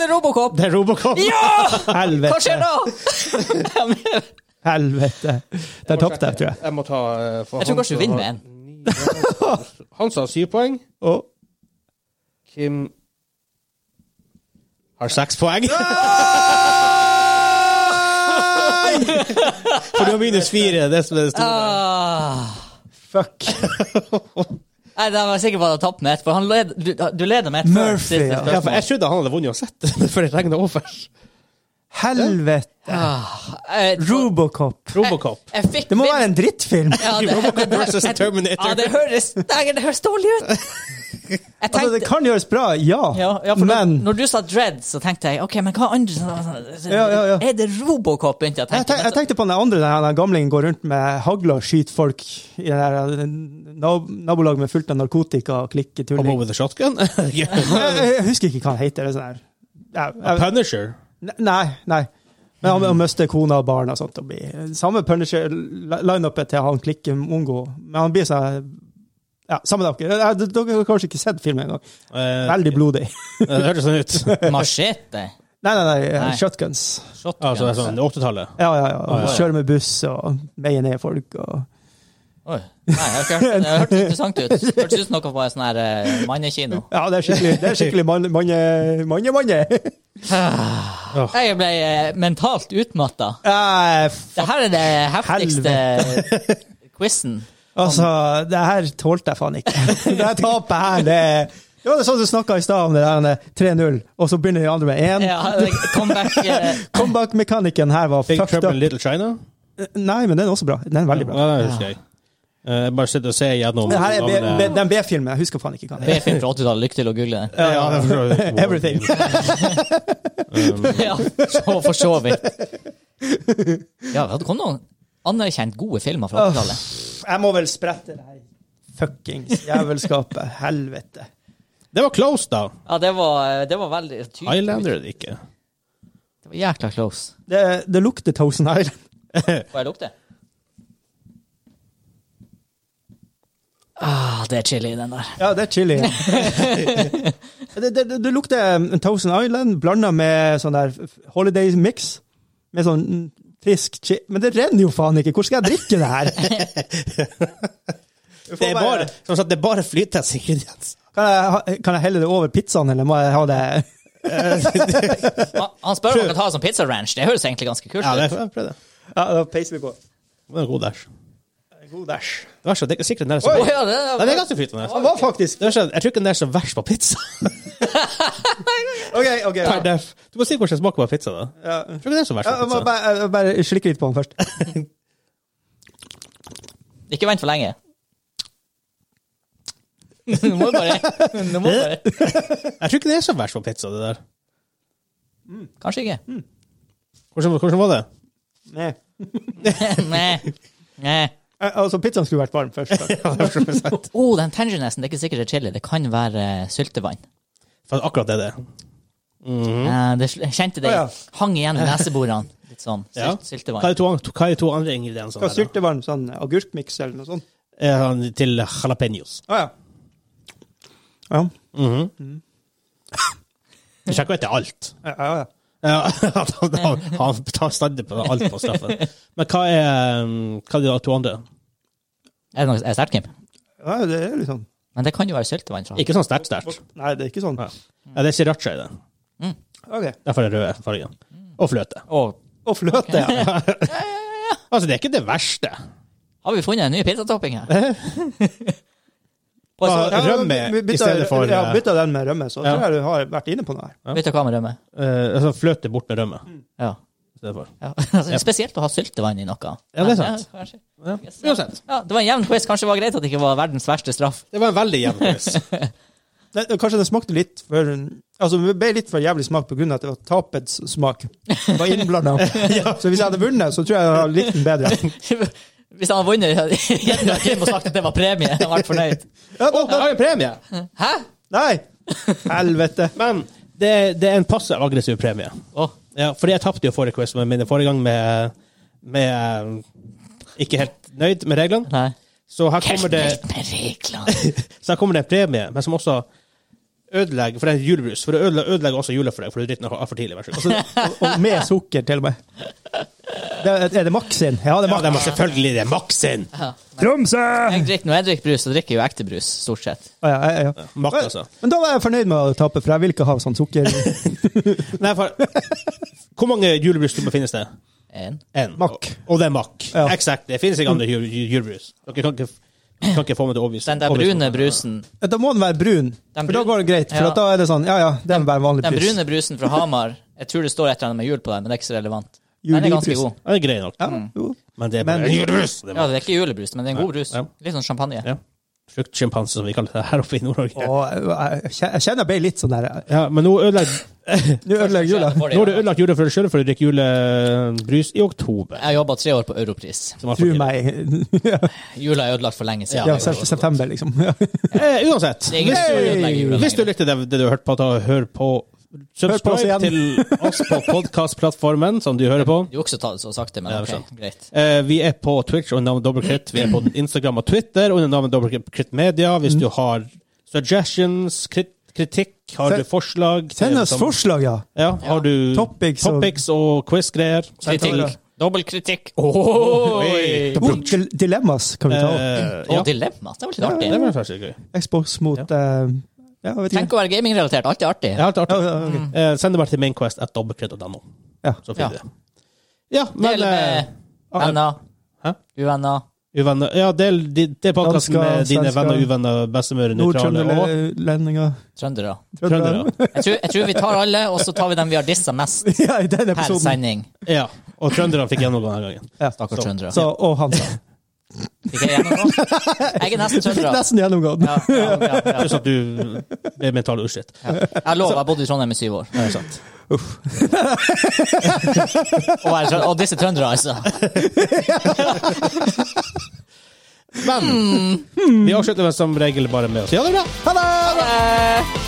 det er Robocop!
det er Robocop!
Ja! Hva skjer
Helvete.
nå?
Helvete. Der tapte jeg, tror jeg.
Jeg må ta eh, for
Jeg tror kanskje
Hansa
du vinner
har
med
ni- Hansa har syv poeng.
Å,
Kim
Har seks poeng. For du har minus fire. Det som er det store.
Ah.
fuck.
Nei, da var jeg sikker på at jeg tapte med ett, for han led, du, du leder med ett. før
Murphy,
siste
ja.
spørsmål.
Ja, for jeg trodde han hadde vunnet uansett, før det regna over.
Helvete!
Ah, jeg,
Robocop.
Robocop.
jeg fikk
Det må være en drittfilm!
ja, det,
Robocop versus
ja,
Terminator.
det høres Nei, det høres dårlig ut! Jeg
Altså, det
tenkte
kan gjøres bra, ja,
ja, ja, for
men
når, når du sa Dread, så tenkte jeg OK, men hva andre sånn-
Ja, ja, ja.
Er det Robocop? begynte jeg å
jeg,
tenke.
tenk, jeg tenkte på den andre der han gamlingen går rundt med hagle og skyter folk i det der nab nabolaget med fullt av narkotika og
Come
klikketulling.
over with a shotgun? Yeah.
Jeg, jeg, jeg husker ikke hva han heter. det er Sånn her.
A
Jeg, jeg,
Punisher?
ne- nei, nei. Men han, han mister kona og barn og sånt. Og blir, eh, samme Punisher-lineupet til han klikker mongo. Men han blir sånn ja, Samme det, dere. Jeg- Dere har kanskje ikke sett filmen engang.
Eh,
Veldig blodig.
det høres sånn ut.
Men- Machete?
Nei, nei, nei.
Nei.
Shotguns.
Shotgun?
Altså, det er sånn 80-tallet.
Ja, ja, ja.
Ah, ja.
Kjører med buss og meier ned folk. Og...
Oi. Nei, jeg har ikke hørt det. Det hørtes interessant ut. Hørtes ut som noe på en sånn her eh, mannekino.
Ja, det er skikkelig, det er skikkelig manne, manne, manne, manne. Ah.
Jeg ble eh, mentalt utmatta.
Eh, f-
Det her er det heftigste quizen.
altså, det her tålte jeg faen ikke. Det her tapet her, det det var sånn du snakka i stad om det der med 3-0, og så begynner de andre med 1.
Ja, comeback eh,
Comeback-mekanikken her var
Big
fucked
Trouble in
up.
Little China?
Nei, men den er også bra. Den er veldig bra.
Ja, det husker jeg. Eh, Jeg bare sitter og ser gjennom
Det her er B,
navnet.
B, den B-filmen. Jeg husker faen ikke hva den heter.
B-film fra 80-tallet. Lykke til å google det.
Ja, ja, det forstår jeg.
Everything.
Ja, så for så vidt. Ja, det kom noen anerkjent gode filmer fra 80-tallet.
Jeg må vel sprette det her fuckings jævelskapet. Helvete.
Det var close, da.
Ja, det var, det var veldig tydelig.
Highlander er det ikke.
Det var jækla close.
Det, det lukter Thousand Island.
Får jeg lukte? Ah, det er chili i den der.
Ja, det er chili. det, det, det, det lukter um, Thousand Island blanda med sånn der holiday mix. Med sånn mm, frisk chi... Men det renner jo faen ikke! Hvor skal jeg drikke det her? Du får
Det er
bare-
bare, som sagt, det er bare flytende ingredienser.
kan, jeg, ha- kan jeg helle det over pizzaen, eller må jeg ha det
Han, han spør om han kan ta det som pizza ranch. Det høres egentlig ganske kult
Ja, det
ut.
er, prøv det.
Ja, da peiser vi på.
Det var en god dash.
God dæsj.
Det, var så, det er ikke sikkert den der som
Å, ja, det,
Nei, det er ganske flytende.
Han var faktisk
Det er sånn, jeg tror ikke den der er så verst på pizza.
OK, OK.
Per def. Du må si hvordan smaker på pizza, da.
Ja.
Jeg tror ikke den er så verst
Jeg
på
må
pizza.
bare, jeg må bare slikke litt på den først.
Ikke vent for lenge. Nå må du bare, nå må du bare.
Jeg tror ikke den er så verst på pizza, det der.
Kanskje ikke.
Hvordan, hvordan var det?
Nei.
Nei. Nei.
Eh, Altså, pizzaen skulle vært varm først. da.
Oh, den tanginesen, det er ikke sikkert det er chili. Det kan være eh, syltevann.
For akkurat det er det. Mm.
Eh, det sl- kjente det
Å, ja.
hang igjen i neseborene. Litt sånn sylt,
Ja. Hva
syltevann.
er de to, an- hva er de to andre ingrediensene?
Skal
der, da?
syltevarm sånn agurkmiks eller noe sånt.
Eh, han- Til jalapeños.
Å ja. Ja.
Du sjekker jo etter alt.
Ja, ja, ja.
Ja, at han, han, han tar standard på alt på straffen. Men hva er, um, hva er de to andre?
Er det noe er det sterkt, Kim?
Ja, det er litt sånn.
Men det kan jo være syltevann. Fra.
Ikke sånn sterkt-sterkt.
Nei, det er ikke sånn.
Ja. Ja, det er sriracha i det.
Ok.
Derfor er det røde fargen. Og fløte.
Og
Og fløte, ja.
Altså, det er ikke det verste.
har vi funnet en ny pizzatopping her? På så,
Ja, rømme
Altså, vi- vi bytter-
i stedet for,
Ja,
eh,
bytta den med rømme, så
Ja.
tror jeg du har vært inne på noe her.
bytte hva med rømme.
Eh, altså, fløte bort med rømme.
Ja.
i stedet for.
Ja. Altså, det er Spesielt å ha syltevann i noe.
Ja, det er sant.
Ja, kanskje.
Ja. Uansett.
ja, det var en jevn quiz. Kanskje det var greit at det ikke var verdens verste straff.
Det var en veldig jevn quiz.
Nei, det- kanskje det smakte litt for Altså, det ble litt for jævlig smak på grunn av at det var tapets smak. Det var innblanda. Så hvis jeg hadde vunnet, så tror jeg jeg hadde likt den bedre.
Hvis han hadde vunnet, hadde Jenny og Kim og sagt at det var premie. Han hadde vært fornøyd.
Ja, da,
Og jeg
da.
har en premie!
Hæ?
Nei! Helvete.
Men det, det er en passiv aggressiv premie.
Å,
Ja, fordi jeg tapte jo forrige quiz, men min forrige gang med, med eh, Ikke helt nøyd med reglene.
nei.
Så her kommer det
Helt med reglene.
Så her kommer det en premie, men som også ødelegger For det er julebrus. For det ødele- ødelegger også jula for deg, for du drikker den av for tidlig. Vær så god.
Altså, og, og med sukker, til og med. Det, er det Max sin? Ja, det er
Ja, det
Max.
må selvfølgelig det. Maxen!
Tromsø!
Jeg drikker, når jeg drikker brus, så drikker jeg jo ekte brus, stort sett.
Ja, ja, ja, ja.
Makt, altså.
Men da var jeg fornøyd med å tape, for jeg vil ikke ha sånn sukker.
Nei, for, hvor mange julebrusklubber finnes det?
En.
Én.
Makk.
Og, og det er makk.
Ja. Mm.
Exakt. Det finnes ikke andre jul, julebrus. Dere kan ikke, kan ikke få meg til å overbevise
Den der
overbevise
brune
meg.
brusen
Da må den være brun, for da
brun-
går det greit. For
Ja.
at da er det sånn, ja ja, det er bare vanlig
Den
brus.
brune brusen fra Hamar Jeg tror det står et eller annet med jul på den, men det er ikke så relevant.
Julebrus.
Den er ganske god.
Det er grei nok.
Ja,
Mm.
jo.
Men det er bare
Men-
julebrus! Det er
Ja,
bare
det er ikke julebrus, men det er en god brus.
Ja.
Litt sånn champagne.
Ja. fruktsjimpanse, som vi kaller det her oppe i Nord-Norge.
Og eh, jeg- jeg kjen- jeg kjenner jeg ble litt sånn der
Ja, men nå ødelegger
Nå ødelegger jula.
Jeg får det.
Nå har du ødelagt jula for deg sjøl for å drikke julebrus i oktober.
Jeg jobba tre år på Europris.
Som er
Tro
fortidlig.
meg.
Jula er ødelagt for lenge siden.
Ja, selv- september, liksom. Ja.
Eh, uansett,
Det er ingen som
hvis,
ødelegger jula
hvis du
lenger.
likte det, det du hørte på, da hør på
på oss
Subscribe
igjen.
til oss på podkastplattformen som du hører på.
Du også tar det så sakte, men
Ja,
ok,
sant.
greit.
Eh, vi er på Twitch under navnet Dobbeltkritt. Vi er på Instagram og Twitter under navnet Dobbeltkritt Media.
Mm.
Hvis du har suggestions, krit kritikk, har du
Send-
forslag til-
Send oss
som-
forslag, ja.
Ja, har du
Topics og-
topics og quiz-greier? Send til oss.
Kritikk. Dobbel kritikk. Oi.
Oi.
Oh, dil- Dilemmas kan vi ta opp.
Eh,
Og
ja,
dilemma. Det var litt
det
artig.
var faktisk gøy.
Xbox mot eh, Ja, jeg vet ikke.
Tenk å være gamingrelatert. Alltid artig.
Jeg har alt
Ja,
artig.
ja, ok.
Eh, send det bare til mainquest at dobbeltkritt.no.
Ja.
Så finner
Ja.
du det. Ja, men eh, ah.
Del med venner,
Hæ?
uvenner.
eh, uvenner Ja, del, de- del podkasten
Dansker,
med dine
svensker.
venner, uvenner, bestemødre, nøytrale og
Nord-Trøndelendinger.
Trøndere.
trøndere.
Jeg tror, jeg tror vi tar alle, og så tar vi dem vi har dissa mest
Ja, i den
per
episoden.
sending.
Ja, og trønderne fikk gjennomgå denne gangen.
Ja.
Stakkars trøndere.
Så, og Hansa.
Fikk jeg gjennomgå? Jeg er nesten
Du fikk
trønder.
nesten gjennomgått.
Ja, ja, ja, ja.
Pluss at du ble mentalt utslitt.
Jeg lover, jeg bodde i Trondheim i syv år.
Det er sant.
Og, jeg, er trø- og disse trøndere, altså.
Men vi avslutter vel som regel bare med å si ha det bra.
Ha
Ha
det!
det!